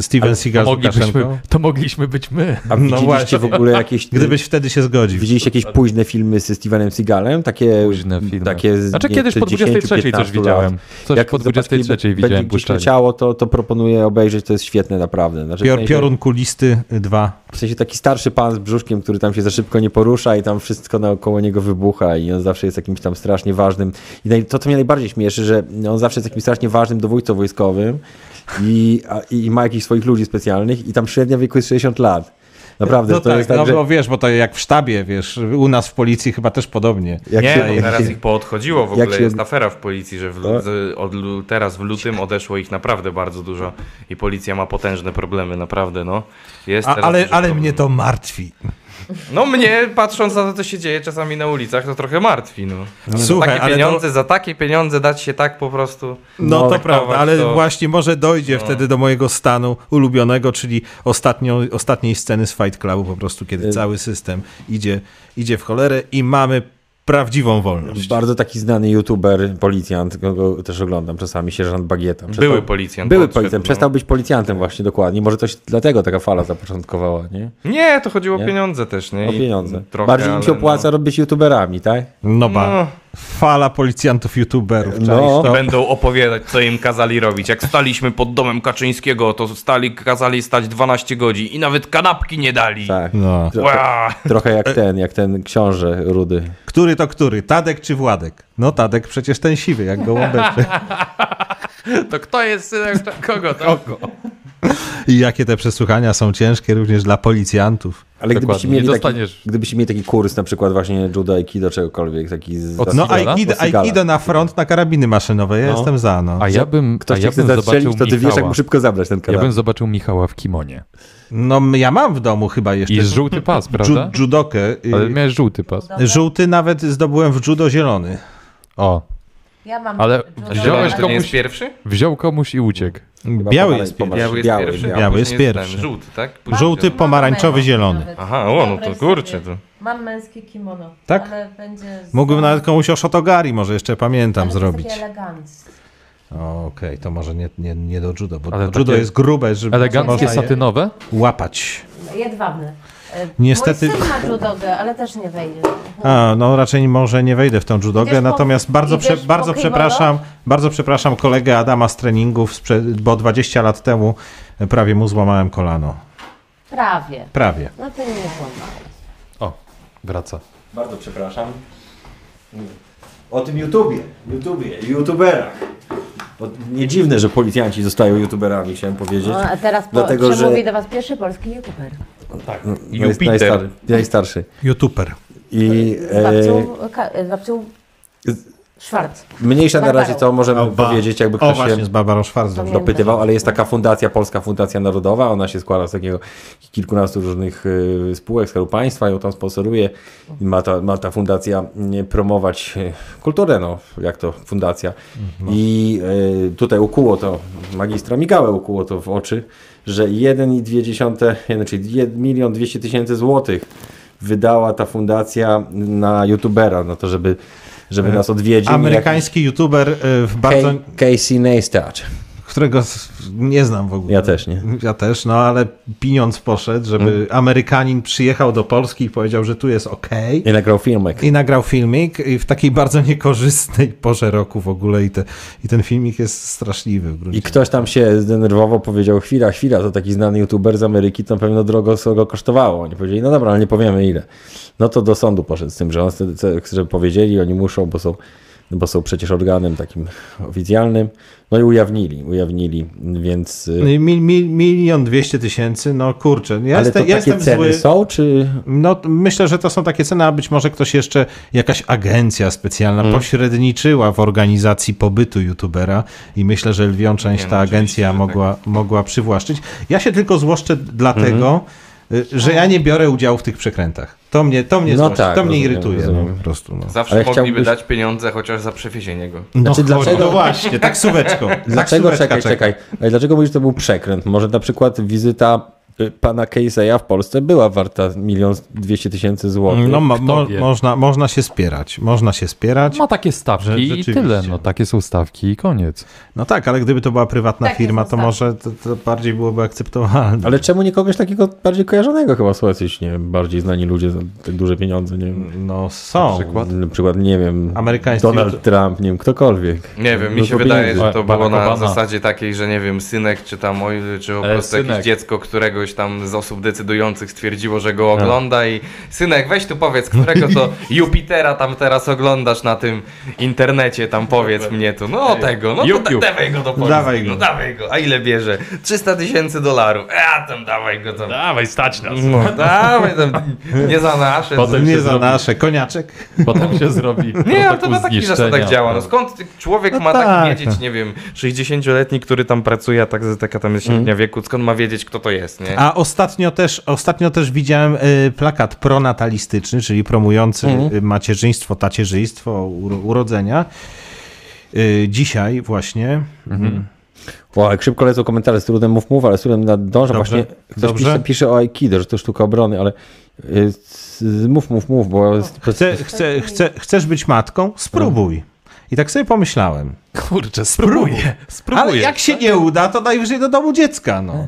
Speaker 4: Steven
Speaker 1: To
Speaker 4: Seagal z Łukaszenką.
Speaker 1: moglibyśmy, to mogliśmy być my.
Speaker 5: A
Speaker 4: No
Speaker 5: widzieliście
Speaker 4: właśnie.
Speaker 5: w ogóle jakieś.
Speaker 4: Gdybyś wtedy się zgodził.
Speaker 5: Widzieliście jakieś późne filmy ze Stevenem Seagalem? Takie,
Speaker 1: Późne filmy.
Speaker 5: takie z,
Speaker 1: Znaczy
Speaker 5: nie,
Speaker 1: kiedyś po
Speaker 5: 10,
Speaker 1: 23 coś
Speaker 5: 15
Speaker 1: widziałem.
Speaker 5: lat.
Speaker 1: Coś po
Speaker 5: zobaczyli,
Speaker 1: 23
Speaker 5: będzie
Speaker 1: widziałem
Speaker 5: gdzieś
Speaker 1: puszczanie.
Speaker 5: leciało, to, to proponuję obejrzeć, to jest świetne naprawdę. Znaczy, w
Speaker 4: Pior,
Speaker 5: sensie-
Speaker 4: piorun kulisty 2.
Speaker 5: W sensie taki starszy pan z brzuszkiem, który tam się za szybko nie porusza i tam wszystko naokoło niego wybucha i on zawsze jest jakimś tam strasznie ważnym. I naj- to, co mnie najbardziej śmieszy, że on zawsze jest takim strasznie ważnym dowódcą wojskowym i, a, i ma jakichś swoich ludzi specjalnych i tam średnia wieku jest 60 lat. Naprawdę,
Speaker 4: no
Speaker 5: to
Speaker 4: tak,
Speaker 5: jest tak,
Speaker 4: no
Speaker 5: że...
Speaker 4: bo wiesz, bo to jak w sztabie, wiesz, u nas w policji chyba też podobnie.
Speaker 5: jak
Speaker 6: nie,
Speaker 5: się-
Speaker 6: no teraz ich poodchodziło w
Speaker 5: jak
Speaker 6: ogóle.
Speaker 5: się-
Speaker 6: Jest afera w policji, że w, lu-
Speaker 5: No.
Speaker 6: z- od, lu- teraz w lutym odeszło ich naprawdę bardzo dużo i policja ma potężne problemy, naprawdę, no. Jest
Speaker 4: A,
Speaker 6: teraz
Speaker 4: ale
Speaker 6: duży
Speaker 4: ale
Speaker 6: problem.
Speaker 4: mnie to martwi.
Speaker 6: No mnie, patrząc na to, co się dzieje czasami na ulicach, to trochę martwi, no. Za
Speaker 4: Słuchaj,
Speaker 6: takie
Speaker 4: ale to-
Speaker 6: pieniądze, za takie pieniądze dać się tak po prostu...
Speaker 4: No,
Speaker 5: No,
Speaker 4: to
Speaker 5: tak,
Speaker 4: prawda,
Speaker 6: tak,
Speaker 4: ale
Speaker 6: to- No.
Speaker 4: właśnie może dojdzie wtedy do mojego stanu ulubionego, czyli ostatnio, ostatniej sceny z Fight Clubu po prostu,
Speaker 5: Y-
Speaker 4: kiedy cały system idzie, idzie w cholerę i mamy prawdziwą wolność.
Speaker 5: Bardzo taki znany youtuber, policjant, kogo też oglądam czasami, sierżant Bagieta.
Speaker 6: Były policjant.
Speaker 5: Były
Speaker 6: podszedł,
Speaker 5: policjant,
Speaker 6: no.
Speaker 5: przestał być policjantem właśnie dokładnie. Może coś dlatego taka fala zapoczątkowała, nie?
Speaker 6: Nie, to chodziło
Speaker 5: Nie?
Speaker 6: o pieniądze też, nie?
Speaker 5: O
Speaker 6: I
Speaker 5: pieniądze.
Speaker 6: Trochę,
Speaker 5: Bardziej im się
Speaker 6: ale
Speaker 5: opłaca robić youtuberami, tak?
Speaker 4: No ba.
Speaker 6: No.
Speaker 4: Fala policjantów, youtuberów. Cześć,
Speaker 5: No.
Speaker 4: to...
Speaker 6: Będą opowiadać, co im kazali robić. Jak staliśmy pod domem Kaczyńskiego, to stali, kazali stać 12 godzin i nawet kanapki nie dali.
Speaker 5: Tak.
Speaker 4: No.
Speaker 5: Trochę,
Speaker 6: Ła!
Speaker 5: trochę jak ten, jak ten książę rudy.
Speaker 4: Który to który? Tadek czy Władek? No Tadek przecież ten siwy, jak gołąbeczek.
Speaker 1: To kto jest synem kogo?
Speaker 4: I jakie te przesłuchania są ciężkie również dla policjantów.
Speaker 5: Ale gdybyście
Speaker 1: Dokładnie.
Speaker 5: mieli,
Speaker 1: Nie
Speaker 5: taki,
Speaker 1: dostaniesz.
Speaker 5: gdybyście mieli taki kurs, na przykład właśnie judo, aikido, czegokolwiek, taki z...
Speaker 1: Od-
Speaker 4: No
Speaker 1: Sigala?
Speaker 4: Aikido,
Speaker 5: O Sigala.
Speaker 4: Aikido na front, na karabiny maszynowe, ja
Speaker 5: No.
Speaker 4: jestem za, no.
Speaker 1: A ja bym,
Speaker 5: Ktoś
Speaker 1: a
Speaker 5: cię
Speaker 1: ja
Speaker 5: chce
Speaker 1: bym
Speaker 5: zastrzelić,
Speaker 1: zobaczył
Speaker 5: to ty wiesz, jak
Speaker 1: Michała.
Speaker 5: mu szybko zabrać ten
Speaker 1: Ja
Speaker 5: kanał.
Speaker 1: bym zobaczył Michała w kimonie.
Speaker 4: No m- ja mam w domu chyba jeszcze
Speaker 1: I żółty pas, prawda?
Speaker 4: Ju- judokę. y,
Speaker 1: Ale miałeś żółty pas.
Speaker 4: Żółty nawet zdobyłem w judo zielony.
Speaker 1: O,
Speaker 2: Ja mam...
Speaker 1: Ale
Speaker 2: dużo-
Speaker 1: wziąłeś
Speaker 6: to nie
Speaker 1: komuś-
Speaker 6: jest pierwszy?
Speaker 1: wziął komuś i uciekł.
Speaker 4: Biały jest
Speaker 5: pomarańcz-
Speaker 4: pierwszy.
Speaker 6: Biały jest
Speaker 5: biały,
Speaker 6: pierwszy?
Speaker 5: biały.
Speaker 4: Biały
Speaker 6: Później
Speaker 4: jest pierwszy.
Speaker 6: Ten, żółty, tak?
Speaker 2: Mam-
Speaker 4: żółty,
Speaker 2: mam
Speaker 4: pomarańczowy,
Speaker 2: męskie
Speaker 4: zielony.
Speaker 2: nawet.
Speaker 6: Aha, o, no to
Speaker 2: Wyobraź
Speaker 6: kurczę.
Speaker 2: sobie,
Speaker 6: To.
Speaker 2: Mam męskie kimono.
Speaker 4: Tak?
Speaker 2: Ale będzie... z-
Speaker 4: Mógłbym nawet komuś o Shotogari, może jeszcze pamiętam,
Speaker 2: No. ale to jest
Speaker 4: zrobić.
Speaker 2: Takie eleganckie.
Speaker 4: O, Okej, to może nie, nie, nie do judo, bo
Speaker 1: Ale
Speaker 4: do judo
Speaker 1: takie
Speaker 4: jest grube, żeby
Speaker 1: Eleganckie,
Speaker 4: można je
Speaker 1: satynowe?
Speaker 4: łapać.
Speaker 2: Jedwabne. E,
Speaker 4: Niestety-
Speaker 2: Mój syn ma judogę, ale też nie wejdzie.
Speaker 4: A, no raczej może nie wejdę w tą judogę,
Speaker 2: Idziesz po-
Speaker 4: natomiast bardzo,
Speaker 2: idziesz
Speaker 4: prze,
Speaker 2: po
Speaker 4: bardzo
Speaker 2: kimono?
Speaker 4: przepraszam, bardzo przepraszam kolegę Adama z treningów, sprze- bo 20 lat temu e, prawie mu złamałem kolano.
Speaker 2: Prawie.
Speaker 4: Prawie.
Speaker 2: No to nie złamałeś.
Speaker 1: O, wraca.
Speaker 5: Bardzo przepraszam. O tym YouTubie, YouTubie, YouTuberach. Bo nie dziwne, że policjanci zostają YouTuberami, chciałem powiedzieć.
Speaker 3: No, a teraz po,
Speaker 5: Dlatego, że-
Speaker 3: przemówi do Was pierwszy polski youtuber.
Speaker 6: Jupiter.
Speaker 5: Najstar, najstarszy.
Speaker 4: YouTuber.
Speaker 5: I
Speaker 3: Z
Speaker 5: e,
Speaker 3: babcią, ka, z babcią
Speaker 5: z-
Speaker 3: Schwarz.
Speaker 5: mniejsza na razie to możemy
Speaker 4: ba-
Speaker 5: powiedzieć, jakby
Speaker 4: O
Speaker 5: ktoś
Speaker 4: właśnie,
Speaker 5: się
Speaker 4: z Barbarą Schwarzer.
Speaker 5: dopytywał, ale jest taka fundacja, Polska Fundacja Narodowa, ona się składa z takiego kilkunastu różnych e, spółek Skarbu Państwa, ją tam sponsoruje i ma ta, ma ta fundacja mm, promować e, kulturę, no jak to fundacja. I e, tutaj ukuło to, magistra Migałę ukuło to w oczy, że 1,2, znaczy 1 200 tysięcy złotych wydała ta fundacja na youtubera, na to, żeby, żeby nas odwiedził.
Speaker 4: Amerykański youtuber y, w e, bardzo...
Speaker 5: Casey Neistat.
Speaker 4: którego s- nie znam w ogóle.
Speaker 5: Ja też nie.
Speaker 4: Ja też, no ale pieniądz poszedł, żeby
Speaker 5: Mm.
Speaker 4: Amerykanin przyjechał do Polski i powiedział, że tu jest okej.
Speaker 5: I nagrał filmek.
Speaker 4: I nagrał filmik i w takiej bardzo niekorzystnej porze roku w ogóle i, te, i ten filmik jest straszliwy w gruncie.
Speaker 5: I ktoś tam się zdenerwował, powiedział, chwila, chwila, to taki znany youtuber z Ameryki, to na pewno drogo co go kosztowało. Oni powiedzieli, no dobra, ale nie powiemy ile. No to do sądu poszedł z tym, że on chce, chce- żeby powiedzieli, oni muszą, bo są, bo są przecież organem takim oficjalnym. No i ujawnili, ujawnili, więc... y,
Speaker 4: No i Mil, mil, milion dwieście tysięcy, no kurczę, ja
Speaker 5: ale
Speaker 4: jestem,
Speaker 5: to
Speaker 4: ja
Speaker 5: takie
Speaker 4: jestem
Speaker 5: ceny
Speaker 4: zły.
Speaker 5: są, czy...
Speaker 4: No, t- myślę, że to są takie ceny, a być może ktoś jeszcze, jakaś agencja specjalna
Speaker 5: Mhm.
Speaker 4: pośredniczyła w organizacji pobytu youtubera i myślę, że lwią część
Speaker 6: Nie,
Speaker 4: ta
Speaker 6: no, oczywiście,
Speaker 4: agencja
Speaker 6: że
Speaker 4: mogła,
Speaker 5: tak.
Speaker 4: mogła przywłaszczyć. Ja się tylko złoszczę dlatego, y, że ja nie biorę udziału w tych przekrętach. To mnie, to mnie
Speaker 5: Mhm. No
Speaker 4: złości,
Speaker 5: tak,
Speaker 4: to mnie
Speaker 5: rozumiem,
Speaker 4: irytuje.
Speaker 5: rozumiem.
Speaker 4: No, po prostu, no.
Speaker 6: Zawsze
Speaker 5: Ale
Speaker 6: mogliby
Speaker 5: chciałbyś-
Speaker 6: dać pieniądze chociaż za przewiezienie go.
Speaker 4: No,
Speaker 5: Znaczy,
Speaker 4: chodź,
Speaker 5: dlaczego-
Speaker 4: no właśnie, tak taksóweczką.
Speaker 5: Dlaczego,
Speaker 4: Taksóweczka
Speaker 5: czekaj,
Speaker 4: czeka.
Speaker 5: czekaj, Ale dlaczego mówisz, że to był przekręt? Może na przykład wizyta y, pana Casey'a w Polsce była warta milion dwieście tysięcy złotych.
Speaker 4: No, mo, mo,
Speaker 1: wie?
Speaker 4: można, można się spierać, można się spierać.
Speaker 1: Ma takie stawki i
Speaker 4: Rzeczywiście.
Speaker 1: tyle. No takie są stawki i koniec.
Speaker 4: No tak, ale gdyby to była prywatna
Speaker 2: Tak,
Speaker 4: firma,
Speaker 2: jest
Speaker 4: to
Speaker 2: na
Speaker 4: może to, to bardziej byłoby akceptowalne.
Speaker 5: Ale czemu nie kogoś takiego bardziej kojarzonego chyba są jacyś, nie wiem, bardziej znani ludzie za te duże pieniądze, nie wiem.
Speaker 4: No są.
Speaker 1: przykład?
Speaker 5: Na przykład, nie wiem,
Speaker 4: Amerykańscy
Speaker 5: Donald
Speaker 4: youtu-
Speaker 5: Trump, nie wiem, ktokolwiek.
Speaker 6: Nie wiem, mi
Speaker 5: Dużo
Speaker 6: się wydaje,
Speaker 5: pieniędzy.
Speaker 6: że to
Speaker 1: Ba-
Speaker 6: było
Speaker 1: Barack
Speaker 6: na
Speaker 1: Obama.
Speaker 6: zasadzie takiej, że nie wiem, synek czy tam ojciec, czy po
Speaker 1: E,
Speaker 6: prostu
Speaker 1: synek.
Speaker 6: jakieś dziecko któregoś tam z osób decydujących stwierdziło, że go ogląda i synek, weź tu powiedz, którego to Jupitera tam teraz oglądasz na tym internecie, tam powiedz mnie tu, no tego, no to da,
Speaker 1: YouTube.
Speaker 6: dawaj go do Polski,
Speaker 4: Dawaj
Speaker 6: dawaj
Speaker 4: go.
Speaker 6: go. no dawaj go, a ile bierze? 300 tysięcy dolarów, E, a tam dawaj go tam.
Speaker 1: Dawaj, stać nas.
Speaker 6: No dawaj tam, nie za nasze.
Speaker 1: Potem
Speaker 4: Nie
Speaker 1: się
Speaker 4: za
Speaker 1: zrobi.
Speaker 4: nasze, koniaczek.
Speaker 1: Potem się zrobi
Speaker 6: Nie, ale to
Speaker 1: protokół
Speaker 6: na takich
Speaker 1: zniszczenia.
Speaker 6: zasadach działa. No skąd ty- człowiek
Speaker 4: No
Speaker 6: ma
Speaker 4: tak,
Speaker 6: tak wiedzieć, nie wiem, 60-letni, który tam pracuje, a tak, taka tam jest
Speaker 1: Mm.
Speaker 6: średnia wieku, skąd ma wiedzieć, kto to jest, nie?
Speaker 4: A ostatnio też, ostatnio też widziałem y, plakat pronatalistyczny, czyli promujący
Speaker 5: Mhm.
Speaker 4: y, macierzyństwo, tacierzyństwo, uro, urodzenia. Y, dzisiaj właśnie. Mhm.
Speaker 5: Wow, jak szybko lecą komentarze, z trudem mów, mów, ale z trudem
Speaker 4: Dobrze,
Speaker 5: nadąża właśnie. Ktoś
Speaker 4: dobrze.
Speaker 5: pisze, pisze o Aikido, że to sztuka obrony, ale y, c- mów, mów, mów, bo...
Speaker 4: Chce, chce, chce, chcesz być matką? Spróbuj. I tak sobie pomyślałem.
Speaker 1: Kurczę, spróbuję. spróbuję.
Speaker 4: Ale jak się nie uda, to najwyżej do domu dziecka. No.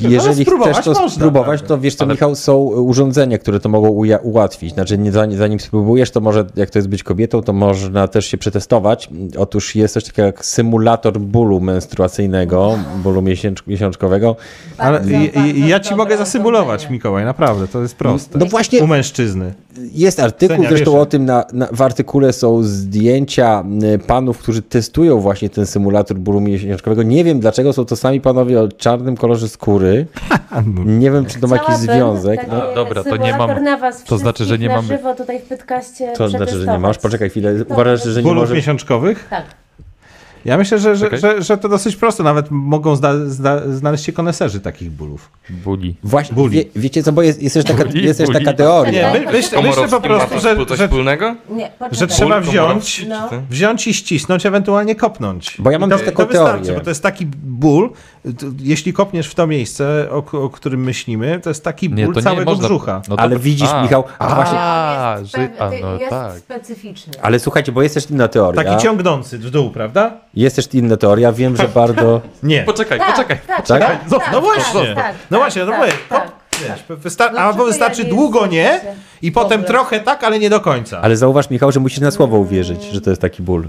Speaker 5: Jeżeli
Speaker 4: spróbować
Speaker 5: chcesz to
Speaker 4: można,
Speaker 5: spróbować,
Speaker 4: tak.
Speaker 5: to wiesz co, Michał, są e, urządzenia, które to mogą uja- ułatwić. Znaczy, nie, zanim, zanim spróbujesz, to może, jak to jest być kobietą, to można też się przetestować. Otóż jest coś takiego jak symulator bólu menstruacyjnego, bólu miesięcz, miesiączkowego.
Speaker 4: Ale
Speaker 2: Bardzo,
Speaker 4: i- i-
Speaker 2: bardzo
Speaker 4: ja ci
Speaker 2: dobre
Speaker 4: mogę zasymulować,
Speaker 2: urządzenie.
Speaker 4: Mikołaj, naprawdę, to jest proste.
Speaker 5: No właśnie-
Speaker 4: U mężczyzny.
Speaker 5: Jest artykuł
Speaker 4: Cenia,
Speaker 5: zresztą
Speaker 4: wiesz.
Speaker 5: o tym, na, na, w artykule są zdjęcia y, panów, którzy testują właśnie ten symulator bólu miesiączkowego. Nie wiem dlaczego są to sami panowie o czarnym kolorze skóry. Nie wiem, czy to ma jakiś
Speaker 2: Chciałabym
Speaker 5: związek.
Speaker 2: taki
Speaker 1: No, dobra, to nie
Speaker 2: symulator
Speaker 1: mam-
Speaker 2: Na was
Speaker 1: to znaczy, że nie
Speaker 2: wszystkich
Speaker 1: mamy-
Speaker 2: Na żywo tutaj w podcaście
Speaker 5: To znaczy, że nie
Speaker 2: przetestować.
Speaker 5: masz? Poczekaj chwilę. Uważasz, że nie
Speaker 4: Bólów
Speaker 5: możesz...
Speaker 4: miesiączkowych?
Speaker 2: Tak.
Speaker 4: Ja myślę, że, że,
Speaker 1: Czekaj.
Speaker 4: że, że to dosyć proste. Nawet mogą zda, zda, znaleźć się koneserzy takich bólów.
Speaker 1: Buli.
Speaker 5: Właśnie,
Speaker 4: Buli.
Speaker 5: wie, wiecie co, bo jest, jest, też, taka,
Speaker 1: Buli,
Speaker 5: jest też
Speaker 1: buli.
Speaker 5: taka teoria.
Speaker 4: Nie, my,
Speaker 2: Czekaj.
Speaker 4: myślę- myślę po
Speaker 6: Komorowski ma
Speaker 4: prostu,
Speaker 6: tam
Speaker 4: że,
Speaker 6: współ- coś
Speaker 4: że,
Speaker 6: wspólnego?
Speaker 2: Nie, poczekaj.
Speaker 4: że trzeba
Speaker 6: Ból
Speaker 4: wziąć,
Speaker 6: komorowski, czy co?
Speaker 4: wziąć i ścisnąć, ewentualnie kopnąć.
Speaker 5: No. Bo ja mam
Speaker 4: I to,
Speaker 5: też taką
Speaker 4: to wystarczy,
Speaker 5: teorię.
Speaker 4: bo to jest taki ból, to, jeśli kopniesz w to miejsce, o, o którym myślimy, to jest taki ból
Speaker 1: Nie, to nie
Speaker 4: całego
Speaker 1: można-
Speaker 4: brzucha.
Speaker 1: No
Speaker 5: Ale
Speaker 1: dobra.
Speaker 5: widzisz,
Speaker 1: A,
Speaker 5: Michał, a
Speaker 1: A,
Speaker 5: właśnie-
Speaker 1: a,
Speaker 2: jest,
Speaker 1: że, a
Speaker 2: spew-
Speaker 1: no
Speaker 2: jest
Speaker 1: tak.
Speaker 2: specyficzny.
Speaker 5: Ale słuchajcie, bo jest też inna teoria.
Speaker 4: Taki ciągnący w dół, prawda?
Speaker 5: Jest też inna teoria, wiem, że bardzo...
Speaker 4: Nie.
Speaker 1: Poczekaj,
Speaker 2: tak,
Speaker 1: poczekaj.
Speaker 2: Tak,
Speaker 5: Czekaj.
Speaker 2: tak,
Speaker 4: No,
Speaker 2: tak,
Speaker 4: no
Speaker 2: tak,
Speaker 4: właśnie.
Speaker 2: tak, tak,
Speaker 4: No właśnie, no
Speaker 2: tak,
Speaker 4: mówię,
Speaker 2: tak.
Speaker 4: hop, wiesz,
Speaker 5: No,
Speaker 4: wystar- albo
Speaker 2: Dlaczego
Speaker 4: wystarczy
Speaker 2: ja nie
Speaker 4: długo nie
Speaker 2: jestem się?
Speaker 4: i potem trochę tak, ale nie do końca.
Speaker 5: Ale zauważ, Michał, że musisz na słowo uwierzyć, że to jest taki ból.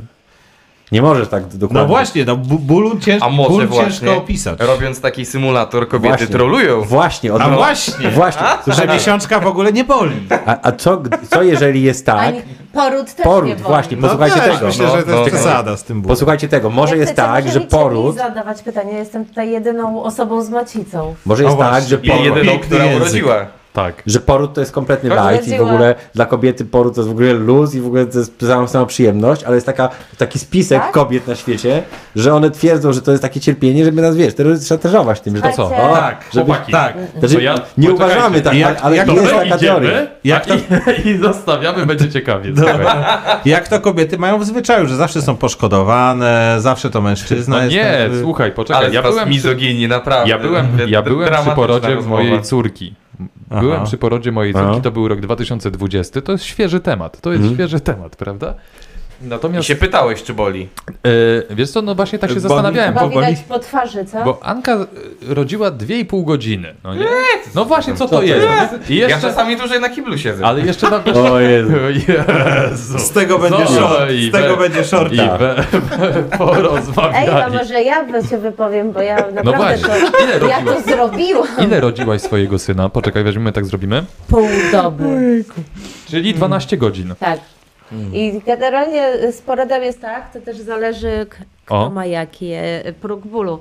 Speaker 5: Nie możesz tak dokładnie.
Speaker 4: No właśnie, no b- bólu cięż...
Speaker 6: A
Speaker 4: ból
Speaker 6: może właśnie,
Speaker 4: ciężko opisać.
Speaker 6: robiąc taki symulator, kobiety
Speaker 5: Właśnie.
Speaker 6: trolują.
Speaker 5: Właśnie, od...
Speaker 4: A właśnie,
Speaker 5: właśnie.
Speaker 4: że miesiączka w ogóle nie boli.
Speaker 1: No
Speaker 5: A, a co, gd- co jeżeli jest tak?
Speaker 2: Ani poród też nie
Speaker 5: Poród,
Speaker 2: wolno.
Speaker 5: właśnie,
Speaker 4: No
Speaker 5: posłuchajcie
Speaker 4: też,
Speaker 5: tego.
Speaker 4: Myślę, że to
Speaker 6: No,
Speaker 4: jest
Speaker 6: no.
Speaker 4: przesada z tym bólem.
Speaker 5: Posłuchajcie tego, może
Speaker 2: Jak
Speaker 5: jest
Speaker 2: chcecie,
Speaker 5: tak,
Speaker 2: możecie
Speaker 5: że
Speaker 2: mi
Speaker 5: poród...
Speaker 2: zadawać pytanie, jestem tutaj jedyną osobą z macicą.
Speaker 5: Może jest
Speaker 4: O
Speaker 5: tak,
Speaker 4: No właśnie.
Speaker 5: że
Speaker 6: I
Speaker 4: Piękny
Speaker 5: poród...
Speaker 6: jedyną, która
Speaker 4: język.
Speaker 6: urodziła.
Speaker 1: Tak.
Speaker 5: Że poród to jest kompletny
Speaker 6: Chodź,
Speaker 5: light i w
Speaker 2: urodziła.
Speaker 5: ogóle dla kobiety poród to jest w ogóle luz i w ogóle to jest sama, sama przyjemność, ale jest taka, taki spisek
Speaker 2: Tak?
Speaker 5: kobiet na świecie, że one twierdzą, że to jest takie cierpienie, żeby nas, wiesz, terroryz- szantażować tym, że to
Speaker 2: co?
Speaker 5: O,
Speaker 4: Tak,
Speaker 5: żeby,
Speaker 1: chłopaki.
Speaker 4: Tak.
Speaker 5: Znaczy,
Speaker 1: To ja-
Speaker 5: nie
Speaker 1: poczekajcie.
Speaker 5: uważamy tak,
Speaker 4: Jak-
Speaker 5: ale- ale
Speaker 4: jak
Speaker 5: jak jest
Speaker 4: to
Speaker 5: taka teoria.
Speaker 4: Jak
Speaker 1: a i, I zostawiamy, będzie ciekawie. Słuchaj.
Speaker 4: Jak to kobiety mają w zwyczaju, że zawsze są poszkodowane, zawsze to mężczyzna
Speaker 1: No
Speaker 4: jest...
Speaker 1: nie,
Speaker 4: ten- y,
Speaker 1: słuchaj, poczekaj.
Speaker 6: Ale
Speaker 1: ja byłem przy,
Speaker 6: mizoginii, naprawdę.
Speaker 1: ja byłem, ja byłem przy
Speaker 6: Dramatyczna
Speaker 1: porodzie
Speaker 6: rozmowa.
Speaker 1: mojej córki. Byłem przy porodzie mojej
Speaker 5: Aha.
Speaker 1: córki, to był rok 2020. To jest świeży temat, to jest świeży temat, prawda?
Speaker 6: I
Speaker 1: Natomiast,
Speaker 6: się pytałeś, czy boli.
Speaker 1: e, wiesz co, no właśnie tak się
Speaker 4: Bo-
Speaker 1: zastanawiałem,
Speaker 3: Chyba
Speaker 1: bo,
Speaker 4: powoli.
Speaker 3: widać po twarzy, co?
Speaker 1: bo Anka e, rodziła 2,5 godziny. No, nie? no właśnie, co to
Speaker 5: to
Speaker 1: jest? I
Speaker 6: Ja
Speaker 1: jeszcze,
Speaker 6: czasami dłużej na kiblu siedzę.
Speaker 1: ale jeszcze na...
Speaker 5: O Jezu.
Speaker 1: Jezu.
Speaker 4: Z tego będzie
Speaker 1: Zobacz,
Speaker 4: short.
Speaker 1: i
Speaker 4: Z tego
Speaker 1: we-
Speaker 4: będzie short.
Speaker 1: I we, we,
Speaker 3: Ej, a
Speaker 1: porozmawiali.
Speaker 3: może ja by się wypowiem, bo ja naprawdę
Speaker 1: No właśnie. Ile
Speaker 3: to, ja to
Speaker 1: robiłaś?
Speaker 3: zrobiłam.
Speaker 1: Ile rodziłaś swojego syna? Poczekaj, weźmiemy, tak zrobimy.
Speaker 3: Pół doby, Mm.
Speaker 1: Czyli 12 godzin.
Speaker 3: tak.
Speaker 1: Mm.
Speaker 3: I generalnie z porodem jest tak, to też zależy k- kto
Speaker 1: O.
Speaker 3: ma jaki e, próg bólu.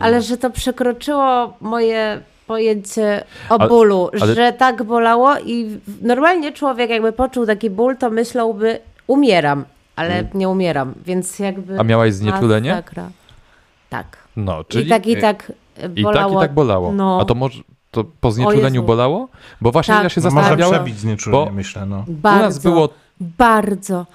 Speaker 3: Ale że to przekroczyło moje pojęcie o
Speaker 1: Ale-
Speaker 3: bólu,
Speaker 1: ale-
Speaker 3: że tak bolało i w- normalnie człowiek jakby poczuł taki ból, to myślałby umieram, ale nie umieram, więc jakby...
Speaker 1: Mm. A miałaś znieczulenie?
Speaker 3: masakra. Tak.
Speaker 1: No, czyli...
Speaker 3: I tak, i tak e,
Speaker 1: I tak, i
Speaker 3: bolało.
Speaker 1: tak bolało.
Speaker 3: No.
Speaker 1: A to może to po
Speaker 3: O
Speaker 1: znieczuleniu
Speaker 3: Jezu.
Speaker 1: bolało? Bo właśnie
Speaker 3: Tak.
Speaker 1: ja się
Speaker 4: No może
Speaker 1: zastanawiałem.
Speaker 4: przebić znieczulenie,
Speaker 1: bo-
Speaker 4: myślę. No.
Speaker 1: U
Speaker 3: Bardzo,
Speaker 1: nas było,
Speaker 3: bardzo,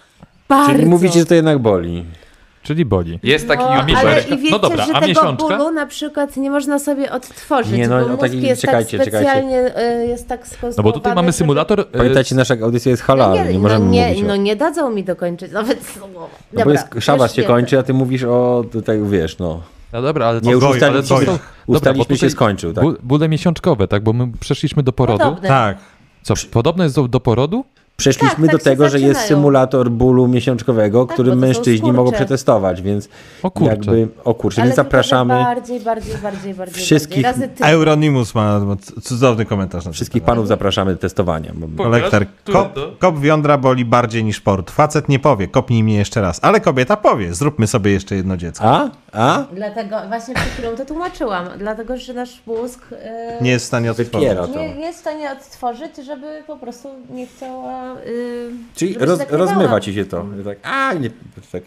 Speaker 3: bardzo.
Speaker 5: Czyli mówicie, że to jednak boli.
Speaker 1: Y- czyli boli.
Speaker 6: Jest taki
Speaker 3: No,
Speaker 1: A
Speaker 6: youtuber.
Speaker 3: ale
Speaker 1: miesiączka?
Speaker 3: i wiecie,
Speaker 1: No dobra,
Speaker 3: że
Speaker 1: a
Speaker 3: tego
Speaker 1: miesiączka?
Speaker 3: bólu na przykład nie można sobie odtworzyć,
Speaker 5: Nie, no,
Speaker 3: bo
Speaker 5: o
Speaker 3: mózg
Speaker 5: takim-
Speaker 3: jest
Speaker 5: czekajcie,
Speaker 3: tak
Speaker 5: czekajcie.
Speaker 3: specjalnie y, jest tak skonstruowany.
Speaker 1: No bo tutaj mamy
Speaker 3: żeby-
Speaker 1: symulator. e,
Speaker 5: Pamiętajcie, nasza audycja jest
Speaker 3: No
Speaker 5: halal,
Speaker 3: nie,
Speaker 5: nie,
Speaker 3: no
Speaker 5: możemy
Speaker 3: nie,
Speaker 5: mówić o...
Speaker 3: no nie dadzą mi dokończyć nawet słowa.
Speaker 5: No bo
Speaker 3: Dobra,
Speaker 5: jest, szabas
Speaker 3: już
Speaker 5: się
Speaker 3: wiem.
Speaker 5: kończy, a ty mówisz o, tak wiesz, no.
Speaker 1: No dobra, ale
Speaker 5: Nie, już
Speaker 1: co-
Speaker 4: gojach,
Speaker 1: ale co-
Speaker 4: gojach.
Speaker 1: dobra, bo
Speaker 5: Ustaliliśmy się,
Speaker 1: tutaj
Speaker 5: skończył, tak?
Speaker 1: bó- Bóle miesiączkowe, tak? Bo my przeszliśmy do porodu.
Speaker 3: Podobne.
Speaker 4: Tak.
Speaker 1: Co, podobne jest do, do porodu?
Speaker 5: Przeszliśmy
Speaker 3: Tak, tak
Speaker 5: do tego,
Speaker 3: się
Speaker 5: że jest
Speaker 3: zaczynają.
Speaker 5: symulator bólu miesiączkowego,
Speaker 3: Tak,
Speaker 5: który
Speaker 3: bo to są
Speaker 5: mężczyźni mogą
Speaker 3: skurcze.
Speaker 5: przetestować, więc
Speaker 1: O kurczę.
Speaker 5: jakby o kurczę,
Speaker 3: Ale
Speaker 5: więc
Speaker 3: tylko, że
Speaker 5: zapraszamy
Speaker 3: Bardziej, bardziej, bardziej, bardziej.
Speaker 5: Wszystkich-
Speaker 3: bardziej. Razy ty...
Speaker 4: Euronimus ma cudowny komentarz na ten
Speaker 5: wszystkich
Speaker 4: temat.
Speaker 5: panów zapraszamy do testowania. Bo...
Speaker 4: Kolektor. Kop, kop jądra boli bardziej niż port. Facet nie powie, kopnij mnie jeszcze raz. Ale kobieta powie, zróbmy sobie jeszcze jedno dziecko.
Speaker 5: A? A?
Speaker 3: Dlatego właśnie przed chwilą to tłumaczyłam, dlatego że nasz mózg y,
Speaker 4: Nie jest w stanie otworzyć.
Speaker 5: Wypiera to.
Speaker 3: nie, nie jest w stanie odtworzyć, żeby po prostu nie chciała. y,
Speaker 5: Czyli
Speaker 3: żeby się
Speaker 5: roz,
Speaker 3: zakrywała.
Speaker 5: rozmywa ci się to. Tak, a, nie, tak.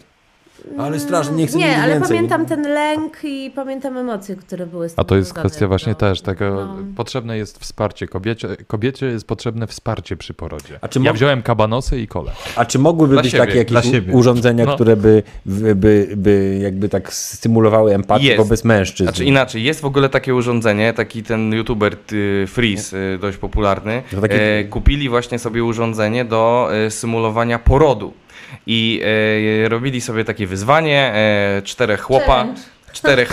Speaker 5: Ale strasznie, nie chcę
Speaker 3: Mm, Nie,
Speaker 5: nic
Speaker 3: ale
Speaker 5: więcej.
Speaker 3: pamiętam ten lęk i pamiętam emocje, które były z tym
Speaker 1: A to jest
Speaker 3: związane,
Speaker 1: kwestia właśnie
Speaker 3: no.
Speaker 1: też tego.
Speaker 3: No.
Speaker 1: Potrzebne jest wsparcie. Kobiecie, kobiecie jest potrzebne wsparcie przy porodzie.
Speaker 5: A czy
Speaker 1: ja
Speaker 5: mo-
Speaker 1: wziąłem kabanosy i kole.
Speaker 5: A czy mogłyby
Speaker 6: Dla
Speaker 5: być
Speaker 6: siebie,
Speaker 5: takie
Speaker 4: dla
Speaker 5: jakieś
Speaker 4: siebie.
Speaker 5: u- urządzenia,
Speaker 1: No.
Speaker 5: które by, by, by, by jakby tak stymulowały empatię
Speaker 6: Jest.
Speaker 5: wobec mężczyzn?
Speaker 6: Znaczy inaczej, jest w ogóle takie urządzenie, taki ten youtuber y, Freeze, y, dość popularny,
Speaker 5: To taki-
Speaker 6: e, kupili właśnie sobie urządzenie do e, symulowania porodu. I e, robili sobie takie wyzwanie, e, czterech chłopa,
Speaker 3: Challenge.
Speaker 6: czterech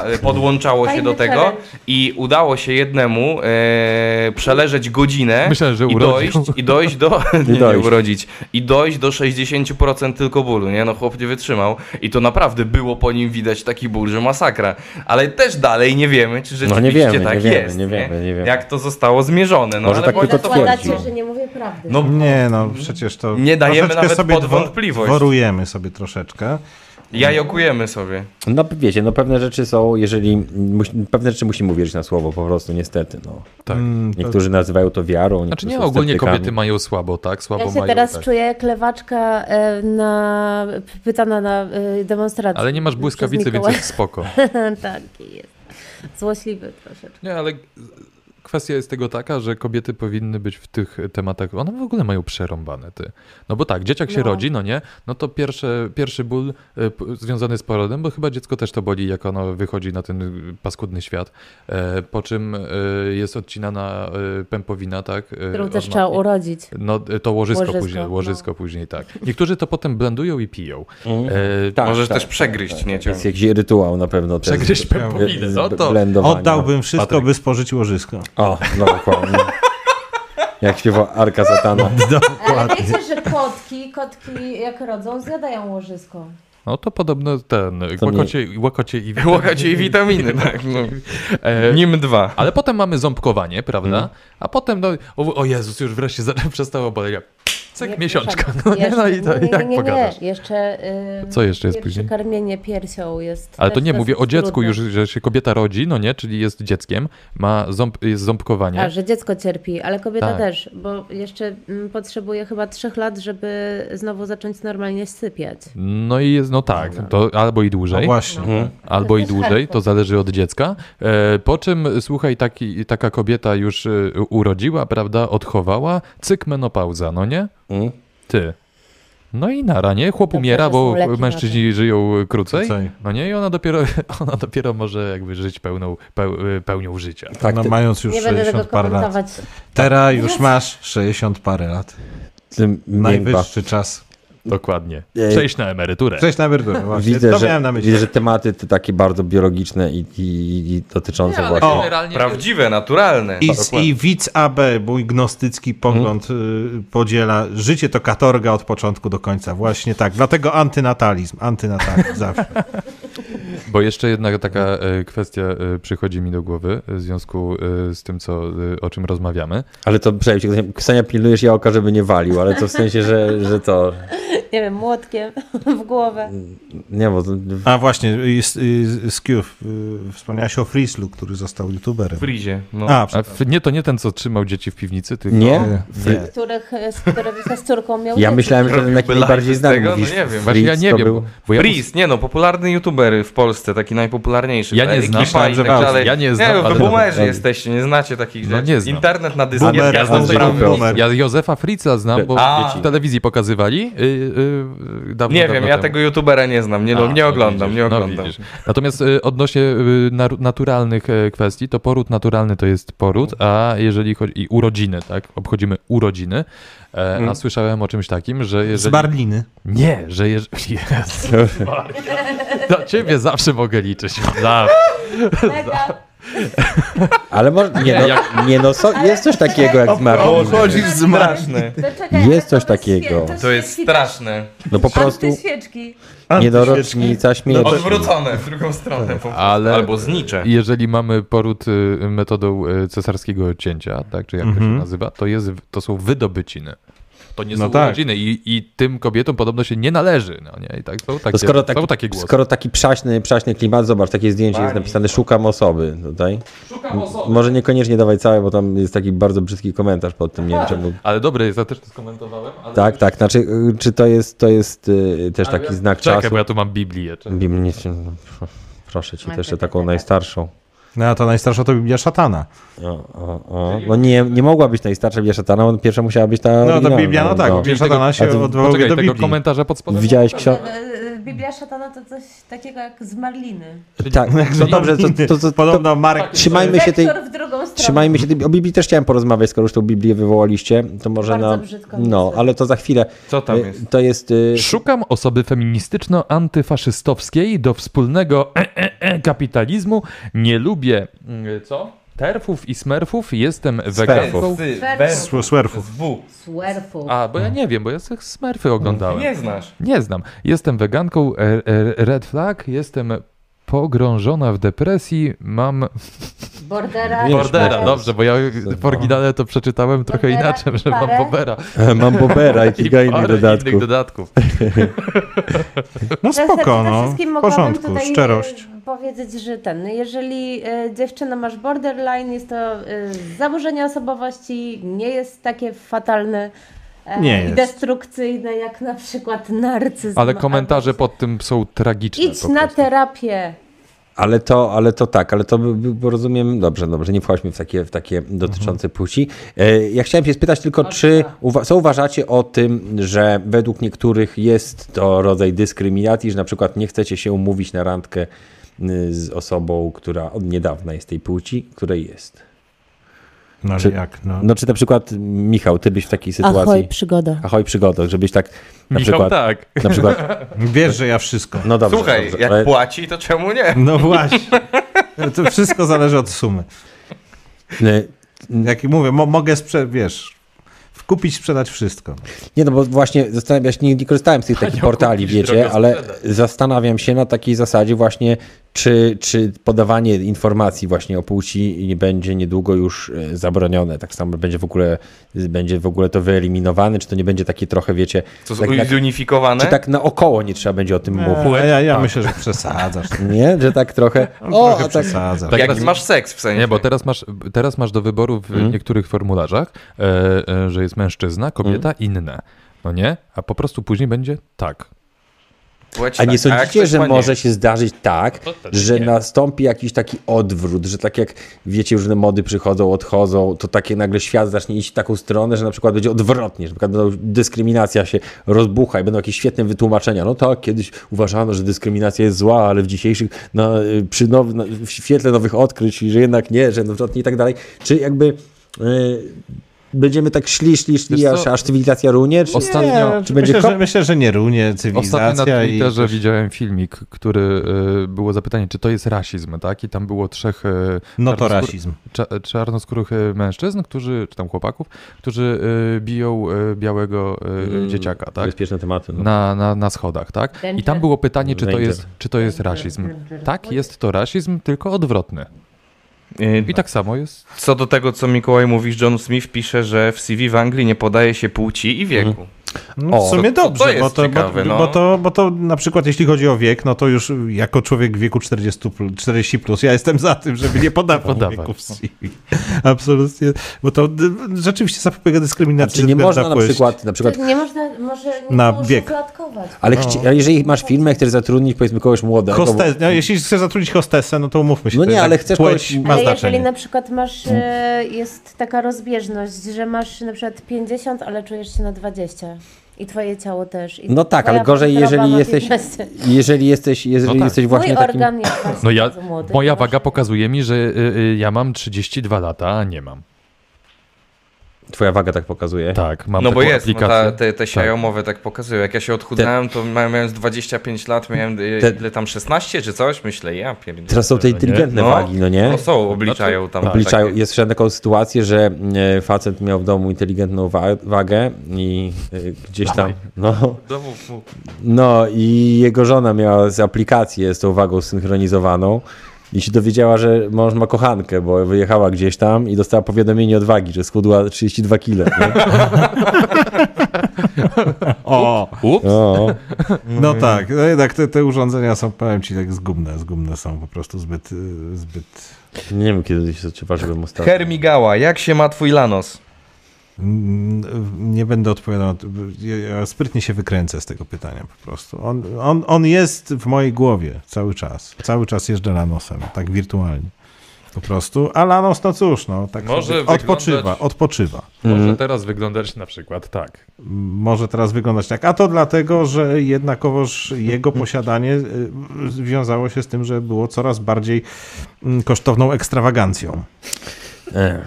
Speaker 6: e, podłączało się
Speaker 3: Fajny
Speaker 6: do tego
Speaker 3: challenge.
Speaker 6: i udało się jednemu e, przeleżeć godzinę
Speaker 1: Myślałem, że
Speaker 6: i,
Speaker 1: urodził.
Speaker 6: dojść, i dojść do... nie, nie,
Speaker 5: dojść.
Speaker 6: urodzić. I dojść do 60% tylko bólu, nie? No chłop nie wytrzymał. I to naprawdę było po nim widać taki ból, że masakra. Ale też dalej nie wiemy, czy rzeczywiście
Speaker 5: No, nie wiemy, nie
Speaker 6: tak
Speaker 5: wiemy,
Speaker 6: jest.
Speaker 5: nie wiemy, nie wiemy.
Speaker 6: Jak to zostało zmierzone. No,
Speaker 5: Może
Speaker 6: ale
Speaker 5: tak
Speaker 6: może
Speaker 5: tylko
Speaker 6: to
Speaker 5: twierdzi.
Speaker 3: Zakładacie, że nie mówię prawdy.
Speaker 6: No,
Speaker 4: Nie, no przecież to.
Speaker 6: Nie dajemy
Speaker 4: troszeczkę
Speaker 6: nawet pod
Speaker 4: dwo-
Speaker 6: wątpliwość.
Speaker 4: Dworujemy sobie troszeczkę.
Speaker 6: jajokujemy sobie.
Speaker 5: No wiecie, no pewne rzeczy są, jeżeli musi- pewne rzeczy musimy uwierzyć na słowo po prostu, niestety. No.
Speaker 1: Tak.
Speaker 4: Mm, to-
Speaker 5: Niektórzy nazywają to wiarą.
Speaker 1: Znaczy
Speaker 5: niektórzy
Speaker 1: nie,
Speaker 5: są
Speaker 1: ogólnie
Speaker 5: sceptykami.
Speaker 1: kobiety mają słabo, tak? Słabo
Speaker 3: Ja się
Speaker 1: mają.
Speaker 3: teraz
Speaker 1: tak.
Speaker 3: czuję jak lewaczka e, na, p- pytana na e, demonstracji.
Speaker 1: Ale nie masz
Speaker 3: przez
Speaker 1: błyskawicy, więc
Speaker 3: Mikołaja.
Speaker 1: jest spoko.
Speaker 3: Taki jest. Złośliwy troszeczkę.
Speaker 1: Nie, ale kwestia jest tego taka, że kobiety powinny być w tych tematach, one w ogóle mają przerąbane, ty. No bo tak, dzieciak się
Speaker 3: No.
Speaker 1: rodzi, no nie? No to pierwsze, pierwszy ból e, p- związany z porodem, bo chyba dziecko też to boli, jak ono wychodzi na ten y, paskudny świat. E, po czym e, jest odcinana e, pępowina, tak? e,
Speaker 3: Którą
Speaker 1: od
Speaker 3: też trzeba
Speaker 1: matki.
Speaker 3: urodzić.
Speaker 1: No e, to łożysko,
Speaker 3: Łożysko,
Speaker 1: później,
Speaker 3: no.
Speaker 1: łożysko później, tak. Niektórzy to potem blendują i piją. E,
Speaker 5: Tak,
Speaker 6: Możesz
Speaker 5: tak,
Speaker 6: też przegryźć, nie
Speaker 5: Jest jakiś rytuał na pewno e, też.
Speaker 1: Przegryź pępowinę, no to...
Speaker 5: Blendowanie.
Speaker 4: Oddałbym wszystko,
Speaker 1: Patryk.
Speaker 4: by spożyć łożysko.
Speaker 5: O, no dokładnie. Jak śpiewa Arka Satana.
Speaker 3: Ale wiecie, że kotki, kotki jak rodzą, zjadają łożysko.
Speaker 1: No to podobno ten, łakocie, łakocie i
Speaker 5: tak.
Speaker 6: Łokacie i witaminy, tak. No.
Speaker 1: E,
Speaker 6: Nim dwa.
Speaker 1: Ale potem mamy ząbkowanie, prawda?
Speaker 4: Mhm.
Speaker 1: A potem, no, o, o Jezus, już wreszcie za- przestało boleć. Ja, Cyk,
Speaker 3: Nie,
Speaker 1: miesiączka.
Speaker 3: przepraszam.
Speaker 1: No, nie, no i to,
Speaker 3: Jeszcze-
Speaker 1: jak pogadasz?
Speaker 3: Jeszcze, ym,
Speaker 1: Co jeszcze jest
Speaker 3: pierwsze
Speaker 1: później?
Speaker 3: Karmienie piersią jest.
Speaker 1: Ale to
Speaker 3: też
Speaker 1: nie,
Speaker 3: dosyć
Speaker 1: mówię o dziecku
Speaker 3: trudne.
Speaker 1: już, że się kobieta rodzi, no nie, czyli jest dzieckiem, ma ząb, jest ząbkowanie.
Speaker 3: A, że dziecko cierpi, ale kobieta
Speaker 1: Tak.
Speaker 3: też, bo jeszcze mm, potrzebuje chyba trzech lat, żeby znowu zacząć normalnie sypiać.
Speaker 1: No i jest, no tak, to albo i
Speaker 4: No
Speaker 1: dłużej,
Speaker 4: właśnie.
Speaker 6: Mhm.
Speaker 1: albo i
Speaker 3: To też
Speaker 1: dłużej,
Speaker 3: hartford.
Speaker 1: to zależy od dziecka. E, po czym, słuchaj, taki, taka kobieta już e, urodziła, prawda, odchowała, cyk, menopauza, no nie?
Speaker 5: Mm.
Speaker 1: Ty. No i nara, nie? Chłop
Speaker 3: Dobrze,
Speaker 1: umiera,
Speaker 3: że są
Speaker 1: bo
Speaker 3: leki na
Speaker 1: mężczyźni żyją krócej.
Speaker 4: Krócej.
Speaker 1: No nie, i ona dopiero, ona dopiero może jakby żyć pełną, peł, e, pełnią życia.
Speaker 5: Tak,
Speaker 4: no,
Speaker 5: ty-
Speaker 4: mając już
Speaker 3: nie będę tego Tak,
Speaker 4: 60 parę lat.
Speaker 3: komentować.
Speaker 4: Teraz już masz 60 parę lat.
Speaker 5: Tym miękka.
Speaker 4: Najwyższy czas.
Speaker 1: Dokładnie.
Speaker 5: Ej.
Speaker 1: Przejść na emeryturę.
Speaker 4: Cześć na emeryturę, właśnie.
Speaker 5: Widzę
Speaker 4: to
Speaker 5: że,
Speaker 4: miałem na myśli.
Speaker 5: widzę, że tematy te takie bardzo biologiczne i, i, i dotyczące
Speaker 6: ale
Speaker 5: właśnie.
Speaker 4: O,
Speaker 1: generalnie-
Speaker 6: Prawdziwe, naturalne.
Speaker 4: I,
Speaker 1: dokładnie.
Speaker 4: I widz AB, mój gnostycki pogląd
Speaker 5: Mhm.
Speaker 4: y, podziela, życie to katorga od początku do końca. Właśnie tak, dlatego antynatalizm, antynatalizm zawsze.
Speaker 1: Bo jeszcze jedna taka e, kwestia e, przychodzi mi do głowy e, w związku e, z tym, co, e, o czym rozmawiamy.
Speaker 5: Ale to przejdź, Ksenia pilnujesz ja oka, żeby nie walił, ale to w sensie, że, że to...
Speaker 2: Nie wiem, młotkiem w głowę.
Speaker 5: Nie, bo to,
Speaker 4: A właśnie, Skiów, y, wspomniałeś o Frislu, który został youtuberem.
Speaker 6: W Frizie. No.
Speaker 4: A,
Speaker 1: A w, nie, to nie ten, co trzymał dzieci w piwnicy, tylko...
Speaker 5: nie?
Speaker 4: nie.
Speaker 2: Których, z którymi z córką miał
Speaker 5: Ja
Speaker 2: dzieci.
Speaker 5: myślałem, że ten
Speaker 6: Robiłby
Speaker 5: taki
Speaker 6: live
Speaker 5: najbardziej
Speaker 6: z
Speaker 5: znany
Speaker 6: tego? No
Speaker 5: mówisz.
Speaker 6: nie wiem.
Speaker 1: Właśnie ja
Speaker 5: Fritz
Speaker 1: nie
Speaker 5: to
Speaker 1: wiem,
Speaker 5: był-
Speaker 1: bo ja...
Speaker 6: Freeze, nie no, popularny youtuber w Polsce, taki najpopularniejszy.
Speaker 1: Ja nie
Speaker 6: Erik
Speaker 1: znam.
Speaker 6: Lipa i tak
Speaker 4: Myślałem, że
Speaker 6: dalej.
Speaker 1: ja nie znam,
Speaker 6: Nie,
Speaker 1: ale
Speaker 6: wy
Speaker 1: dobra,
Speaker 6: boomerzy
Speaker 5: dobra.
Speaker 6: jesteście, nie znacie takich
Speaker 1: No,
Speaker 6: rzeczy.
Speaker 1: nie znam.
Speaker 6: Internet na dyskach.
Speaker 4: Boomer,
Speaker 1: Ja, znam
Speaker 4: Andrzej
Speaker 1: tego-
Speaker 4: Popiołek.
Speaker 1: ja Józefa Fritza znam, bo
Speaker 6: A.
Speaker 1: dzieci w telewizji pokazywali y, y, dawno,
Speaker 6: Nie
Speaker 1: dawno
Speaker 6: wiem, ja
Speaker 1: temu.
Speaker 6: tego youtubera nie znam, nie,
Speaker 1: A,
Speaker 6: nie
Speaker 1: no
Speaker 6: oglądam,
Speaker 1: widzisz,
Speaker 6: nie
Speaker 1: no
Speaker 6: oglądam.
Speaker 1: widzisz. Natomiast y, odnośnie y, naru- naturalnych y, kwestii, to poród naturalny to jest poród, a jeżeli chodzi i urodziny, tak? Obchodzimy urodziny, e, a
Speaker 6: Mhm.
Speaker 1: słyszałem o czymś takim, że
Speaker 4: Z
Speaker 1: jeżeli...
Speaker 4: Barliny.
Speaker 1: Nie, że jeżeli... Jezus Maria. Na ciebie zawsze mogę liczyć. Zawsze.
Speaker 2: Mega.
Speaker 5: Ale może, nie, no, nie no, so, jest coś takiego jak
Speaker 4: O,
Speaker 5: zmarł.
Speaker 4: chodzisz z
Speaker 6: Straszne.
Speaker 2: To czekaj,
Speaker 5: Jest
Speaker 2: ale
Speaker 5: coś
Speaker 2: to bez
Speaker 5: takiego.
Speaker 2: święta
Speaker 6: To jest
Speaker 2: świeci, tak?
Speaker 6: straszne.
Speaker 5: No po prostu
Speaker 2: Anty świeczki.
Speaker 5: niedorocznica
Speaker 1: No,
Speaker 5: śmierci.
Speaker 6: Odwrócone w drugą stronę po prostu.
Speaker 1: Ale-
Speaker 6: Albo znicze.
Speaker 1: Jeżeli mamy poród y, metodą y, cesarskiego cięcia, tak, czy jak to się nazywa, to, jest, to są wydobyciny. To nie
Speaker 4: No
Speaker 1: są
Speaker 4: tak.
Speaker 1: urodziny i, i tym kobietom podobno się nie należy. No nie? I tak są takie,
Speaker 5: To skoro
Speaker 1: są
Speaker 5: taki,
Speaker 1: takie głosy.
Speaker 5: skoro taki przaśny, przaśny klimat, zobacz, takie zdjęcie jest napisane, szukam osoby tutaj.
Speaker 6: Szukam osoby.
Speaker 5: Może niekoniecznie dawaj całe, bo tam jest taki bardzo brzydki komentarz pod tym, nie wiem czemu.
Speaker 1: Ale dobre jest, ja też to skomentowałem. Ale
Speaker 5: Tak, tak, znaczy, y, czy to jest, to jest y, też taki znak
Speaker 1: Czekaj,
Speaker 5: czasu?
Speaker 1: bo ja tu mam Biblię. Czekaj.
Speaker 5: Biblia- nie, się- no, pr- Proszę cię, też taką najstarszą.
Speaker 4: No a to najstarsza to Biblia szatana.
Speaker 5: O, o, o. No nie, nie mogła być najstarsza Biblia szatana, bo pierwsza musiała być ta
Speaker 4: No to
Speaker 5: oryginalna,
Speaker 4: Biblia, no tak, Biblia szatana
Speaker 5: A ty-
Speaker 4: się odwołuje
Speaker 1: Poczekaj,
Speaker 4: do
Speaker 1: tego
Speaker 4: Biblii.
Speaker 1: komentarza pod spodem.
Speaker 5: Widziałeś książkę?
Speaker 2: Y, Biblia szatana to coś takiego jak z Marliny.
Speaker 5: Tak, no dobrze, to, to, to, to,
Speaker 4: Podobno Marek...
Speaker 5: trzymajmy się tej...
Speaker 2: Wektor w drugą stronę.
Speaker 5: Trzymajmy się tej... O Biblii też chciałem porozmawiać, skoro już tą Biblię wywołaliście, to może
Speaker 2: Bardzo
Speaker 5: na...
Speaker 2: brzydko
Speaker 5: No,
Speaker 2: niestety.
Speaker 5: ale to za chwilę.
Speaker 6: Co tam
Speaker 5: Y,
Speaker 6: jest?
Speaker 5: To jest... y,
Speaker 1: Szukam osoby feministyczno-antyfaszystowskiej do wspólnego e, e, e, kapitalizmu. Nie lubię, mm, co? Terfów i smerfów. Jestem weganką.
Speaker 2: Bez-
Speaker 4: Swerfów.
Speaker 6: W.
Speaker 2: Swerfu.
Speaker 1: A, bo ja nie wiem, bo ja tych smerfy oglądałem.
Speaker 6: Nie znasz.
Speaker 1: Nie znam. Jestem weganką, e, e, red flag, jestem pogrążona w depresji, mam...
Speaker 2: Bordera.
Speaker 5: Wiesz,
Speaker 1: Bordera,
Speaker 5: bo-
Speaker 1: dobrze, bo ja w oryginale to przeczytałem trochę
Speaker 2: Bordera,
Speaker 1: inaczej, że mam
Speaker 2: parę.
Speaker 1: bobera.
Speaker 5: E, Mam Bobera i kilka
Speaker 1: parę
Speaker 5: innych dodatków.
Speaker 1: dodatków.
Speaker 4: No spoko, no.
Speaker 2: wszystkim
Speaker 4: W
Speaker 2: mogłabym
Speaker 4: porządku,
Speaker 2: tutaj
Speaker 4: szczerość.
Speaker 2: e, powiedzieć, że ten, jeżeli e, dziewczyna masz borderline, jest to e, zaburzenie osobowości, nie jest takie fatalne e,
Speaker 4: Nie
Speaker 2: i
Speaker 4: jest.
Speaker 2: destrukcyjne jak na przykład narcyzm.
Speaker 1: Ale komentarze
Speaker 2: albo-
Speaker 1: pod tym są tragiczne.
Speaker 2: Idź
Speaker 1: po
Speaker 2: na
Speaker 1: prostu.
Speaker 2: terapię.
Speaker 5: Ale to, ale to tak, ale to by- by- bo rozumiem, dobrze, dobrze, nie wchodźmy w takie, w takie dotyczące płci. E, Ja chciałem się spytać tylko, czy uwa- co uważacie o tym, że według niektórych jest to rodzaj dyskryminacji, że na przykład nie chcecie się umówić na randkę y, z osobą, która od niedawna jest tej płci, której jest.
Speaker 4: No ale
Speaker 5: Czy-
Speaker 4: jak, no.
Speaker 5: No czy na przykład, Michał, ty byś w takiej sytuacji...
Speaker 3: Ahoj, przygoda.
Speaker 5: Ahoj przygodą, żebyś tak na
Speaker 1: Michał,
Speaker 5: przykład...
Speaker 1: tak.
Speaker 5: Na przykład,
Speaker 4: Wiesz, że ja wszystko.
Speaker 5: no dobrze,
Speaker 6: Słuchaj,
Speaker 5: dobrze, ale-
Speaker 6: jak płaci, to czemu nie?
Speaker 1: Tak,
Speaker 4: No właśnie. To wszystko zależy od sumy.
Speaker 5: y,
Speaker 4: Jak mówię, mo mogę, sprze- wiesz, kupić, sprzedać wszystko.
Speaker 5: Nie, no bo właśnie zastanawiam się, nie, nie korzystałem z tych takich portali,
Speaker 1: kupisz,
Speaker 5: wiecie,
Speaker 1: drogo
Speaker 5: ale zastanawiam się na takiej zasadzie właśnie, czy, czy podawanie informacji właśnie o płci nie będzie niedługo już e, zabronione, tak samo będzie w ogóle, będzie w ogóle to wyeliminowane, czy to nie będzie takie trochę, wiecie,
Speaker 6: To
Speaker 5: tak na,
Speaker 6: tak, zunifikowane?
Speaker 5: czy tak naokoło nie trzeba będzie o tym mówić,
Speaker 4: E, Ja, ja, ja myślę, że przesadzasz.
Speaker 5: nie? Że tak trochę, Tak. o,
Speaker 4: Trochę
Speaker 5: a tak,
Speaker 4: przesadzasz.
Speaker 1: Tak.
Speaker 6: Jaki
Speaker 1: teraz-
Speaker 6: masz seks w sensie?
Speaker 1: Nie, bo teraz masz, teraz masz do wyboru w niektórych formularzach, e, e, że jest mężczyzna, kobieta, inne. No nie? A po prostu później będzie tak.
Speaker 6: Płeć
Speaker 5: A nie
Speaker 6: tak, jak
Speaker 5: sądzicie,
Speaker 6: ktoś
Speaker 5: że
Speaker 6: ma nie? No
Speaker 5: może się zdarzyć tak,
Speaker 1: wtedy
Speaker 5: że nastąpi jakiś taki odwrót, że tak jak wiecie, różne mody przychodzą, odchodzą, to takie nagle świat zacznie iść w taką stronę, że na przykład będzie odwrotnie, że na przykład będą- dyskryminacja się rozbucha i będą jakieś świetne wytłumaczenia. No tak, kiedyś uważano, że dyskryminacja jest zła, ale w dzisiejszych, na, y, przy now, na, w świetle nowych odkryć, że jednak nie, że odwrotnie i tak dalej. Czy jakby... y, będziemy tak szli, szli, szli,
Speaker 1: Wiesz
Speaker 5: aż,
Speaker 1: co?
Speaker 5: aż cywilizacja runie? Czy...
Speaker 1: Ostatnio,
Speaker 5: Czy będzie
Speaker 4: myślę,
Speaker 5: kop-
Speaker 4: że, myślę, że nie runie cywilizacja
Speaker 1: ostatnio na
Speaker 4: i
Speaker 1: Twitterze widziałem filmik, który y, było zapytanie, czy to jest rasizm, tak? I tam było trzech y,
Speaker 4: no to
Speaker 1: czarnoskór-
Speaker 4: rasizm.
Speaker 1: cza- czarnoskórych y, mężczyzn, którzy, czy tam chłopaków, którzy y, biją y, białego y,
Speaker 6: Mm.
Speaker 1: dzieciaka, tak?
Speaker 5: Bezpieczne tematy. No.
Speaker 1: na, na, na schodach, tak? I tam
Speaker 2: Danger.
Speaker 1: było pytanie, czy to
Speaker 5: Danger.
Speaker 1: jest, czy to jest rasizm. Tak, jest to rasizm, tylko odwrotny.
Speaker 6: E,
Speaker 1: I tak samo jest.
Speaker 6: Co do tego, co Mikołaj mówisz, John Smith pisze, że w CV w Anglii nie podaje się płci i
Speaker 5: Mhm.
Speaker 6: wieku.
Speaker 4: No,
Speaker 1: O,
Speaker 4: w sumie
Speaker 6: to- to
Speaker 4: dobrze,
Speaker 6: jest
Speaker 4: bo, to,
Speaker 6: ciekawe,
Speaker 4: bo,
Speaker 6: no.
Speaker 4: bo, to, bo to na przykład jeśli chodzi o wiek, no to już jako człowiek w wieku 40 plus, 40 plus ja jestem za tym, żeby nie podawał,
Speaker 1: Podawać.
Speaker 4: wieku w CV. Absolutnie, bo to d- rzeczywiście zapobiega dyskryminacji.
Speaker 5: Czy Znaczy, nie
Speaker 4: ze względu
Speaker 5: można na
Speaker 4: płeć.
Speaker 5: przykład, na przykład
Speaker 2: Nie można, może nie
Speaker 4: Na
Speaker 2: było
Speaker 4: wiek.
Speaker 2: szufladkować.
Speaker 5: ale chci- a jeżeli masz firmę, chcesz zatrudnić powiedzmy kogoś młodego,
Speaker 4: Hostes, no, jeśli chcesz zatrudnić hostesę, no to umówmy się.
Speaker 5: No
Speaker 4: to
Speaker 5: nie,
Speaker 4: jednak
Speaker 5: ale chcesz
Speaker 4: płeć
Speaker 5: kogoś-
Speaker 4: ma
Speaker 2: Ale
Speaker 4: znaczenie.
Speaker 2: jeżeli na przykład masz, e, jest taka rozbieżność, że masz na przykład 50, ale czujesz się na 20 i twoje ciało też. I
Speaker 5: No tak,
Speaker 2: twoja
Speaker 5: ale gorzej,
Speaker 2: wątroba
Speaker 5: jeżeli
Speaker 2: ma
Speaker 5: jesteś-
Speaker 2: 15.
Speaker 5: jeżeli jesteś, jeżeli
Speaker 1: No tak.
Speaker 5: jesteś
Speaker 2: Mój
Speaker 5: właśnie takim...
Speaker 2: organ jest właśnie
Speaker 1: No ja,
Speaker 2: bardzo młody.
Speaker 1: moja
Speaker 2: Masz-
Speaker 1: waga pokazuje mi, że y, y, ja mam 32 lata, a nie mam.
Speaker 5: Twoja waga tak pokazuje.
Speaker 1: Tak, mam
Speaker 6: no
Speaker 1: taką
Speaker 6: bo jest, no
Speaker 1: aplikację.
Speaker 6: ta, te, te xiaomowe tak pokazują. Jak ja się odchudzałem, to miałem miałem z 25 lat, miałem e,
Speaker 5: Te-
Speaker 6: ile tam 16 czy coś, myślę, ja pierdolę.
Speaker 5: Teraz są te inteligentne
Speaker 6: No.
Speaker 5: wagi, no nie? Znaczy,
Speaker 6: No są, obliczają tam.
Speaker 5: Obliczają,
Speaker 6: takie-
Speaker 5: jest jeszcze taką sytuację, że e, facet miał w domu inteligentną wa- wagę i e, gdzieś tam, no,
Speaker 6: No, mów, mów.
Speaker 5: no i jego żona miała z aplikację z tą wagą synchronizowaną i się dowiedziała, że mąż ma kochankę, bo wyjechała gdzieś tam i dostała powiadomienie od wagi, że schudła 32 kilo. Nie?
Speaker 4: O,
Speaker 5: No,
Speaker 4: no tak, no jednak te, te urządzenia są, powiem ci, tak zgubne, zgubne są po prostu zbyt, y, zbyt
Speaker 5: nie wiem, kiedy się przeważyłem ostatnio.
Speaker 6: Hermigała, jak się ma twój lanos?
Speaker 4: Mm, Nie będę odpowiadał. na to. Ja- Ja sprytnie się wykręcę z tego pytania po prostu. On, on, on jest w mojej głowie cały czas. Cały czas jeżdżę lanosem, tak wirtualnie. Po prostu. A lanos, no cóż, no, tak
Speaker 6: Może
Speaker 4: sobie
Speaker 6: wyglądać-
Speaker 4: odpoczywa, odpoczywa.
Speaker 6: Mhm.
Speaker 1: Może teraz wyglądać na przykład tak.
Speaker 4: Może teraz wyglądać tak. A to dlatego, że jednakowoż jego posiadanie y, wiązało się z tym, że było coraz bardziej mm, kosztowną ekstrawagancją.
Speaker 5: E.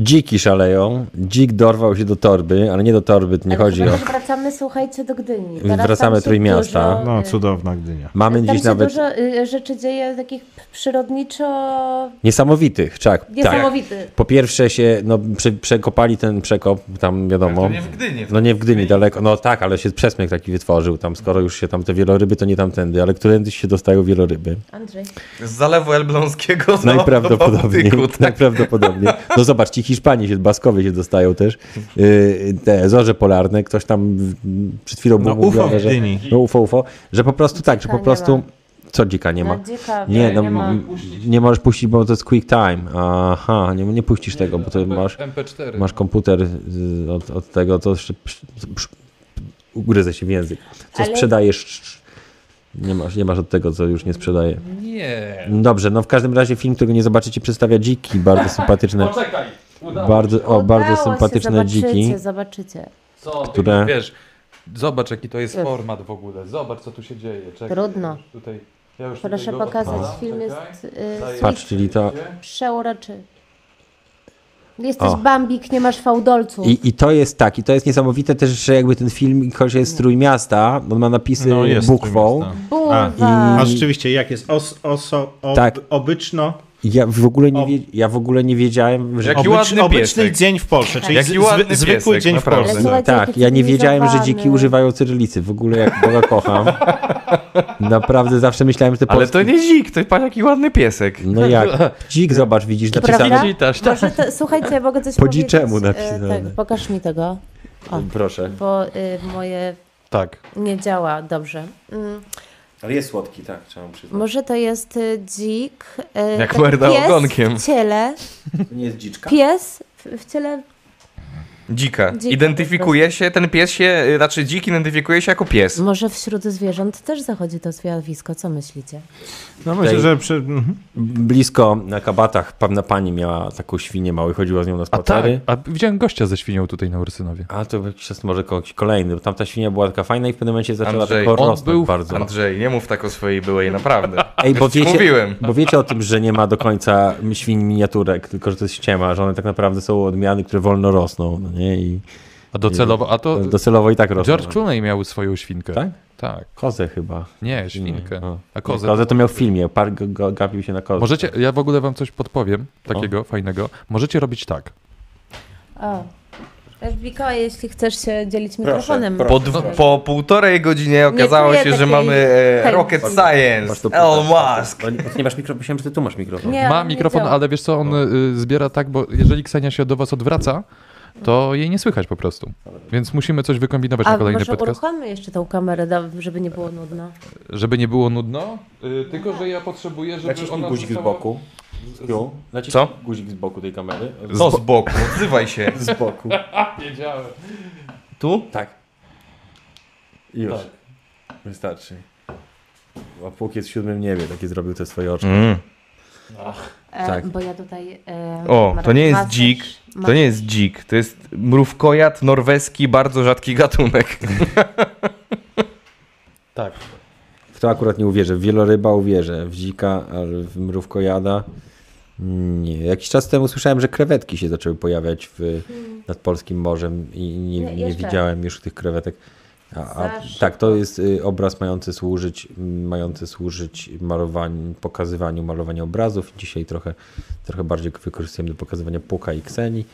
Speaker 5: Dziki szaleją, dzik dorwał się do torby, ale nie do torby, to nie
Speaker 2: Ale
Speaker 5: chodzi
Speaker 2: chyba,
Speaker 5: o...
Speaker 2: że Wracamy, słuchajcie, do Gdyni.
Speaker 5: Wracamy
Speaker 2: tam się
Speaker 5: Trójmiasta.
Speaker 2: dużo,
Speaker 4: No,
Speaker 2: y,
Speaker 4: cudowna Gdynia.
Speaker 5: Mamy
Speaker 2: Tam
Speaker 5: dziś
Speaker 2: się
Speaker 5: nawet
Speaker 2: dużo y, rzeczy dzieje takich przyrodniczo
Speaker 5: niesamowitych, tak, tak.
Speaker 2: niesamowitych.
Speaker 5: Po pierwsze się no, prze, przekopali ten przekop, tam wiadomo.
Speaker 6: Ale to nie w Gdyni.
Speaker 5: No nie w Gdyni, daleko. No tak, ale się przesmyk taki wytworzył tam, skoro już się tam te wieloryby, to nie tamtędy, ale którędy się dostają wieloryby.
Speaker 2: Andrzej.
Speaker 6: Z zalewu elbląskiego do
Speaker 5: Najprawdopodobniej.
Speaker 6: Bałtyku, No, tak.
Speaker 5: Najprawdopodobniej. No zobacz, ci Hiszpanie się, Baskowie się dostają też. Yy, te zorze polarne, ktoś tam w- m, przed chwilą
Speaker 4: No,
Speaker 5: był mówił,
Speaker 4: UFO w
Speaker 5: że,
Speaker 4: Gdyni.
Speaker 5: No UFO, UFO, że po prostu tak, że
Speaker 2: Dzika
Speaker 5: po
Speaker 2: nie
Speaker 5: prostu...
Speaker 2: ma.
Speaker 5: Co dzika nie ma?
Speaker 2: No, dzika,
Speaker 5: Nie, no,
Speaker 2: nie ma.
Speaker 5: m- nie możesz puścić, bo to jest quick time. Aha, nie, nie puścisz tego, bo to
Speaker 1: Tak,
Speaker 5: masz...
Speaker 1: MP4.
Speaker 5: Masz komputer y, od, od tego, to jeszcze psz- psz- ugryzę się w język. Co
Speaker 2: Ale-
Speaker 5: sprzedajesz? sz- sz- Nie masz, nie masz od tego, co już nie sprzedaje.
Speaker 1: Nie.
Speaker 5: Dobrze, no w każdym razie film, którego nie zobaczycie, przedstawia dziki, bardzo sympatyczne.
Speaker 1: Poczekaj.
Speaker 5: Bardzo, o, bardzo
Speaker 2: Udało się,
Speaker 5: sympatyczne
Speaker 2: zobaczycie,
Speaker 5: dziki.
Speaker 2: Zobaczycie.
Speaker 1: Co ty
Speaker 5: Które-
Speaker 1: wiesz, zobacz jaki to jest format w ogóle, zobacz co tu się dzieje. Czekaj,
Speaker 2: Trudno.
Speaker 1: już Tutaj, ja już tutaj
Speaker 2: Proszę
Speaker 1: go
Speaker 2: pokazać,
Speaker 1: odpalam,
Speaker 2: film
Speaker 1: czekaj.
Speaker 2: jest y,
Speaker 5: Patrz, czyli to.
Speaker 2: przeuroczy. Jesteś
Speaker 5: O.
Speaker 2: bambik, nie masz fałdolców.
Speaker 5: I, I to jest tak, i to jest niesamowite też, że jakby ten film, choć jest z Trójmiasta, on ma napisy
Speaker 4: No, jest
Speaker 5: bukwą.
Speaker 4: Trójmiasta.
Speaker 2: Bulwa.
Speaker 5: i-
Speaker 4: A rzeczywiście, jak jest os, oso, ob,
Speaker 5: Tak.
Speaker 4: obyczno,
Speaker 5: I Ja w ogóle nie,
Speaker 4: O.
Speaker 5: wie, ja w ogóle nie wiedziałem, że
Speaker 6: Jak- Jaki ładny
Speaker 4: obyczny
Speaker 6: piesek.
Speaker 4: dzień w Polsce, czyli
Speaker 6: Jaki
Speaker 4: z,
Speaker 6: ładny
Speaker 4: zwy, zwykły
Speaker 6: piesek,
Speaker 4: dzień w
Speaker 6: naprawdę.
Speaker 4: Polsce.
Speaker 2: Ale
Speaker 5: Tak, ja nie wiedziałem, że dziki
Speaker 2: cywilizowany.
Speaker 5: używają cyrylicy. W ogóle jak Boga kocham. Naprawdę zawsze myślałem, że te
Speaker 6: Ale
Speaker 5: polskie...
Speaker 6: to nie dzik, to patrz jaki ładny piesek.
Speaker 5: No jak? Dzik, zobacz, widzisz
Speaker 2: Prawda?
Speaker 5: napisane.
Speaker 1: Czytasz, tak?
Speaker 2: Może to, słuchajcie, mogę coś
Speaker 5: Po
Speaker 2: powiedzieć.
Speaker 5: dziczemu
Speaker 2: E,
Speaker 5: napisane.
Speaker 2: Tak, pokaż mi tego,
Speaker 5: Proszę.
Speaker 2: bo y, moje
Speaker 1: tak.
Speaker 2: nie działa dobrze. Mm,
Speaker 5: Ale jest słodki, tak, trzeba mu przyznać.
Speaker 2: może to jest y, dzik. y,
Speaker 6: Jak
Speaker 2: taki
Speaker 6: merda
Speaker 2: pies
Speaker 6: ogonkiem.
Speaker 2: w ciele.
Speaker 5: To nie jest dziczka.
Speaker 2: Pies w, w ciele
Speaker 6: Dzika.
Speaker 2: Dzika,
Speaker 6: Identyfikuje się, ten pies się, y, znaczy dzik identyfikuje się jako pies.
Speaker 2: Może wśród zwierząt też zachodzi to zjawisko, co myślicie?
Speaker 4: No myślę,
Speaker 5: Tej-
Speaker 4: że przy... mhm.
Speaker 5: Blisko na kabatach pewna pani miała taką świnię małą i chodziła z nią na
Speaker 1: A tak,
Speaker 5: spacery.
Speaker 1: a widziałem gościa ze świnią tutaj na Ursynowie.
Speaker 5: A to jakiś czas może kogoś kolejny, bo tamta świnia była taka fajna i w pewnym momencie zaczęła
Speaker 6: Andrzej,
Speaker 5: tylko
Speaker 1: on
Speaker 5: rosnąć
Speaker 1: był-
Speaker 5: bardzo.
Speaker 6: Andrzej, nie mów tak o swojej byłej, naprawdę.
Speaker 5: Ej, bo
Speaker 6: Już ci
Speaker 5: wiecie,
Speaker 6: mówiłem.
Speaker 5: bo wiecie o tym, że nie ma do końca świń miniaturek, tylko że to jest ściema, że one tak naprawdę są odmiany, które wolno rosną. No nie? I
Speaker 1: A docelowo, a to
Speaker 5: docelowo i tak rosną.
Speaker 1: George Clooney miał swoją świnkę.
Speaker 5: Tak?
Speaker 1: Tak.
Speaker 5: Kozę chyba.
Speaker 1: Nie, świnkę.
Speaker 5: no.
Speaker 1: A
Speaker 5: Kozę.
Speaker 1: kozę.
Speaker 5: to miał w filmie, par go, go, gapił się na kozę.
Speaker 1: Możecie, ja w ogóle wam coś podpowiem, takiego fajnego. Możecie robić tak.
Speaker 2: O. Też Biko, jeśli chcesz się dzielić mikrofonem.
Speaker 6: Po, dw- po półtorej godzinie okazało
Speaker 2: czuję
Speaker 6: się, że
Speaker 2: takiej
Speaker 6: mamy e,
Speaker 2: chęci.
Speaker 6: Rocket
Speaker 5: Masz
Speaker 6: Science,
Speaker 5: tu
Speaker 6: Elon
Speaker 5: pokaż.
Speaker 6: Musk.
Speaker 5: O, nie- o, Nie masz mikrofonu, myślałem, że ty tu masz mikrofon.
Speaker 2: Nie,
Speaker 1: Ma
Speaker 2: on nie
Speaker 1: mikrofon,
Speaker 2: działa.
Speaker 1: ale wiesz co, on y, zbiera tak, bo jeżeli Ksenia się do was odwraca, to jej nie słychać po prostu. Więc musimy coś wykombinować
Speaker 2: A
Speaker 1: na kolejny
Speaker 2: może
Speaker 1: podcast.
Speaker 2: uruchommy jeszcze tą kamerę, do- żeby nie było nudno.
Speaker 1: Żeby nie było nudno, y, tylko że ja potrzebuję, żeby ona została-
Speaker 5: Tu. Naciśnij
Speaker 6: Co?
Speaker 5: guzik z boku tej kamery.
Speaker 6: Co z boku? Odzywaj się.
Speaker 5: z boku.
Speaker 1: Wiedziałem.
Speaker 6: Tu?
Speaker 5: Tak. Już.
Speaker 1: Tak.
Speaker 5: Wystarczy. A Pług jest w siódmym niebie, takie zrobił te swoje oczy.
Speaker 6: Mm.
Speaker 2: E,
Speaker 5: Tak.
Speaker 2: Bo ja tutaj. E,
Speaker 6: O, to nie jest
Speaker 2: masaż-
Speaker 6: dzik. To
Speaker 2: masaż-
Speaker 6: nie jest dzik. To jest mrówkojad norweski, bardzo rzadki gatunek.
Speaker 5: W to akurat nie uwierzę. W wieloryba uwierzę. W dzika, ale w mrówkojada. Nie. Jakiś czas temu słyszałem, że krewetki się zaczęły pojawiać w, nad polskim morzem i nie,
Speaker 2: Hmm. Nie,
Speaker 5: nie,
Speaker 2: jeszcze.
Speaker 5: widziałem już tych krewetek. A, a,
Speaker 2: Za szybko.
Speaker 5: tak, to jest y, obraz mający służyć, mający służyć malowaniu, pokazywaniu malowania obrazów. Dzisiaj trochę, trochę bardziej wykorzystujemy do pokazywania puka i kseni,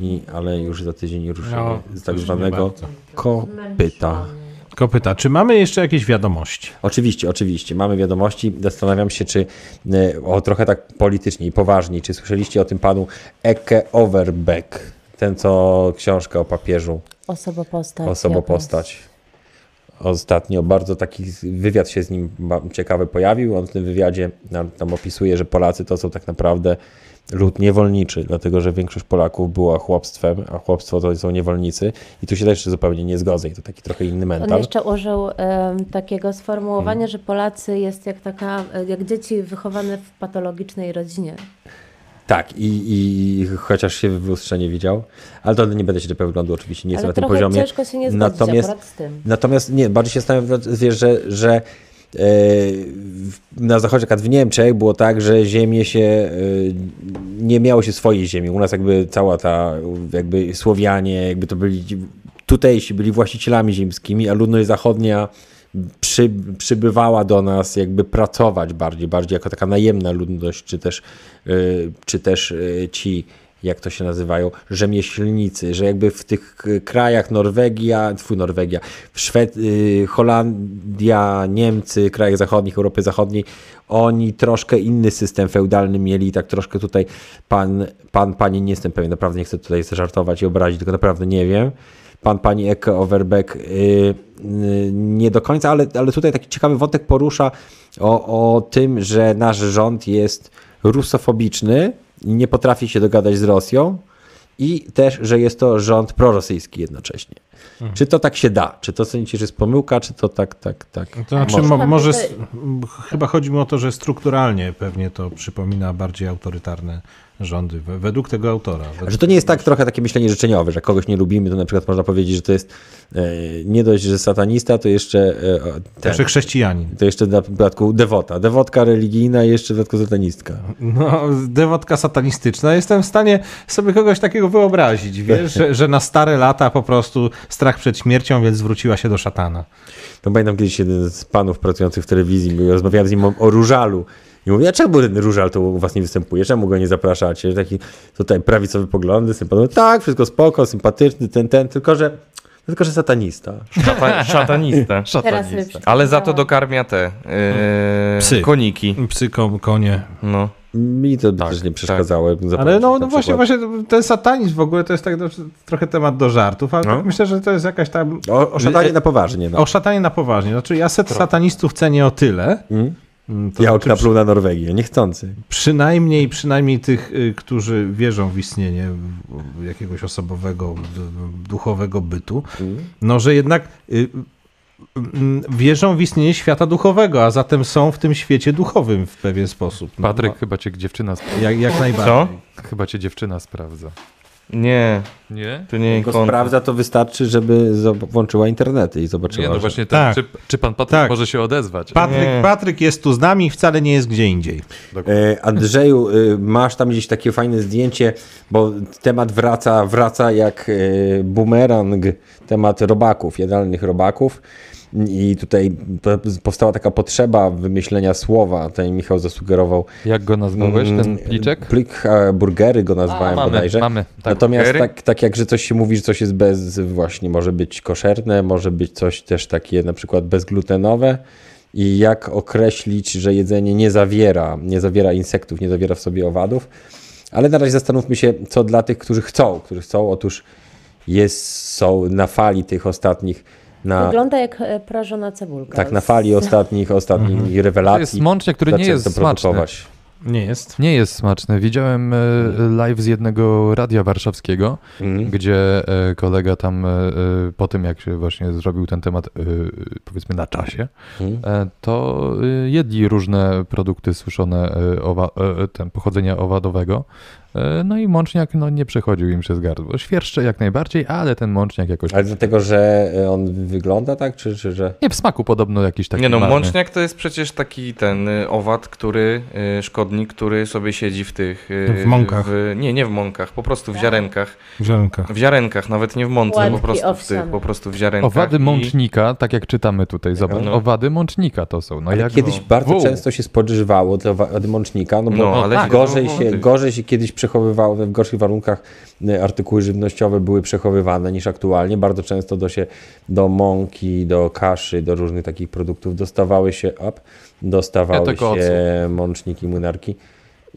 Speaker 5: i, ale już za tydzień ruszymy
Speaker 4: No,
Speaker 5: z tak
Speaker 4: już nie
Speaker 5: zwanego
Speaker 4: bardzo.
Speaker 5: kopyta.
Speaker 4: Tylko pyta, czy mamy jeszcze jakieś wiadomości?
Speaker 5: Oczywiście, oczywiście. Mamy wiadomości. Zastanawiam się, czy e, o trochę tak politycznie i poważniej, czy słyszeliście o tym panu Eke Overbeck, ten co książkę o papieżu,
Speaker 3: Osoba postać.
Speaker 5: osoba postać. Ostatnio bardzo taki z- wywiad się z nim ba- ciekawy pojawił. On w tym wywiadzie nam, tam opisuje, że Polacy to są tak naprawdę lud niewolniczy, dlatego że większość Polaków była chłopstwem, a chłopstwo to są niewolnicy. I tu się też zupełnie nie zgodzę i to taki trochę inny
Speaker 2: On
Speaker 5: mental.
Speaker 2: jeszcze użył em, takiego sformułowania,
Speaker 5: Hmm.
Speaker 2: że Polacy jest jak taka, e, jak dzieci wychowane w patologicznej rodzinie.
Speaker 5: Tak, i, i chociaż się w lustrze nie widział, ale to nie będę się czepiał wyglądu, oczywiście nie jest
Speaker 2: Ale
Speaker 5: na tym
Speaker 2: trochę
Speaker 5: poziomie.
Speaker 2: ciężko się nie zgodzić
Speaker 5: natomiast,
Speaker 2: akurat z tym.
Speaker 5: natomiast nie, bardziej się zastanawiam, wiesz, że, że e, w- na zachodzie, jak w Niemczech było tak, że ziemie się, e, nie miało się swojej ziemi. U nas jakby cała ta, jakby Słowianie, jakby to byli, tutejsi byli właścicielami ziemskimi, a ludność zachodnia przy, przybywała do nas jakby pracować bardziej, bardziej jako taka najemna ludność, czy też, y, czy też y, ci, jak to się nazywają, rzemieślnicy, że jakby w tych y, krajach Norwegia, twój Norwegia, Szwed, y, Holandia, Niemcy, krajach zachodnich, Europy Zachodniej, oni troszkę inny system feudalny mieli, i tak troszkę tutaj pan, pan, pani, nie jestem pewien, naprawdę nie chcę tutaj żartować i obrazić, tylko naprawdę nie wiem pan, pani Eke Overbeck y, y, nie do końca, ale, ale tutaj taki ciekawy wątek porusza o, o tym, że nasz rząd jest rusofobiczny, nie potrafi się dogadać z Rosją i też, że jest to rząd prorosyjski jednocześnie. Czy to tak się da? Czy to sądzicie, że jest pomyłka, czy to tak, tak, tak?
Speaker 4: To znaczy,
Speaker 5: Może.
Speaker 4: mo, może s- m, chyba chodzi mi o to, że strukturalnie pewnie to przypomina bardziej autorytarne rządy, we- według tego autora.
Speaker 5: Że to nie jest tak trochę takie myślenie życzeniowe, że kogoś nie lubimy, to na przykład można powiedzieć, że to jest e, nie dość, że satanista, to jeszcze e, o, ten,
Speaker 6: Tak.
Speaker 4: Także chrześcijanin.
Speaker 5: to jeszcze na- w dodatku dewota. Dewotka religijna i jeszcze w dodatku satanistka.
Speaker 4: No, dewotka satanistyczna. Jestem w stanie sobie kogoś takiego wyobrazić, wiesz, że, że na stare lata po prostu strach przed śmiercią, więc zwróciła się do szatana.
Speaker 5: No pamiętam kiedyś jeden z panów pracujących w telewizji, mówił, rozmawiałem z nim o, o różalu. I mówię, a czemu ten różal to u was nie występuje? Czemu go nie zapraszacie? Taki tutaj prawicowe poglądy, sympatyczny. Tak, wszystko spoko, sympatyczny, ten, ten, tylko że, tylko że satanista.
Speaker 6: Szata, szatanista.
Speaker 2: Teraz sobie
Speaker 1: Szatanista.
Speaker 2: przypomniałam.
Speaker 6: Ale za to dokarmia te e,
Speaker 4: Psy.
Speaker 6: koniki.
Speaker 4: Psy, ko- konie.
Speaker 6: No.
Speaker 5: Mi to też nie przeszkadzało. jakbym zaprosił
Speaker 4: Ale no,
Speaker 5: na
Speaker 4: no właśnie,
Speaker 5: przykład.
Speaker 4: właśnie ten satanizm w ogóle to jest tak do, trochę temat do żartów, ale tak myślę, że to jest jakaś tam
Speaker 5: No. O, o szatanie na poważnie. No.
Speaker 4: E, O szatanie na poważnie. Znaczy, ja set satanistów cenię o tyle.
Speaker 5: Mm.
Speaker 4: mm, To
Speaker 5: ja
Speaker 4: znaczy,
Speaker 5: oknapluł na Norwegię, niechcący.
Speaker 4: przynajmniej, przynajmniej tych, y, którzy wierzą w istnienie w- w
Speaker 5: Mm.
Speaker 4: jakiegoś osobowego, d- duchowego bytu. No, że jednak y, mm, wierzą w istnienie świata duchowego, a zatem są w tym świecie duchowym w pewien sposób. No,
Speaker 1: Patryk, chyba cię dziewczyna, sp-
Speaker 4: Jak, jak najbardziej.
Speaker 6: Co?
Speaker 1: chyba cię dziewczyna sprawdza.
Speaker 6: Nie,
Speaker 1: Nie?
Speaker 6: to nie
Speaker 5: Tylko sprawdza, to wystarczy, żeby zob- włączyła internety i zobaczyła.
Speaker 1: Nie, no
Speaker 5: że-
Speaker 1: właśnie
Speaker 4: Tak.
Speaker 1: tak. Czy, czy pan Patryk
Speaker 4: Tak.
Speaker 1: może się odezwać?
Speaker 4: Patryk,
Speaker 6: Nie.
Speaker 4: Patryk jest tu z nami, wcale nie jest gdzie indziej.
Speaker 5: E, Andrzeju, e, masz tam gdzieś takie fajne zdjęcie, bo temat wraca, wraca jak e, bumerang, temat robaków, jadalnych robaków. I tutaj po- powstała taka potrzeba wymyślenia słowa. Tutaj Michał zasugerował.
Speaker 1: Jak go nazwałeś, ten
Speaker 5: Mm,
Speaker 1: pliczek?
Speaker 5: Plik e, burgery go nazwałem
Speaker 1: mamy,
Speaker 5: bodajże.
Speaker 1: mamy, tak.
Speaker 5: Natomiast
Speaker 6: Burgery.
Speaker 5: tak, tak jak, że coś się mówi, że coś jest bez, właśnie może być koszerne, może być coś też takie na przykład bezglutenowe. I jak określić, że jedzenie nie zawiera, nie zawiera insektów, nie zawiera w sobie owadów. Ale na razie zastanówmy się, co dla tych, którzy chcą, którzy chcą, otóż jest, są na fali tych ostatnich, na,
Speaker 3: Wygląda jak e, prażona cebulka.
Speaker 5: tak na fali ostatnich, ostatnich
Speaker 1: To
Speaker 5: rewelacji.
Speaker 1: Mhm. jest mącznia, który nie
Speaker 5: zaczęto
Speaker 1: jest smaczny.
Speaker 5: produkować.
Speaker 4: Nie jest.
Speaker 1: Nie jest smaczny. Widziałem e, live z jednego radia warszawskiego,
Speaker 5: Mhm.
Speaker 1: gdzie e, kolega tam e, e, po tym, jak się właśnie zrobił ten temat, e, powiedzmy na czasie,
Speaker 5: Mhm.
Speaker 1: e, to e, jedli różne produkty suszone e, owa, e, ten, pochodzenia owadowego. E, No i mączniak no, nie przechodził im przez gardło. Świerszcze jak najbardziej, ale ten mączniak jakoś...
Speaker 5: Ale dlatego, że on wygląda tak, czy, czy że...
Speaker 1: Nie, w smaku podobno jakiś taki
Speaker 6: nie no,
Speaker 1: marny.
Speaker 6: mączniak to jest przecież taki ten y, owad, który, y, szkodnik, który sobie siedzi w tych... y,
Speaker 4: W mąkach.
Speaker 6: w- nie, nie w mąkach, po prostu w
Speaker 3: Tak.
Speaker 6: ziarenkach.
Speaker 4: Ziarenka.
Speaker 6: W ziarenkach, nawet nie w mące, po
Speaker 3: Łatki
Speaker 6: prostu w
Speaker 3: owsiane.
Speaker 6: tych, po prostu w ziarenkach.
Speaker 1: Owady
Speaker 6: i-
Speaker 1: mącznika, tak jak czytamy tutaj, zobacz,
Speaker 6: no.
Speaker 1: owady mącznika to są. No
Speaker 5: Ale
Speaker 1: jak
Speaker 5: kiedyś
Speaker 1: no,
Speaker 5: bardzo
Speaker 1: wół.
Speaker 5: często się spożywało te owa- od mącznika, no bo
Speaker 6: No, ale się
Speaker 5: gorzej,
Speaker 6: dawało
Speaker 5: się,
Speaker 6: tych.
Speaker 5: gorzej się kiedyś przechowywało, w gorszych warunkach e, artykuły żywnościowe były przechowywane niż aktualnie. Bardzo często do, się, do mąki, do kaszy, do różnych takich produktów dostawały się up,
Speaker 1: Ja
Speaker 5: dostawały
Speaker 1: tylko
Speaker 5: się mączniki, młynarki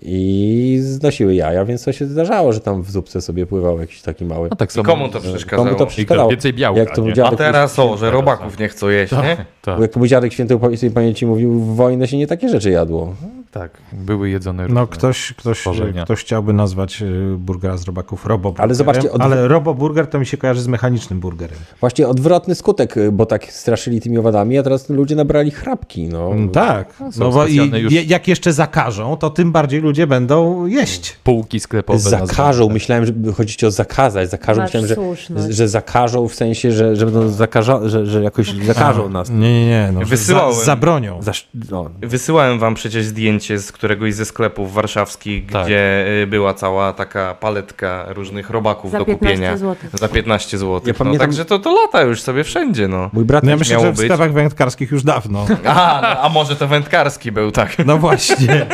Speaker 5: i znosiły jaja, więc to się zdarzało, że tam w zupce sobie pływał jakiś taki mały...
Speaker 1: No tak
Speaker 6: I
Speaker 1: samo.
Speaker 6: komu to
Speaker 5: Komu to
Speaker 6: przeszkadzało?
Speaker 5: przeszkadzało?
Speaker 1: więcej białka,
Speaker 5: Jak
Speaker 1: nie?
Speaker 5: to był
Speaker 6: A
Speaker 5: dziadek,
Speaker 6: teraz o, że robaków nie chcą jeść, nie?
Speaker 1: tak,
Speaker 5: jak to był dziadek świętej pamięci mówił, w wojnę się nie takie rzeczy jadło.
Speaker 1: tak, były jedzone różne.
Speaker 4: No ktoś, ktoś,
Speaker 1: Tworzenia.
Speaker 4: ktoś chciałby nazwać y, burgera z robaków roboburgerem,
Speaker 5: Ale zobaczcie, od-
Speaker 4: ale roboburger to mi się kojarzy z mechanicznym burgerem.
Speaker 5: Właśnie odwrotny skutek, y, bo tak straszyli tymi owadami, a teraz ludzie nabrali chrapki. No.
Speaker 4: Tak,
Speaker 1: są
Speaker 4: no bo i,
Speaker 1: specjalne już-
Speaker 4: je- jak jeszcze zakażą, to tym bardziej ludzie będą jeść.
Speaker 1: Półki sklepowe.
Speaker 5: Zakażą,
Speaker 1: tak.
Speaker 5: myślałem, że chodzi o zakazać, zakażą,
Speaker 3: Masz
Speaker 5: myślałem, że,
Speaker 3: słuszność.
Speaker 5: że zakażą w sensie, że, że będą zakaża, że, że jakoś zakażą nas.
Speaker 4: Nie, nie, nie. No, że
Speaker 6: Wysyłałem.
Speaker 4: Za, zabronią.
Speaker 5: Zasz, no.
Speaker 6: Wysyłałem wam przecież zdjęcie z któregoś ze sklepów warszawskich,
Speaker 1: Tak.
Speaker 6: gdzie y, była cała taka paletka różnych robaków
Speaker 3: Za
Speaker 6: do
Speaker 3: 15
Speaker 6: kupienia.
Speaker 3: złotych.
Speaker 6: Za 15 zł.
Speaker 5: Ja
Speaker 6: no,
Speaker 5: pamiętam-
Speaker 6: także to, to lata już sobie wszędzie, no.
Speaker 5: Mój brat,
Speaker 4: No ja myślę,
Speaker 6: miało
Speaker 4: że w
Speaker 6: być.
Speaker 4: sklepach wędkarskich już dawno.
Speaker 6: A, no, a może to wędkarski był, tak.
Speaker 4: No właśnie.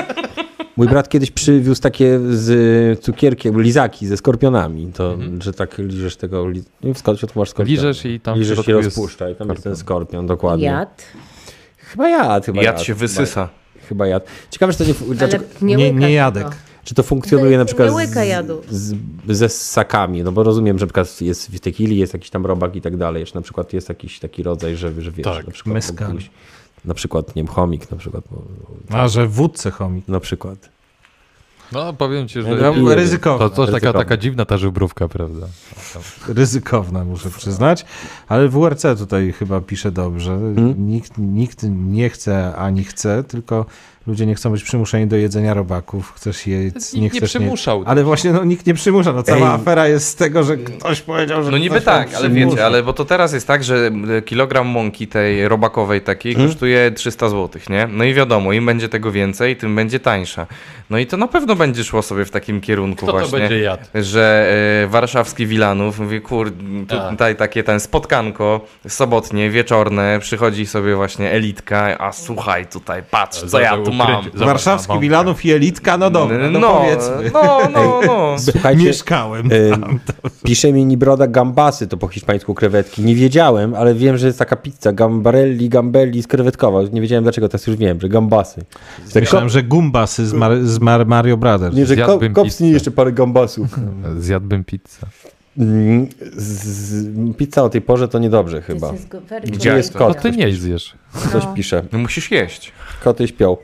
Speaker 5: mój brat kiedyś przywiózł takie z y, cukierkiem, lizaki ze skorpionami, to, że tak liżesz tego, li, nie wiem, skąd się to masz skorpion.
Speaker 1: Liżesz i tam w
Speaker 5: liżesz się
Speaker 1: środku jest
Speaker 5: rozpuszcza i tam jest ten skorpion, dokładnie.
Speaker 3: Jad.
Speaker 5: Chyba jad, chyba
Speaker 6: Jad się wysysa.
Speaker 5: Chyba, chyba jad. Ciekawe, że to Znaczy, nie,
Speaker 3: Ale
Speaker 5: dlaczego,
Speaker 3: nie,
Speaker 4: Nie,
Speaker 3: łyka
Speaker 4: nie
Speaker 3: się
Speaker 4: jadek.
Speaker 3: go.
Speaker 5: Czy to funkcjonuje na
Speaker 3: Nie
Speaker 5: przykład
Speaker 3: łyka jadu.
Speaker 5: z, z, ze ssakami? No bo rozumiem, że na przykład jest w tequili, jest jakiś tam robak i tak dalej. Czy na przykład jest jakiś taki rodzaj, że, że wiesz,
Speaker 1: Tak,
Speaker 5: na przykład
Speaker 4: mezcal.
Speaker 5: jakiegoś- na przykład, nie wiem, chomik, na przykład. no,
Speaker 4: A że w wódce chomik.
Speaker 5: Na przykład.
Speaker 1: No powiem ci, że
Speaker 5: No,
Speaker 1: to,
Speaker 5: Ryzyko-
Speaker 4: Ryzykowna,
Speaker 1: to coś taka,
Speaker 5: ryzykowne.
Speaker 1: taka dziwna ta żubrówka, prawda?
Speaker 4: ryzykowna muszę przyznać, ale WRC tutaj chyba pisze dobrze.
Speaker 6: Hmm?
Speaker 4: Nikt, nikt nie chce ani chce, tylko ludzie nie chcą być przymuszeni do jedzenia robaków. Chcesz je, nie
Speaker 1: nie
Speaker 4: chcesz
Speaker 1: przymuszał.
Speaker 4: Ale właśnie no, nikt nie przymusza. No, cała
Speaker 5: Ej.
Speaker 4: afera jest z tego, że ktoś powiedział, że
Speaker 6: No niby
Speaker 4: ktoś wam
Speaker 6: tak, ale
Speaker 4: przymusza.
Speaker 6: wiecie, ale bo to teraz jest tak, że y, kilogram mąki tej robakowej takiej kosztuje 300 zł, nie? No i wiadomo, im będzie tego więcej, tym będzie tańsza. No i to na pewno będzie szło sobie w takim
Speaker 1: Kto
Speaker 6: kierunku
Speaker 1: to
Speaker 6: właśnie.
Speaker 1: będzie jadł?
Speaker 6: Że y, warszawski Wilanów mówi, kur, tutaj takie ten spotkanko sobotnie, wieczorne, przychodzi sobie właśnie elitka, a słuchaj tutaj, patrz co ja tu mam.
Speaker 4: Warszawski Milanów i Elitka, no dobra, no,
Speaker 6: no, e,
Speaker 4: powiedzmy.
Speaker 6: no, no, no.
Speaker 5: Słuchajcie,
Speaker 4: Mieszkałem.
Speaker 5: y, pisze mi Nibroda gambasy, to po hiszpańsku krewetki. Nie wiedziałem, ale wiem, że jest taka pizza gambarelli, gambelli z krewetkowa. Nie wiedziałem dlaczego, teraz już wiem, że gambasy. Że ko-
Speaker 4: Myślałem, że Gumbasy z, Mar- z Mar- Mario Brothers.
Speaker 5: nie, że ko-
Speaker 1: Zjadłbym
Speaker 5: kopsni
Speaker 1: pizzę.
Speaker 5: jeszcze parę gambasów.
Speaker 1: Zjadłbym pizzę.
Speaker 5: Mm, z- z- Pizza o tej porze to niedobrze chyba.
Speaker 2: This is go- very
Speaker 5: Gdzie
Speaker 2: good
Speaker 5: jest
Speaker 2: idea.
Speaker 1: To
Speaker 5: kot?
Speaker 1: ty nie zjesz.
Speaker 5: Ktoś pisze.
Speaker 6: No musisz jeść.
Speaker 5: Koty śpią.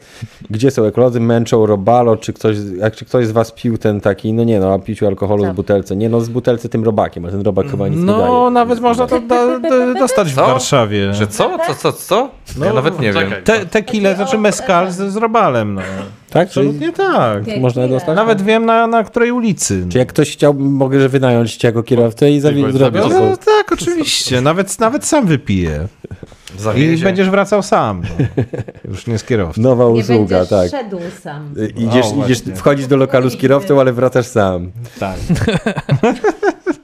Speaker 5: Gdzie są ekolodzy? Męczą robalo? Czy ktoś, a czy ktoś z was pił ten taki, no nie no, a piciu alkoholu
Speaker 2: Co?
Speaker 5: z butelce? Nie no, z butelce tym robakiem, a ten robak chyba nic nie daje.
Speaker 4: No, nawet można to da, da, dostać w
Speaker 6: Co?
Speaker 4: Warszawie.
Speaker 6: Że co? Co, co, co?
Speaker 4: No,
Speaker 6: ja nawet nie
Speaker 1: czekaj.
Speaker 6: wiem.
Speaker 4: Te, tequilę, znaczy mezcal z, z robalem. No.
Speaker 5: Tak? Czyli,
Speaker 4: Absolutnie tak.
Speaker 5: można dostać?
Speaker 4: Nawet wiem na, na której ulicy.
Speaker 5: Czy jak ktoś chciał, mogę wynająć cię jako kierowcę i zawi-
Speaker 1: Tylko
Speaker 5: zrobić
Speaker 1: zabiorę.
Speaker 5: to.
Speaker 4: No, tak, oczywiście. Nawet, nawet sam wypiję. I
Speaker 6: Zawiezie.
Speaker 4: będziesz wracał sam. No. Już nie z kierowcą.
Speaker 5: Nowa
Speaker 2: Nie
Speaker 5: usługa,
Speaker 2: będziesz
Speaker 5: tak.
Speaker 2: szedł sam.
Speaker 5: Y, Idziesz,
Speaker 4: O,
Speaker 5: idziesz
Speaker 4: właśnie.
Speaker 5: wchodzisz do lokalu z kierowcą, ale wracasz sam.
Speaker 4: Tak.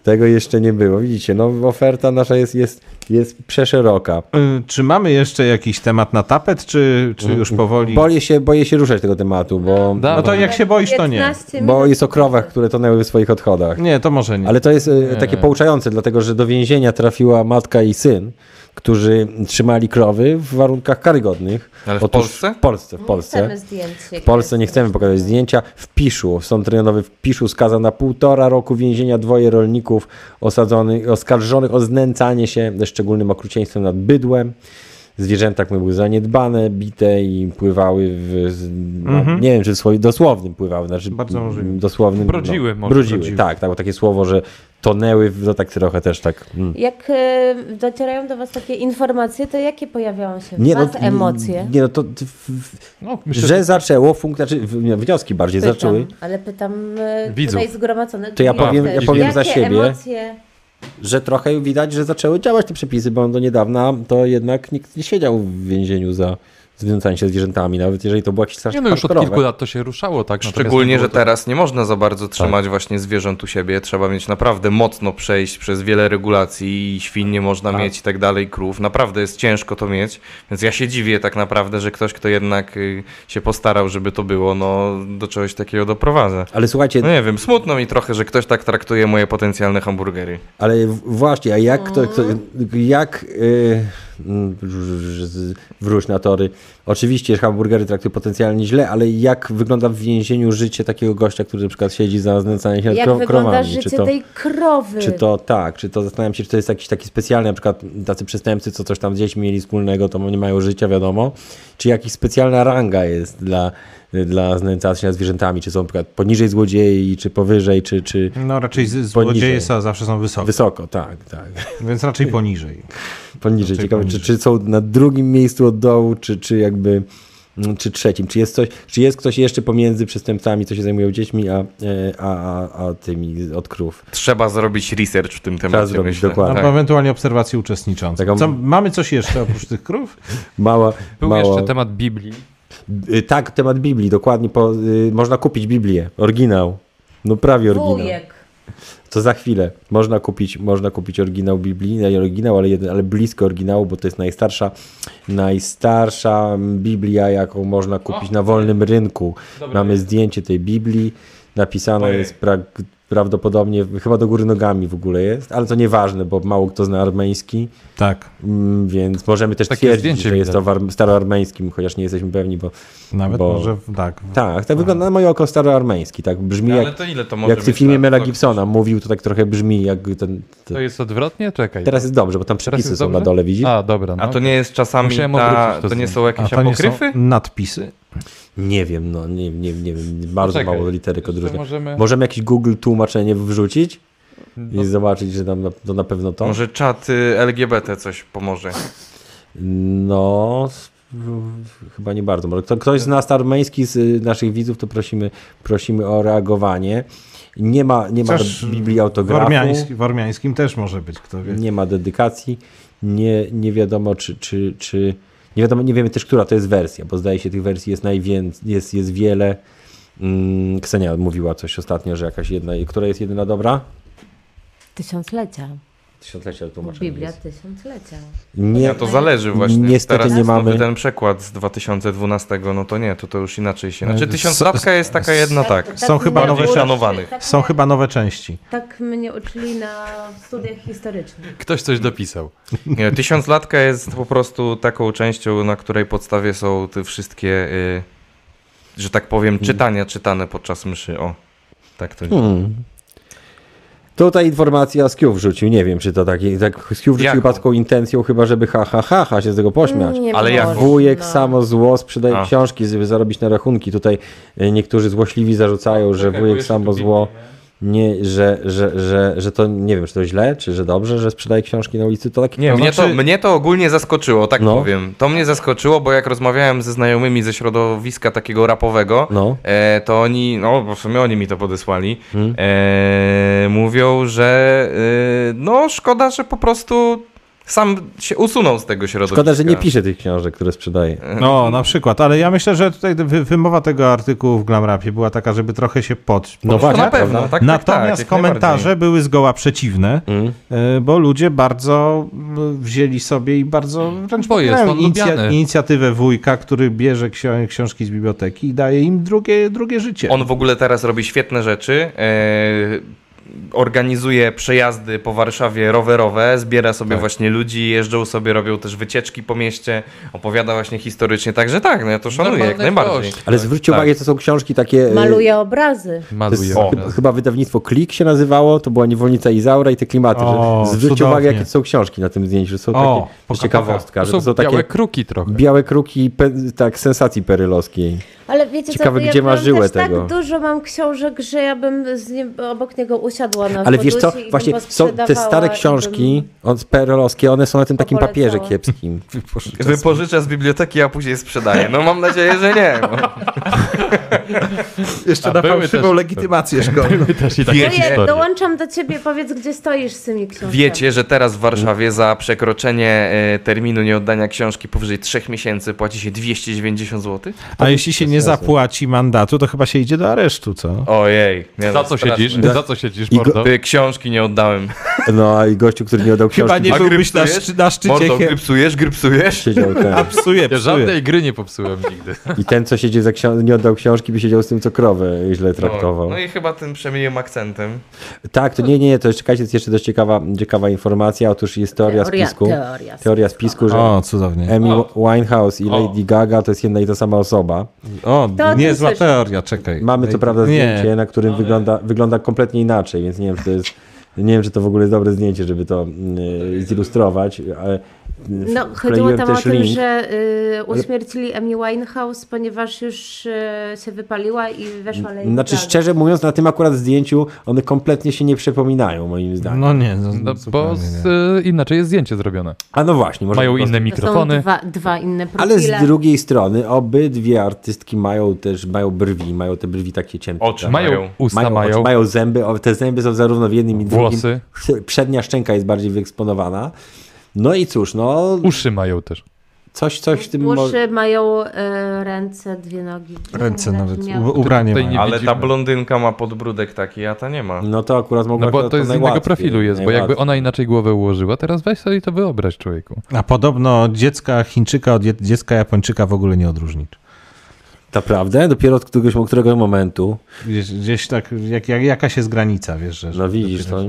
Speaker 5: Tego jeszcze nie było. Widzicie, no oferta nasza jest, jest, jest przeszeroka.
Speaker 4: Y, Czy mamy jeszcze jakiś temat na tapet, czy,
Speaker 5: Mm.
Speaker 4: czy już powoli?
Speaker 5: Boję się, boję się ruszać tego tematu, bo,
Speaker 4: No to jak się boisz, to nie.
Speaker 2: 15 minut.
Speaker 5: bo jest o krowach, które tonęły w swoich odchodach.
Speaker 4: Nie, to może nie.
Speaker 5: Ale to jest e, takie pouczające, dlatego że do więzienia trafiła matka i syn, którzy trzymali krowy w warunkach karygodnych.
Speaker 6: Ale w
Speaker 5: Otóż
Speaker 6: Polsce?
Speaker 5: W Polsce, w
Speaker 2: Chcemy
Speaker 5: Polsce.
Speaker 2: zdjęcie.
Speaker 5: W Polsce nie chcemy pokazać zdjęcia. W Piszu, sąd rejonowy w Piszu skazał na półtora roku więzienia dwoje rolników osadzonych, oskarżonych o znęcanie się ze szczególnym okrucieństwem nad bydłem. Zwierzęta, jak mówię, były zaniedbane, bite i pływały w, z- no, nie wiem, czy w słowie dosłownym pływały, znaczy
Speaker 4: Bardzo możliwe.
Speaker 5: dosłownym.
Speaker 1: Brudziły może,
Speaker 5: brudziły,
Speaker 1: brudziły.
Speaker 5: tak, tak, bo takie słowo, że tonęły, w- no tak trochę też tak. Mm.
Speaker 2: Jak e, docierają do Was takie informacje, to jakie pojawiają się w Was
Speaker 5: nie- no,
Speaker 2: emocje?
Speaker 5: Nie, no to, w- w-
Speaker 1: No,
Speaker 5: że zaczęło, funk, znaczy w- nie, wnioski bardziej
Speaker 2: pytam,
Speaker 5: zaczęły.
Speaker 2: ale pytam e,
Speaker 1: Widzów.
Speaker 2: tutaj zgromadzone.
Speaker 5: To ja powiem-
Speaker 1: ja
Speaker 5: powiem za
Speaker 2: jakie
Speaker 5: siebie.
Speaker 2: Emocje?
Speaker 5: że trochę widać, że zaczęły działać te przepisy, bo do niedawna to jednak nikt nie siedział w więzieniu za znęcanie się zwierzętami, nawet jeżeli to było jakieś strasznie
Speaker 1: Nie no, już od
Speaker 5: hardkorowe.
Speaker 1: kilku lat to się ruszało, tak? Natomiast
Speaker 6: No, Szczególnie,
Speaker 1: nie było
Speaker 6: że
Speaker 1: to-
Speaker 6: teraz nie można za bardzo
Speaker 5: Tak.
Speaker 6: trzymać właśnie zwierząt u siebie. Trzeba mieć naprawdę mocno przejść przez wiele regulacji i świn nie można mieć i tak dalej, krów. Naprawdę jest ciężko to mieć, więc ja się dziwię tak naprawdę, że ktoś, kto jednak y, się postarał, żeby to było, no do czegoś takiego doprowadza.
Speaker 5: Ale słuchajcie,
Speaker 6: No nie wiem, smutno mi trochę, że ktoś tak traktuje moje potencjalne hamburgery.
Speaker 5: ale w- właśnie, a jak kto, kto
Speaker 2: Mhm.
Speaker 5: jak yy, mm, z- z- wróć na tory. Oczywiście hamburgery traktuje potencjalnie źle, ale jak wygląda w więzieniu życie takiego gościa, który na przykład siedzi za znęcanie się nad
Speaker 2: Jak
Speaker 5: kro-
Speaker 2: wygląda
Speaker 5: krowami?
Speaker 2: życie
Speaker 5: czy to...
Speaker 2: tej krowy?
Speaker 3: Y.
Speaker 5: Czy to tak, czy to zastanawiam się, czy to jest jakiś taki specjalny, na przykład tacy przestępcy, co coś tam z dziećmi mieli wspólnego, to nie mają życia, wiadomo. Czy jakaś specjalna ranga jest dla, dla znęcania się nad zwierzętami, czy są na przykład poniżej złodziei, czy powyżej, czy, czy
Speaker 4: No raczej z-
Speaker 5: Poniżej.
Speaker 4: złodzieje są, zawsze są wysokie,
Speaker 5: wysoko, tak, tak.
Speaker 4: więc raczej poniżej.
Speaker 5: Poniżej,
Speaker 4: Raczej
Speaker 5: ciekawe, czy,
Speaker 4: poniżej.
Speaker 5: czy są na drugim miejscu od dołu, czy, czy jakby, mm, czy trzecim, czy jest coś, czy jest ktoś jeszcze pomiędzy przestępcami, co się zajmują dziećmi, a, e, a, a, a tymi od krów.
Speaker 6: Trzeba zrobić research w tym temacie,
Speaker 5: zrobić,
Speaker 6: myślę.
Speaker 5: dokładnie.
Speaker 4: Albo
Speaker 6: Tak.
Speaker 4: ewentualnie obserwacje uczestniczących.
Speaker 5: Taką-
Speaker 4: Co, mamy coś jeszcze oprócz tych krów?
Speaker 5: Mała,
Speaker 1: Był
Speaker 5: mała...
Speaker 1: jeszcze temat Biblii.
Speaker 5: Y, Tak, temat Biblii, dokładnie. Po, y, można kupić Biblię, oryginał. No prawie oryginał.
Speaker 2: Wujek.
Speaker 5: To za chwilę. Można kupić, można kupić oryginał Biblii, nie oryginał, ale, jeden, ale blisko oryginału, bo to jest najstarsza, najstarsza Biblia, jaką można kupić na wolnym rynku. Mamy zdjęcie tej Biblii, napisana jest pra, prawdopodobnie, chyba do góry nogami w ogóle jest, ale to nieważne, bo mało kto zna armeński.
Speaker 4: Tak,
Speaker 5: Mm, więc możemy też
Speaker 1: Takie
Speaker 5: twierdzić,
Speaker 1: zdjęcie
Speaker 5: że jest to
Speaker 1: widać.
Speaker 5: w ar- staroarmeńskim, chociaż nie jesteśmy pewni, bo
Speaker 4: nawet
Speaker 5: Bo-
Speaker 4: może w- tak.
Speaker 5: tak, tak wygląda na moje oko staroarmeński, tak
Speaker 1: No,
Speaker 5: brzmi
Speaker 6: Ale
Speaker 5: jak,
Speaker 6: to ile to może
Speaker 5: jak w tym
Speaker 6: mieć
Speaker 5: filmie
Speaker 6: lat?
Speaker 5: Mela
Speaker 6: To-
Speaker 5: Gibsona mówił, to tak trochę brzmi jak ten...
Speaker 1: tak, To jest odwrotnie? Czekaj.
Speaker 5: Teraz jest dobrze, bo tam
Speaker 1: Teraz
Speaker 5: przepisy
Speaker 1: jest
Speaker 5: są
Speaker 1: dobrze?
Speaker 5: na dole, widzisz?
Speaker 1: A, dobra. No.
Speaker 6: A to nie jest czasami
Speaker 1: Musiałem
Speaker 6: ta,
Speaker 1: odwrócić
Speaker 6: to,
Speaker 1: to
Speaker 6: nie
Speaker 1: zdjęcie.
Speaker 6: są jakieś
Speaker 4: to nie są
Speaker 6: apokryfy?
Speaker 4: nadpisy?
Speaker 5: Nie wiem, no nie, nie, nie wiem, bardzo
Speaker 1: Poczekaj,
Speaker 5: mało literek
Speaker 1: jeszcze
Speaker 5: odróżnia.
Speaker 1: możemy-
Speaker 5: Możemy jakiś Google tłumaczenie wrzucić
Speaker 1: No,
Speaker 5: i zobaczyć, że tam na, to na pewno to?
Speaker 6: Może czat y, LGBT coś pomoże.
Speaker 5: No... s- Chyba nie bardzo. Może kto, ktoś z nas armeński, z y, naszych widzów, to prosimy, prosimy o reagowanie. Nie ma, nie ma
Speaker 4: Chociaż
Speaker 5: Biblii
Speaker 4: W,
Speaker 5: autografu.
Speaker 4: ormiański, w ormiańskim też może być, kto wie.
Speaker 5: nie ma dedykacji, nie, nie wiadomo czy, czy, czy nie wiadomo, nie wiemy też, która to jest wersja, bo zdaje się, tych wersji jest najwięcej, jest, jest wiele. Mm, Ksenia mówiła coś ostatnio, że jakaś jedna, która jest jedyna dobra?
Speaker 2: Tysiąclecia.
Speaker 5: Tysiąclecia tłumaczenia.
Speaker 2: Biblia tysiąclecia.
Speaker 5: Nie,
Speaker 6: Ja to zależy właśnie.
Speaker 5: Niestety
Speaker 6: Teraz
Speaker 5: nie
Speaker 6: znowu
Speaker 5: mamy.
Speaker 6: ten przekład z 2012, no to nie, to to już inaczej się. Znaczy
Speaker 4: No,
Speaker 6: tysiąclatka
Speaker 4: s-
Speaker 6: jest taka jedna tak.
Speaker 4: Są chyba
Speaker 2: mnie
Speaker 4: nowe
Speaker 2: uczy-
Speaker 6: szanowanych.
Speaker 2: Tak,
Speaker 4: Są
Speaker 2: mnie-
Speaker 4: chyba nowe części.
Speaker 2: tak mnie uczyli na studiach historycznych.
Speaker 1: Ktoś coś dopisał.
Speaker 6: Nie, tysiąclatka jest po prostu taką częścią, na której podstawie są te wszystkie, y, że
Speaker 5: Hmm.
Speaker 6: tak powiem, czytania czytane podczas mszy. O, tak to
Speaker 5: Hmm. Tutaj informacja z Q wrzucił. Nie wiem, czy to taki. Tak, z Q wrzucił
Speaker 6: Jaką?
Speaker 5: chyba taką intencją, chyba żeby ha, ha, ha, ha się z tego pośmiać.
Speaker 3: Nie
Speaker 6: Ale jak-
Speaker 2: no.
Speaker 3: można.
Speaker 5: Wujek samo zło sprzedaje
Speaker 6: A.
Speaker 5: książki, żeby zarobić na rachunki. Tutaj y, niektórzy złośliwi zarzucają, że wujek samo zło. Nie, że, że, że, że to nie wiem, czy to źle, czy że dobrze, że sprzedaje książki na ulicy. To takie.
Speaker 1: Nie,
Speaker 6: Nie,
Speaker 1: to
Speaker 6: mnie,
Speaker 1: znaczy-
Speaker 6: to, mnie to ogólnie zaskoczyło, tak
Speaker 5: No.
Speaker 6: powiem. To mnie zaskoczyło, bo jak rozmawiałem ze znajomymi ze środowiska takiego rapowego,
Speaker 5: No. hmm.
Speaker 6: e, to oni, no bo w sumie oni mi to podesłali, e, mówią, że e, no szkoda, że po prostu sam się usunął z tego środowiska.
Speaker 5: Szkoda, że nie pisze tych książek, które sprzedaje.
Speaker 4: No, na przykład, ale ja myślę, że tutaj wy, wymowa tego artykułu w Glamrapie była taka, żeby trochę się pod,
Speaker 5: No
Speaker 6: To
Speaker 5: właśnie.
Speaker 6: na pewno,
Speaker 5: prawda?
Speaker 6: tak, tak, tak,
Speaker 4: Natomiast
Speaker 6: jak najbardziej.
Speaker 4: komentarze były zgoła przeciwne,
Speaker 5: Mm.
Speaker 4: y, bo ludzie bardzo y, wzięli sobie i bardzo wręcz
Speaker 1: Bo jest
Speaker 4: popierają
Speaker 1: on lubiany.
Speaker 4: inicjatywę wujka, który bierze ksi- książki z biblioteki i daje im drugie, drugie życie.
Speaker 6: On w ogóle teraz robi świetne rzeczy. E, organizuje przejazdy po Warszawie rowerowe, zbiera sobie
Speaker 5: Tak.
Speaker 6: właśnie ludzi, jeżdżą sobie, robią też wycieczki po mieście, opowiada właśnie historycznie. Także tak, no ja to szanuję jak
Speaker 1: Normalny
Speaker 6: najbardziej.
Speaker 1: gość.
Speaker 5: Ale zwróćcie
Speaker 6: Tak.
Speaker 5: uwagę, to są książki takie. y,
Speaker 3: Maluje obrazy.
Speaker 5: To jest
Speaker 1: Maluje.
Speaker 5: chyba, chyba wydawnictwo Klik się nazywało, to była niewolnica Izaura i te klimaty.
Speaker 4: O,
Speaker 5: że zwróć
Speaker 4: cudownie.
Speaker 5: uwagę, jakie są książki na tym zdjęciu. że Są
Speaker 4: O,
Speaker 5: takie
Speaker 4: poka-
Speaker 5: ciekawostka,
Speaker 1: To
Speaker 5: że to
Speaker 1: są,
Speaker 5: są takie
Speaker 1: białe
Speaker 5: białe,
Speaker 1: kruki trochę.
Speaker 5: kruki pe- tak, sensacji perylowskiej.
Speaker 3: Ale wiecie
Speaker 5: Ciekawe,
Speaker 3: co,
Speaker 5: gdzie
Speaker 3: ja
Speaker 5: ma
Speaker 3: byłam
Speaker 5: żyłę
Speaker 3: też
Speaker 5: tego.
Speaker 3: tak dużo mam książek, że ja bym z nim, obok niego usiadła na
Speaker 5: Ale wiesz co,
Speaker 3: podusie i bym
Speaker 5: właśnie są te
Speaker 3: posprzedawała
Speaker 5: stare
Speaker 3: i
Speaker 5: książki on, perylowskie, one są na tym takim papierze
Speaker 3: polecała.
Speaker 5: kiepskim.
Speaker 6: Wypożycza z biblioteki, a później sprzedaje. No mam nadzieję, że nie.
Speaker 1: A na były fałszywą też-
Speaker 4: legitymację szkolną.
Speaker 1: Też i
Speaker 3: Bym...
Speaker 1: takie
Speaker 3: Oje,
Speaker 1: historie.
Speaker 3: dołączam do ciebie, powiedz, gdzie stoisz z tymi książkami.
Speaker 6: Wiecie, że teraz w Warszawie za przekroczenie e, terminu nieoddania książki powyżej 3 miesięcy płaci się 290 zł?
Speaker 4: A jeśli się nie zapłaci mandatu, to chyba się idzie do aresztu, co?
Speaker 6: Ojej. nie,
Speaker 1: Za
Speaker 6: no,
Speaker 1: co
Speaker 6: straszne.
Speaker 1: siedzisz? Za co siedzisz,
Speaker 5: I
Speaker 1: mordo?
Speaker 6: Ty książki nie oddałem.
Speaker 5: No a i gościu, który nie oddał
Speaker 4: Chyba
Speaker 5: książki,
Speaker 4: nie
Speaker 6: A
Speaker 4: byłbyś na,
Speaker 6: grypsujesz?
Speaker 4: szczy- na szczycie.
Speaker 6: Mordo,
Speaker 4: hie-
Speaker 6: grypsujesz, grypsujesz?
Speaker 5: siedział
Speaker 4: A
Speaker 5: ten.
Speaker 4: psuje,
Speaker 1: Ja
Speaker 4: psuje.
Speaker 1: żadnej gry nie popsułem nigdy.
Speaker 5: I ten, co siedzi za ksią- nie oddał książki, by siedział z tym, co krowę źle traktował.
Speaker 6: No, no i chyba tym przemiłym akcentem.
Speaker 5: Tak, to nie, nie, nie, to jest, czekajcie, jest jeszcze dość ciekawa, ciekawa informacja. Otóż jest teoria
Speaker 3: Teoria-
Speaker 5: spisku.
Speaker 3: teoria
Speaker 5: Teoria spisku, że
Speaker 4: O, cudownie.
Speaker 5: Amy Winehouse i Lady Gaga to jest jedna i ta sama osoba.
Speaker 4: O,
Speaker 3: To
Speaker 4: niezła
Speaker 3: ty słyszysz.
Speaker 4: teoria, czekaj.
Speaker 5: Mamy co prawda zdjęcie,
Speaker 4: Nie,
Speaker 5: na którym wygląda, wygląda kompletnie inaczej, więc nie wiem, czy to jest. Nie wiem, czy to w ogóle jest dobre zdjęcie, żeby to y, zilustrować, ale
Speaker 2: No, chodziło
Speaker 5: w- wkleiłem
Speaker 2: tam o
Speaker 5: też
Speaker 2: tym,
Speaker 5: link.
Speaker 2: że y, uśmiercili Amy Winehouse, ponieważ już y, się wypaliła i weszła Lady
Speaker 5: Znaczy,
Speaker 2: Gaga.
Speaker 5: szczerze mówiąc, na tym akurat zdjęciu one kompletnie się nie przypominają, moim zdaniem.
Speaker 4: No nie, no,
Speaker 1: No, bo
Speaker 4: zupełnie
Speaker 1: z,
Speaker 4: nie.
Speaker 1: y, inaczej jest zdjęcie zrobione.
Speaker 5: A no właśnie, może
Speaker 1: Mają
Speaker 5: po prostu-
Speaker 1: inne
Speaker 2: To są
Speaker 1: mikrofony.
Speaker 2: dwa, dwa inne profile.
Speaker 5: Ale z drugiej strony obydwie artystki mają też, mają brwi, mają te brwi takie ciemne.
Speaker 6: Oczy
Speaker 5: tak?
Speaker 1: Mają
Speaker 6: Mają.
Speaker 1: usta,
Speaker 5: Mają,
Speaker 1: mają.
Speaker 5: oczy, mają zęby, o, te zęby są zarówno w jednym i drugim.
Speaker 1: Włosy.
Speaker 5: Przednia szczęka jest bardziej wyeksponowana. No i cóż, no
Speaker 1: Uszy mają też.
Speaker 5: coś, coś w tym mo-
Speaker 2: Uszy mają y, ręce, dwie nogi.
Speaker 4: Ręce
Speaker 3: Znaczy,
Speaker 4: nawet,
Speaker 2: Miał-
Speaker 4: u- ubranie
Speaker 1: Tutaj
Speaker 4: mają.
Speaker 1: nie
Speaker 6: Ale
Speaker 1: widzimy.
Speaker 6: ta blondynka ma podbródek taki, a ta nie ma.
Speaker 5: No to akurat mogła
Speaker 1: No bo to jest z innego
Speaker 5: najłatwiej,
Speaker 1: profilu jest, bo jakby
Speaker 5: najłatwiej.
Speaker 1: ona inaczej głowę ułożyła, teraz weź sobie to wyobraź człowieku.
Speaker 4: A podobno dziecka Chińczyka od dzie- dziecka Japończyka w ogóle nie odróżnić.
Speaker 5: Naprawdę? Dopiero od któregoś, od którego momentu.
Speaker 4: Gdzieś, gdzieś tak, jak, jak, jakaś jest granica, wiesz, że...
Speaker 5: No widzisz, to...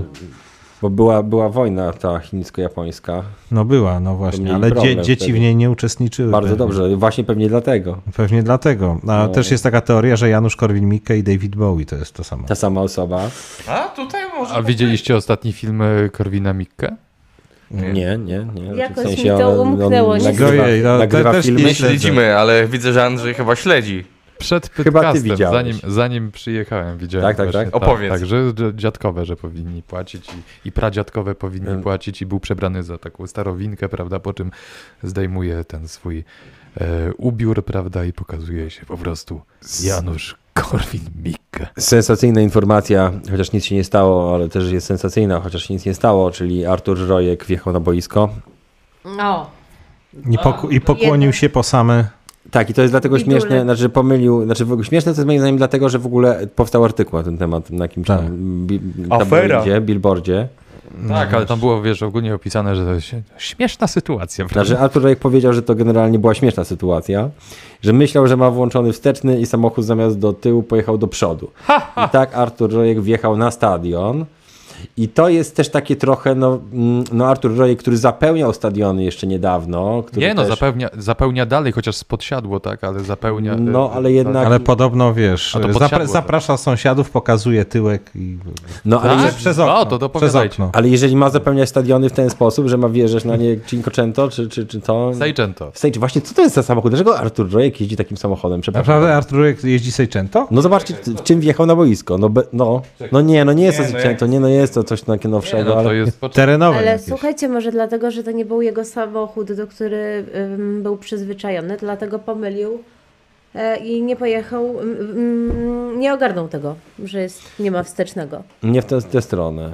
Speaker 5: Bo była, była wojna ta chińsko-japońska.
Speaker 4: No była, no właśnie,
Speaker 5: mieli
Speaker 4: ale dzie,
Speaker 5: problem
Speaker 4: dzieci
Speaker 5: wtedy.
Speaker 4: w niej nie uczestniczyły.
Speaker 5: Bardzo
Speaker 4: pewnie.
Speaker 5: dobrze, No. właśnie pewnie dlatego.
Speaker 4: Pewnie dlatego. A też jest taka teoria, że Janusz Korwin-Mikke i David Bowie to jest to samo.
Speaker 5: Ta sama osoba.
Speaker 6: A tutaj może.
Speaker 1: A widzieliście ostatni film y, Korwina Mikke?
Speaker 5: Nie, nie, nie.
Speaker 2: Jakoś mi to umknęło, nie
Speaker 5: nagrywa,
Speaker 4: Ojej, no,
Speaker 5: nagrywa
Speaker 4: te- też
Speaker 5: filmy.
Speaker 6: Nie
Speaker 4: śledzę.
Speaker 6: śledzimy, ale widzę, że Andrzej chyba śledzi.
Speaker 1: Przed
Speaker 5: Chyba ty
Speaker 1: podcastem,
Speaker 5: widziałeś.
Speaker 1: zanim, zanim przyjechałem, widziałem.
Speaker 5: Tak, tak,
Speaker 1: właśnie,
Speaker 5: tak.
Speaker 6: Opowiedz.
Speaker 1: Tak, że dż- dziadkowe, że powinni płacić i, i pradziadkowe powinni
Speaker 5: Y.
Speaker 1: płacić i był przebrany za taką starowinkę, prawda, po czym zdejmuje ten swój e, ubiór, prawda, i pokazuje się po prostu Janusz Korwin-Mikke.
Speaker 5: Sensacyjna informacja, chociaż nic się nie stało, ale też jest sensacyjna, chociaż nic nie stało, czyli Artur Rojek wjechał na boisko.
Speaker 2: No,
Speaker 4: I, poku, I pokłonił się po same...
Speaker 5: Tak, i to jest dlatego
Speaker 2: Bidule.
Speaker 5: śmieszne, znaczy, że pomylił, znaczy w ogóle śmieszne to jest moim zdaniem dlatego, że w ogóle powstał artykuł na ten temat na jakimś
Speaker 4: Tak.
Speaker 5: tam bi,
Speaker 6: Afera.
Speaker 5: tabloidzie, billboardzie. No
Speaker 1: Tak, ale tam było, wiesz, ogólnie opisane, że to jest śmieszna sytuacja. prawda?
Speaker 5: Znaczy Artur Rojek powiedział, że to generalnie była śmieszna sytuacja, że myślał, że ma włączony wsteczny i samochód zamiast do tyłu pojechał do przodu. I tak Artur Rojek wjechał na stadion. I to jest też takie trochę, no, mm, no Artur Roje, który zapełniał stadiony jeszcze niedawno. Który
Speaker 1: Nie no,
Speaker 5: też,
Speaker 1: zapełnia, zapełnia dalej, chociaż spod siadło, tak, ale zapełnia. y,
Speaker 5: No, ale jednak-
Speaker 4: Ale podobno wiesz,
Speaker 1: A to
Speaker 4: zapra-
Speaker 1: podsiadło,
Speaker 4: zaprasza sąsiadów, pokazuje tyłek i.
Speaker 5: No, ale,
Speaker 1: Tak?
Speaker 5: je-
Speaker 4: Prze- Przez okno.
Speaker 1: O, to
Speaker 4: przez
Speaker 1: dopowiadajcie.
Speaker 4: okno.
Speaker 5: No. ale jeżeli ma zapełniać stadiony w ten sposób, że ma wierzyć na nie Cinquecento, czy, czy, czy to...
Speaker 1: Seicento.
Speaker 5: Stage, właśnie co to jest za samochód? Dlaczego Artur Rojek jeździ takim samochodem? Przepraszam.
Speaker 4: Naprawdę Arturek jeździ Seicento?
Speaker 5: No zobaczcie, ty- w czym wjechał na boisko. No, be, no. no nie, no nie jest to
Speaker 6: Nie, no
Speaker 5: Cinquecento, nie, no jest to coś takie nowszego,
Speaker 1: No, to
Speaker 5: ale...
Speaker 1: jest poczekaj,
Speaker 4: Terenowe.
Speaker 2: Ale
Speaker 4: jakieś.
Speaker 2: słuchajcie, może dlatego, że to nie był jego samochód, do który ym, był przyzwyczajony, dlatego pomylił e, i nie pojechał, mm, mm, nie ogarnął tego, że jest, nie ma wstecznego.
Speaker 5: Nie w tę, tę stronę.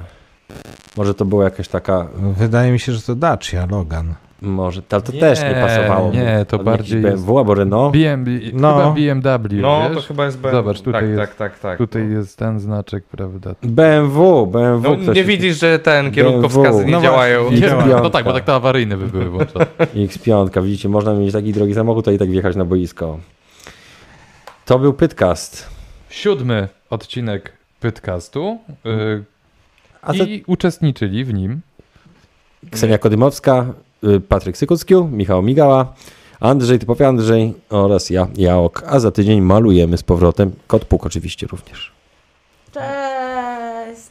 Speaker 5: Może to była jakaś taka...
Speaker 4: Wydaje mi się, że to Dacia Logan.
Speaker 5: Może, ale to
Speaker 1: Nie,
Speaker 5: też nie pasowało.
Speaker 1: nie, to
Speaker 5: Od
Speaker 1: bardziej
Speaker 5: jakichś BMW, bo Renault.
Speaker 1: BMW,
Speaker 4: No.
Speaker 1: chyba BMW,
Speaker 6: No,
Speaker 1: wiesz?
Speaker 6: to chyba jest BMW.
Speaker 1: Zobacz, tutaj
Speaker 6: tak,
Speaker 1: jest-
Speaker 6: tak, tak, tak.
Speaker 1: Tutaj jest ten znaczek, prawda?
Speaker 5: BMW, BMW.
Speaker 6: No,
Speaker 5: ktoś
Speaker 6: nie
Speaker 5: jest-
Speaker 6: widzisz, że ten kierunkowskazy nie
Speaker 5: No
Speaker 6: działają.
Speaker 1: Nie,
Speaker 5: działa.
Speaker 1: no tak, bo tak to awaryjne by były włączone.
Speaker 5: X5, widzicie, można mieć taki drogi samochód, a i tak wjechać na boisko. To był Pytcast.
Speaker 1: Siódmy odcinek Pytcastu y,
Speaker 5: A to
Speaker 1: i uczestniczyli w nim
Speaker 5: Ksenia Kodymowska, y, Patryk Sykuckiu, Michał Migała, Andrzej Typowy Andrzej oraz ja, Jaok. A za tydzień malujemy z powrotem. Kot Puk oczywiście również.
Speaker 2: Cześć!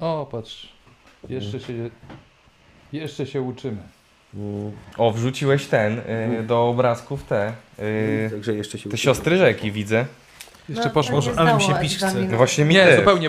Speaker 1: O, patrz. Jeszcze się, jeszcze się uczymy.
Speaker 6: O, wrzuciłeś ten y, do obrazków te. Y,
Speaker 5: Także jeszcze się
Speaker 6: te siostry rzeki widzę.
Speaker 1: Jeszcze poszło.
Speaker 2: No, tak ale mi się pić chce.
Speaker 6: No Właśnie mi
Speaker 1: Nie,
Speaker 6: też.
Speaker 1: zupełnie